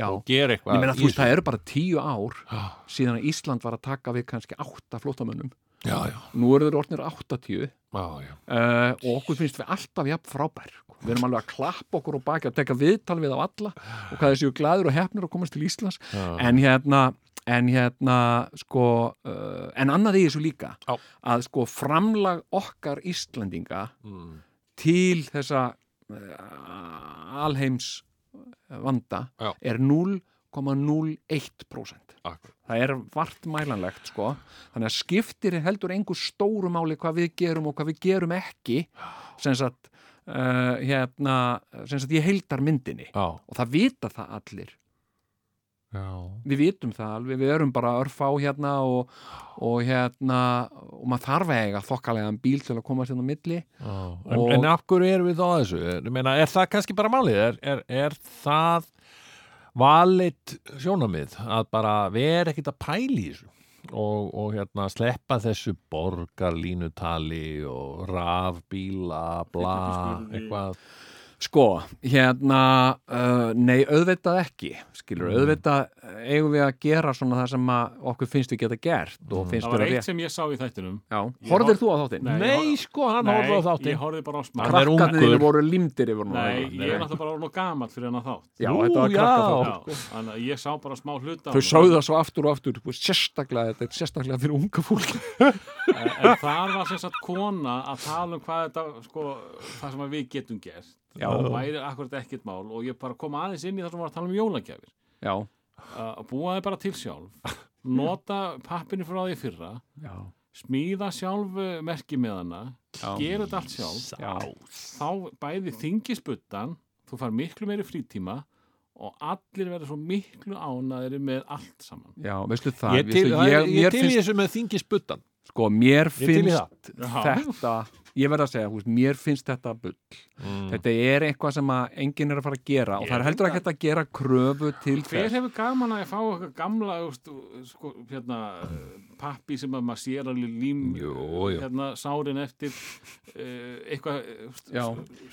já, og gera eitthvað Ég meina í þú veist, þessu. Ah. það eru bara tíu ár síðan að Ísland var að taka við kannski átta flottamönnum Já, já, Nú eru þeir orðnir áttatíu já, já Uh, og okkur finnst við alltaf jafn frábær við erum alveg að klappa okkur og baki að teka viðtal við á alla og hvað þessi glæður og hefnir að komast til Íslands Já. en hérna, en hérna sko, uh, en annað í þessu líka Já. að sko framlag okkar Íslandinga Mm. til þessa uh, alheims uh, vanda Já. er 0,01% Akkurat. það er vart mælanlegt sko þannig að skiptir heldur engu stóru máli hvað við gerum og hvað við gerum ekki sem sagt uh, hérna, sem sagt ég heildar myndinni Já, og það vita það allir já við vitum það alveg, við erum bara örfá hérna og, og hérna og maður þarf að eiga þokkalega bíl til að komast hérna á milli Já, en, Og- en af hverju erum við þá að þessu? Er, meina, er það kannski bara málið? Er, er, er það valit sjónamið að bara vera ekkit að pæla í þessu og, og hérna, sleppa þessu borgarlínutali og rafbíla, bla, eitthvað Sko, hérna, uh, nei, auðvitað ekki, skilur, Mm. auðvitað uh, eigum við að gera svona það sem að okkur finnst við geta gert Mm. og finnst Það var við að eitt sem ég sá í þættinum Já, Ég horfðir hor- þú á þáttinn? Nei, ég Nei, horf- sko, hann horfði á þáttinn ég horfði bara á smá Hann er Krakkarnir ungur. þínir voru limdir yfir núna. Nei, Nei, ég er nei. náttúrulega bara orðin og gamall fyrir hennar þátt Já, Ú, þetta var krakkar já. þá. Já, þannig að ég sá bara smá hluta á Þau honum. sögðu það svo aftur og aftur, og sérstaklega, þetta er sérstaklega fyrir unga [LAUGHS] fólk. En en þar var sem sagt kona að tala um hvað þetta, sko, það sem að við getum gert Já. og væri akkurat ekkert mál og ég bara kom aðeins inn í það sem var að tala um jólagjafir Já, að búa þið bara til sjálf nota pappinu frá því í fyrra já, smíða sjálf eh, merki með hana gera þetta allt sjálf já, þá bæði þingisbuttan þú far miklu meiri frítíma og allir verður svo miklu ánæðri með allt saman já, veistu það, Ég til, veistu, ég, ég, ég mér til í finnst, þessu með þingi sputtan sko, mér Ég til í finnst Já. þetta ég verð að segja, þú veist, mér finnst þetta bull Mm. Mm. þetta er eitthvað sem að enginn er að fara að gera og það er heldur ekki hægt að gera kröfu til Hver þess hefur gaman að fá eitthvað gamla úst, sko, hérna, pappi sem að maður sér alveg lím Jú, jú. Hérna, sárin eftir uh, eitthvað úst, Já.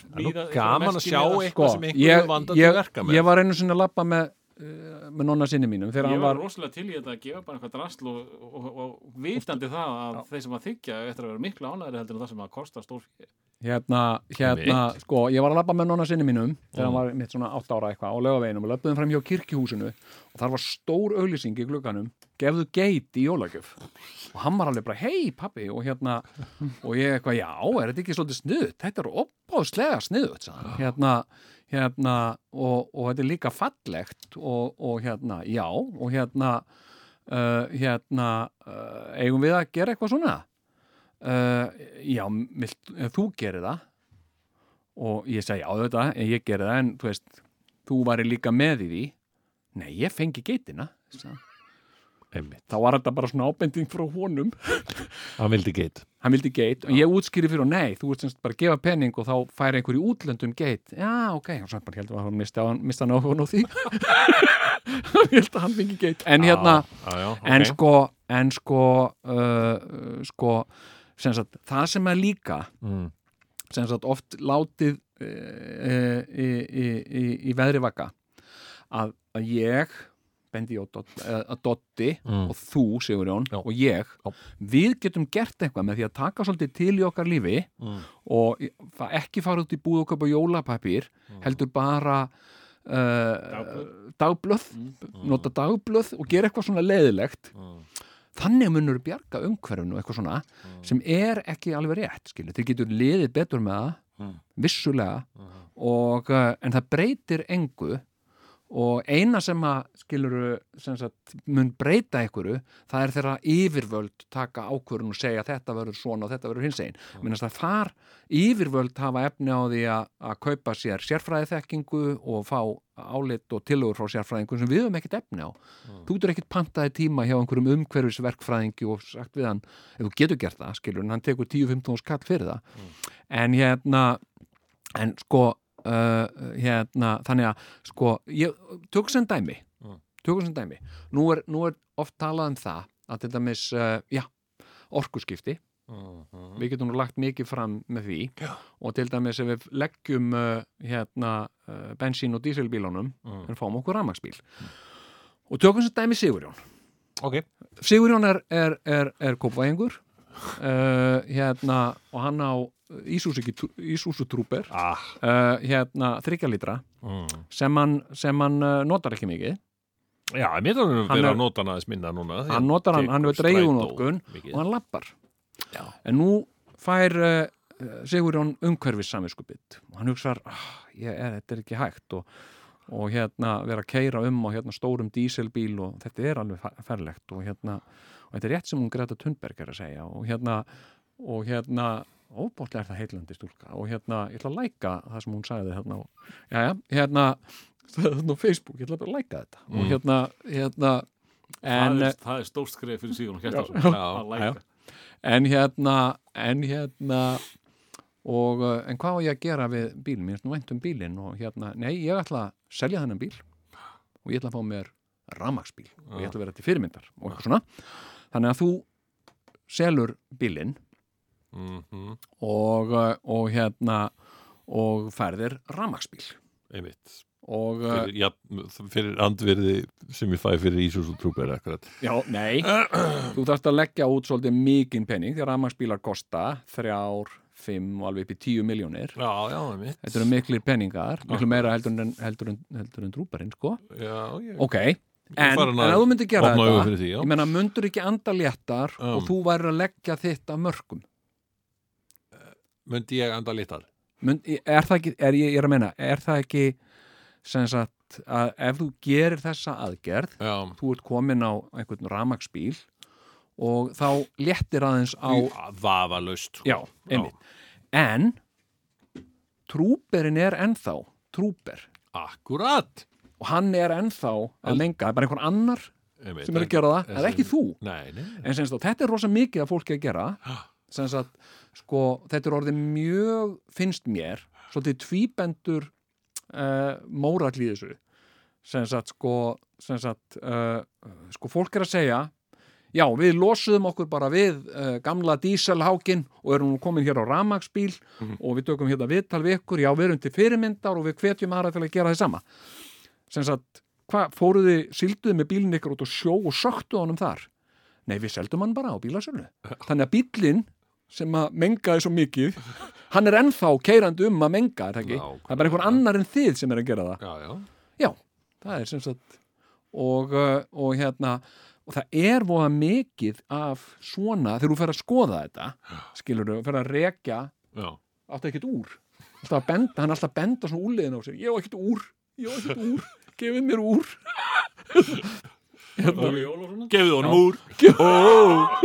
smíða, gaman að sjá eitthvað sko, sem einhverju ég, vanda til ég, verka með ég var einu sinni að labba með eh, með nonna sinni mínum þegar Ég hann var var rosalega til í þetta að gefa bara eitthvað drasl og, og, og, og vitandi það að þeir sem að þykja eftir að vera miklu ánægri heldur en það sem að kosta stórfíð hérna, hérna, Einmitt. sko, ég var að labba með nonna sinni mínum þegar hann var mitt svona 8 ára eitthvað á laugaveginum og löpðum fram hjá kirkjuhúsinu og þar var stór auglýsing í glugganum gefðu geit í jólagjöf og hann var alveg bara, hei pappi og hérna, og ég eitthvað, já, er þetta ekki svolítið snuðt, þetta er opáðslega snuðt, sagði hann. hérna hérna, og, og þetta er líka fallegt og, og hérna, já og hérna uh, hérna, uh, eigum við að gera eitthvað svona? uh, já, vilt, eh, þú gerir það og ég segi, já þetta ég gerir það, en þú veist þú væri líka með í því nei, ég fengi geitina sagði hann. Einmitt. þá var þetta bara svona ábending frá honum hann vildi geit hann vildi geit og ég útskýri fyrir og nei, þú ert semst bara að gefa pening og þá færi einhver í útlöndum geit já, ok, og svo bara heldur að hann misti, á, misti hann á hún og því [LAUGHS] hann held að hann fengi geit en hérna, já, já, ok. en sko, en sko, uh, uh, sko sem sagt, það sem er líka Mm. sem sagt oft látið uh, í, í, í, eh, í veðri vaka að, að ég Bendi og Dot- eh, að Dotti Mm. og þú, Sigurjón, Já. og ég Já. við getum gert eitthvað með því að taka svolítið til í okkar lífi Mm. og í- fa- ekki fara út í búð og köpa jólapapír Mm. heldur bara Eh, uh, dagblöð nota dagblöð og gera eitthvað svona leðilegt Mm, þannig munur bjarga umhverfinu og eitthvað svona sem er ekki alveg rétt skilu. þeir getur liðið betur með það vissulega og, uh, en það breytir engu og eina sem að skiluru sem sagt, mun breyta einhverju það er þegar að yfirvöld taka ákvörun og segja þetta verður svona og þetta verður hins einn minnast að þar yfirvöld hafa efni á því að, að kaupa sér sérfræðiþekkingu og fá álit og tillögur frá sérfræðingum sem við höfum ekkert efni á þú getur ekkert pantaði tíma hjá einhverjum umhverfisverkfræðingi og sagt við hann ef þú getur gert það, skilur, en hann tekur 10-15 skall fyrir það Mm. en hérna en sko uh, hérna, þannig að sko, ég, tökum sem dæmi Mm. tökum sem dæmi nú er, nú er oft talað um það að þetta mis, uh, já, orkuskipti mm, við getum nú lagt mikið fram með því Já. og til dæmis ef við leggjum uh, hérna uh, bensín og dísilbílunum Mm. en fáum okkur rafmaksbíl og tökum sem dæmi Sigurjón ok, Sigurjón er, er, er, er kópaðingur uh, hérna og hann á Ísúsu trúper ah uh, hérna þryggjalítra mm. sem hann, sem hann uh, notar ekki mikið já, mér þarf að Hann vera er- að nota hann aðeins minna núna því hann notar hann, tekur hann hefur dreigðun strætó okkur mikið. og hann lappar Já. en nú fær uh, Sigurjón umhverfis saminskupið og hann hugsar, ah, ég, er, þetta er ekki hægt og, og hérna vera að keira um á hérna stórum díselbíl og þetta er alveg fa- ferlegt og hérna og þetta er rétt sem hún Greta Thunberg er að segja og hérna og hérna óbóðlega er það heillandi stúlka og hérna, ég ætla að læka það sem hún sagði hérna og, jæja, hérna [LAUGHS] það er þannig á Facebook, ég ætla bara að læka þetta Mm. og hérna, hérna en, það, er- það er stórt skref fyrir Sigrun Hjartarsson að eh, já, já, læka en hérna en hérna og uh, en hvað á ég að gera við bílinn mér er nú vænt um bílinn og hérna nei, ég ætla að selja þennan bíl og ég ætla að fá mér ramaksbíl og ég ætla að vera til fyrirmyndar og eitthvað svona þannig að þú selur bílinn Mhm, og, uh, og hérna og færðir ramaksbíl einmitt og uh, fyrir, já, fyrir andvirði sem ég fæ fyrir Ísus og Trúber akkurat Já, nei Þú þarft að leggja út svolítið mikinn penning því að rafmagnsbílar kosta þrjár, fimm og alveg upp í tíu miljónir já, já, einmitt Þetta eru miklir peningar, miklu meira heldur en, heldur en, heldur en drúparinn, sko. já, ég, Ok, en, farin en að að þú myndir gera opna augu þetta, fyrir því, já. ég meina, myndur ekki anda léttar og Um. þú væri að leggja þitt af mörgum. myndi ég anda litar Mynd, er það ekki, er, ég, ég er að meina, er það ekki, sem sagt, að ef þú gerir þessa aðgerð, já, þú ert komin á einhvern ramaksbíl og þá léttir aðeins á, vafalaust sko. já, einmitt. En, trúberinn er ennþá, trúber, akkurat og hann er ennþá að menga, það er bara einhvern annar einmitt, sem er að gera það, en- það er ekki þú nei, nei, en semst þá, þetta er rosa mikið að fólki að gera sem sagt, sko, þetta er orðið mjög, finnst mér, svolítið tvíbendur uh, mórall í þessu sem sagt, sko, sem sagt, uh, sko, fólk er að segja Já, við losuðum okkur bara við uh, gamla dísalhákin og erum nú komin hér á ramagsbíl og við tökum hérna viðtal við ykkur, já, við erum til fyrirmyndar og við hvetjum aðra til að gera þið sama. Sem sagt, hvað, fóruð þið, sílduðu með bílinn ykkur út á sjó og söktu honum þar? Nei, við seldum hann bara á bílasölu. Þannig að bílinn sem að mengaði svo mikið, hann er ennþá keirandi um að menga, er það ekki? Nákvæmlega. Það er bara einhver annar en þið sem er að gera það. já, já, Já, það er sem sagt og, uh, og hérna og það er voða mikið af svona þegar þú fer að skoða þetta skilur þú, fer að rekja já. átti ekkert úr alltaf að benda, hann er alltaf að benda svona úrliðin á sig ég á ekkert úr, ég á ekkert úr gefið mér úr Óli Ólafssonar? gefðu honum úr já,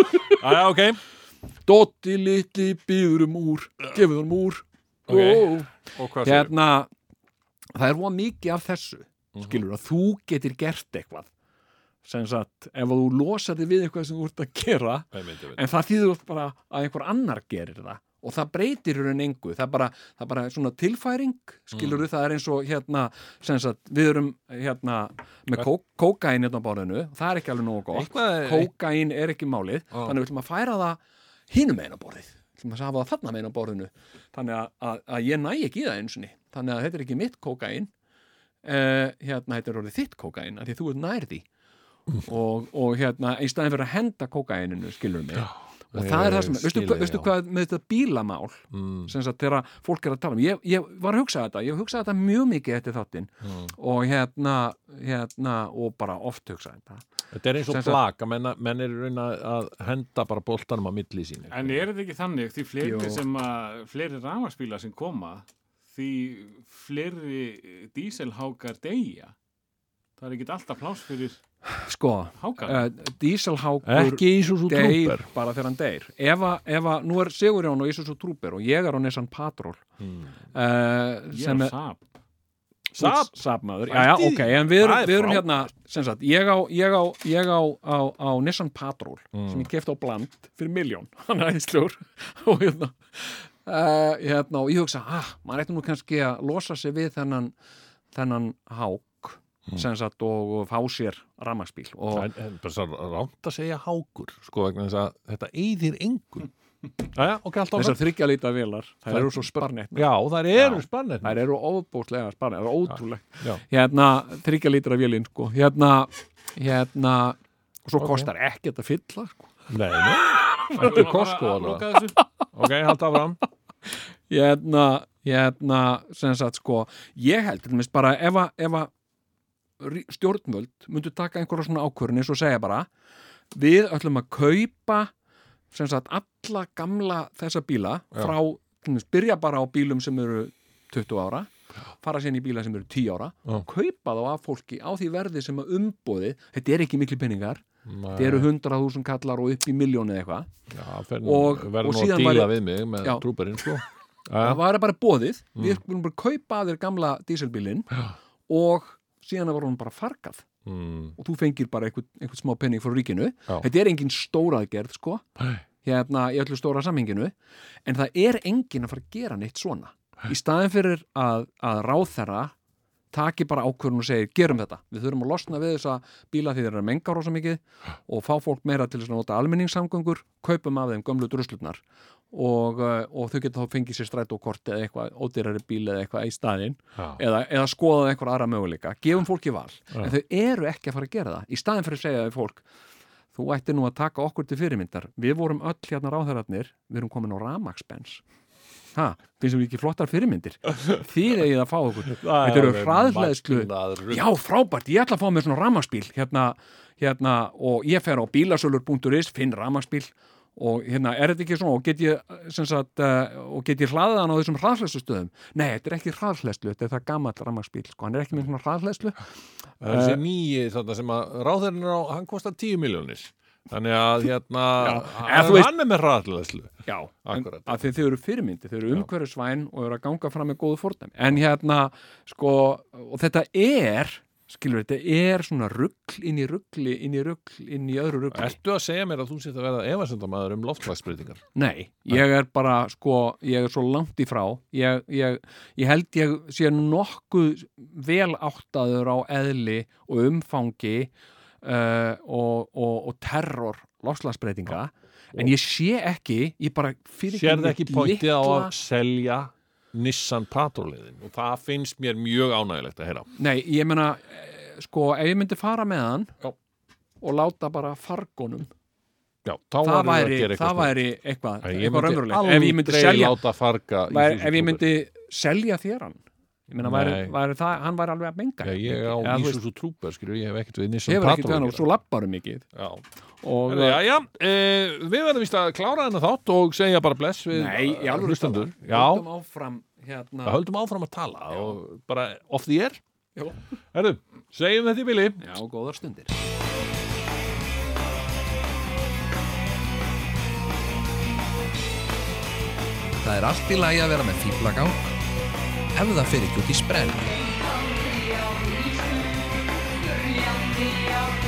já, ok, Dotti litli býður um úr gefið honum úr Ok. Ó. og hvað segir hérna, það er voða mikið af þessu Mhm. skilur að þú getur gert eitthvað sem sagt, ef þú losar þig við eitthvað sem þú ert að gera hérna, en það þýður bara að einhver annar gerir það og það breytir í raun engu það er bara, það er bara svona tilfæring skilur Mm. það er eins og hérna sem sagt, við erum hérna með kó kókain hérna á bárðinu það er ekki alveg nógu gott Eitthvað er- kókain er ekki málið, þannig við ætlum að færa það hinum einu borðið, við ætlum að hafa það þarna einu borðinu, þannig að, að, að ég næ ekki í það eins og ni, þannig að þetta er ekki mitt kókain uh, hérna þetta er orðið þitt kókain, af því að þú ert nær því og, og hérna í staðin fyrir að henda kókaininu, skilur mig og já, það er já, það sem, ég veistu, skil hvað- þig, veistu já. hvað með þetta bílamál Mm. sem sagt þegar fólk er að tala um ég, ég var að hugsa þetta, ég hugsaði þetta mjög mikið eftir þáttinn og hérna, hérna og bara oft hugsaði þetta þetta er eins og Sem sagt- plak að menn, menn er raun að að henda bara boltanum á milli sín En er þetta ekki þannig, því Jú. fleiri sem að, fleiri rafmagsbílar sem koma, því fleiri díselhákar deyja. Það er ekki alltaf pláss fyrir sko, hákar. uh, díselhákur ekki Ísusu deyr Trooper bara þegar hann deyr ef að, ef að, nú er Sigurjón og Ísus og Trúper og ég er á Nissan Patrol Mm. uh, ég sem er er á sap. Sab, Sapmaður, já, já, Pældi í ok, því. en við erum, Það er við erum frábært. hérna, sem sagt, ég á, ég á, ég á, á, á Nissan Patrol Mm. sem ég kefti á bland fyrir miljón, [LAUGHS] hann er æðislegur og hérna, uh, hérna, og ég hugsa, ah, maður ætti nú kannski að losa sig við þennan, þennan hák, Mm. sem sagt, og, og fá sér rammaspíl og en, en bara svo rámt að segja hákur sko vegna þess að þetta eyðir engum Jæja, ok, allt áfram þessar þryggja líta velar, Það þær eru svo sparnett, Já, það eru spannir þær eru óbúslega sparnett, það er ótrúlegt. Já, hérna, þryggja lítra vélinn sko, hérna hérna, og svo kostar ekkert að fylla sko. nei, nei Þetta er Costco alveg. alveg. Ok, haldt áfram hérna, hérna sem sagt sko, ég heldur minnst bara ef að, ef að rí- stjórnvöld myndu taka einhverja svona ákvörðin eins og segja bara, við ætlum að kaupa sem sagt alla gamla þessa bíla Já. frá, til dæmis, byrja bara á bílum sem eru 20 ára fara sérna í bíla sem eru 10 ára Já. kaupa þá af fólki á því verði sem að umbóði, þetta er ekki miklu peningar Það Þetta eru 100.000 kallar og upp í miljónu eða eitthvað. og, Og- verður og nú að síðan díla væri- við mig með Já. trúperinn [LAUGHS] sko Það Jæja, var bara bóðið, við skulum bara kaupa að þér gamla díselbílinn og síðan var hún bara fargað Hmm. mm, og þú fengir bara einhvern, einhvern smá penning frá ríkinu. Já. Þetta er engin stóraðgerð, sko, Nei. hérna í öllu stóra samhenginu, en það er engin að fara að gera neitt svona. Í staðin fyrir að, að ráþæra taki bara ákvörðun og segir, gerum þetta. Við þurfum að losna við þessa bíla því þeir eru að menga rosa mikið og fá fólk meira til þess að nota almenningssamgöngur, kaupum af þeim gömlu druslurnar og, eh, og þau geta þá fengið sér strætókort eða eitthvað, ódýrari bíl eða eitthvað í staðinn Já. eða, eða skoðað einhver aðra möguleika, gefum fólki val en þau eru ekki að fara að gera það í staðin fyrir að segja við fólk þú ættir nú að taka okkur til fyrirmyndar við vorum öll hérna ráðherrarnir við erum komin á ramaksbens ha, finnst þú ekki flottar fyrirmyndir þið eigið að fá okkur þetta eru alveg hraðhleðslu magnað rugl. já, frábært, ég ætla að fá mér svona ramaksbíl hérna, hérna, og ég fer á bílasölur.is finn ramaksbíl og hérna, er þetta ekki svona og get ég, sem sagt, uh, og get ég hlaðið hann á þessum hraðhleðslustöðum nei, þetta er ekki hraðhleðslu, þetta er það gamall ramaksbíl sko, hann er ekki með svona hraðhleðslu Það er Eh. þessi nýji þarna sem að ráðurinn á, hann kostar 10 miljónir Þannig að hérna en hann, þú veist- hann er með hraðlæslu Já, en, Akkúrat. að því þau eru fyrirmyndi, þau eru umhverfisvæn og eru að ganga fram með góðu fórnæmi. En hérna, sko, og þetta er skilur þetta er svona rugl inn í rugli, inn í rugl, inn í öðru rugli Ertu að segja mér að þú sétt að verða efasendamaður um loftlagsbreytingar? Nei, ég er bara sko, ég er svo langt í frá ég, ég, ég held ég sé nokkuð vel áttaður á eðli og umfangi uh, og, og, og terror loslasbreytinga en ég sé ekki, ég bara fyrir Sérðu ekki pointið á að selja Nissan Patrolliðin og það finnst mér mjög ánægilegt að heyra Nei, ég meina, eh, sko, ef ég myndi fara með hann Já. og láta bara fargonum Já, þá það verður að væri, gera það eitthvað væri eitthvað, Æ, eitthvað raunverulegt ef Ég ég myndi myndi aldrei selja láta farga væri, í þúsund ef ég kúlur. myndi selja þér hann ég meina, væri, Nei. væri það, hann væri alveg að menga Já, ég Eða, á þú veist, Ísuzu Trooper, skilur, ég hef ekkert við Nissan hefur ekkert Patrol hann og að svo labbarum um mikið gera. Já, og Herðu, já, já, e, við verðum víst að klára hennar þátt og segja bara bless við nei, eh, í alveg hlustendur Já, höldum áfram það hérna höldum áfram að tala og bara off the air Já. Herðu, segjum þetta í bili já, góðar stundir Það er allt í lagi að vera með fíblagang ef það fer ekki út í sprell. Real deal.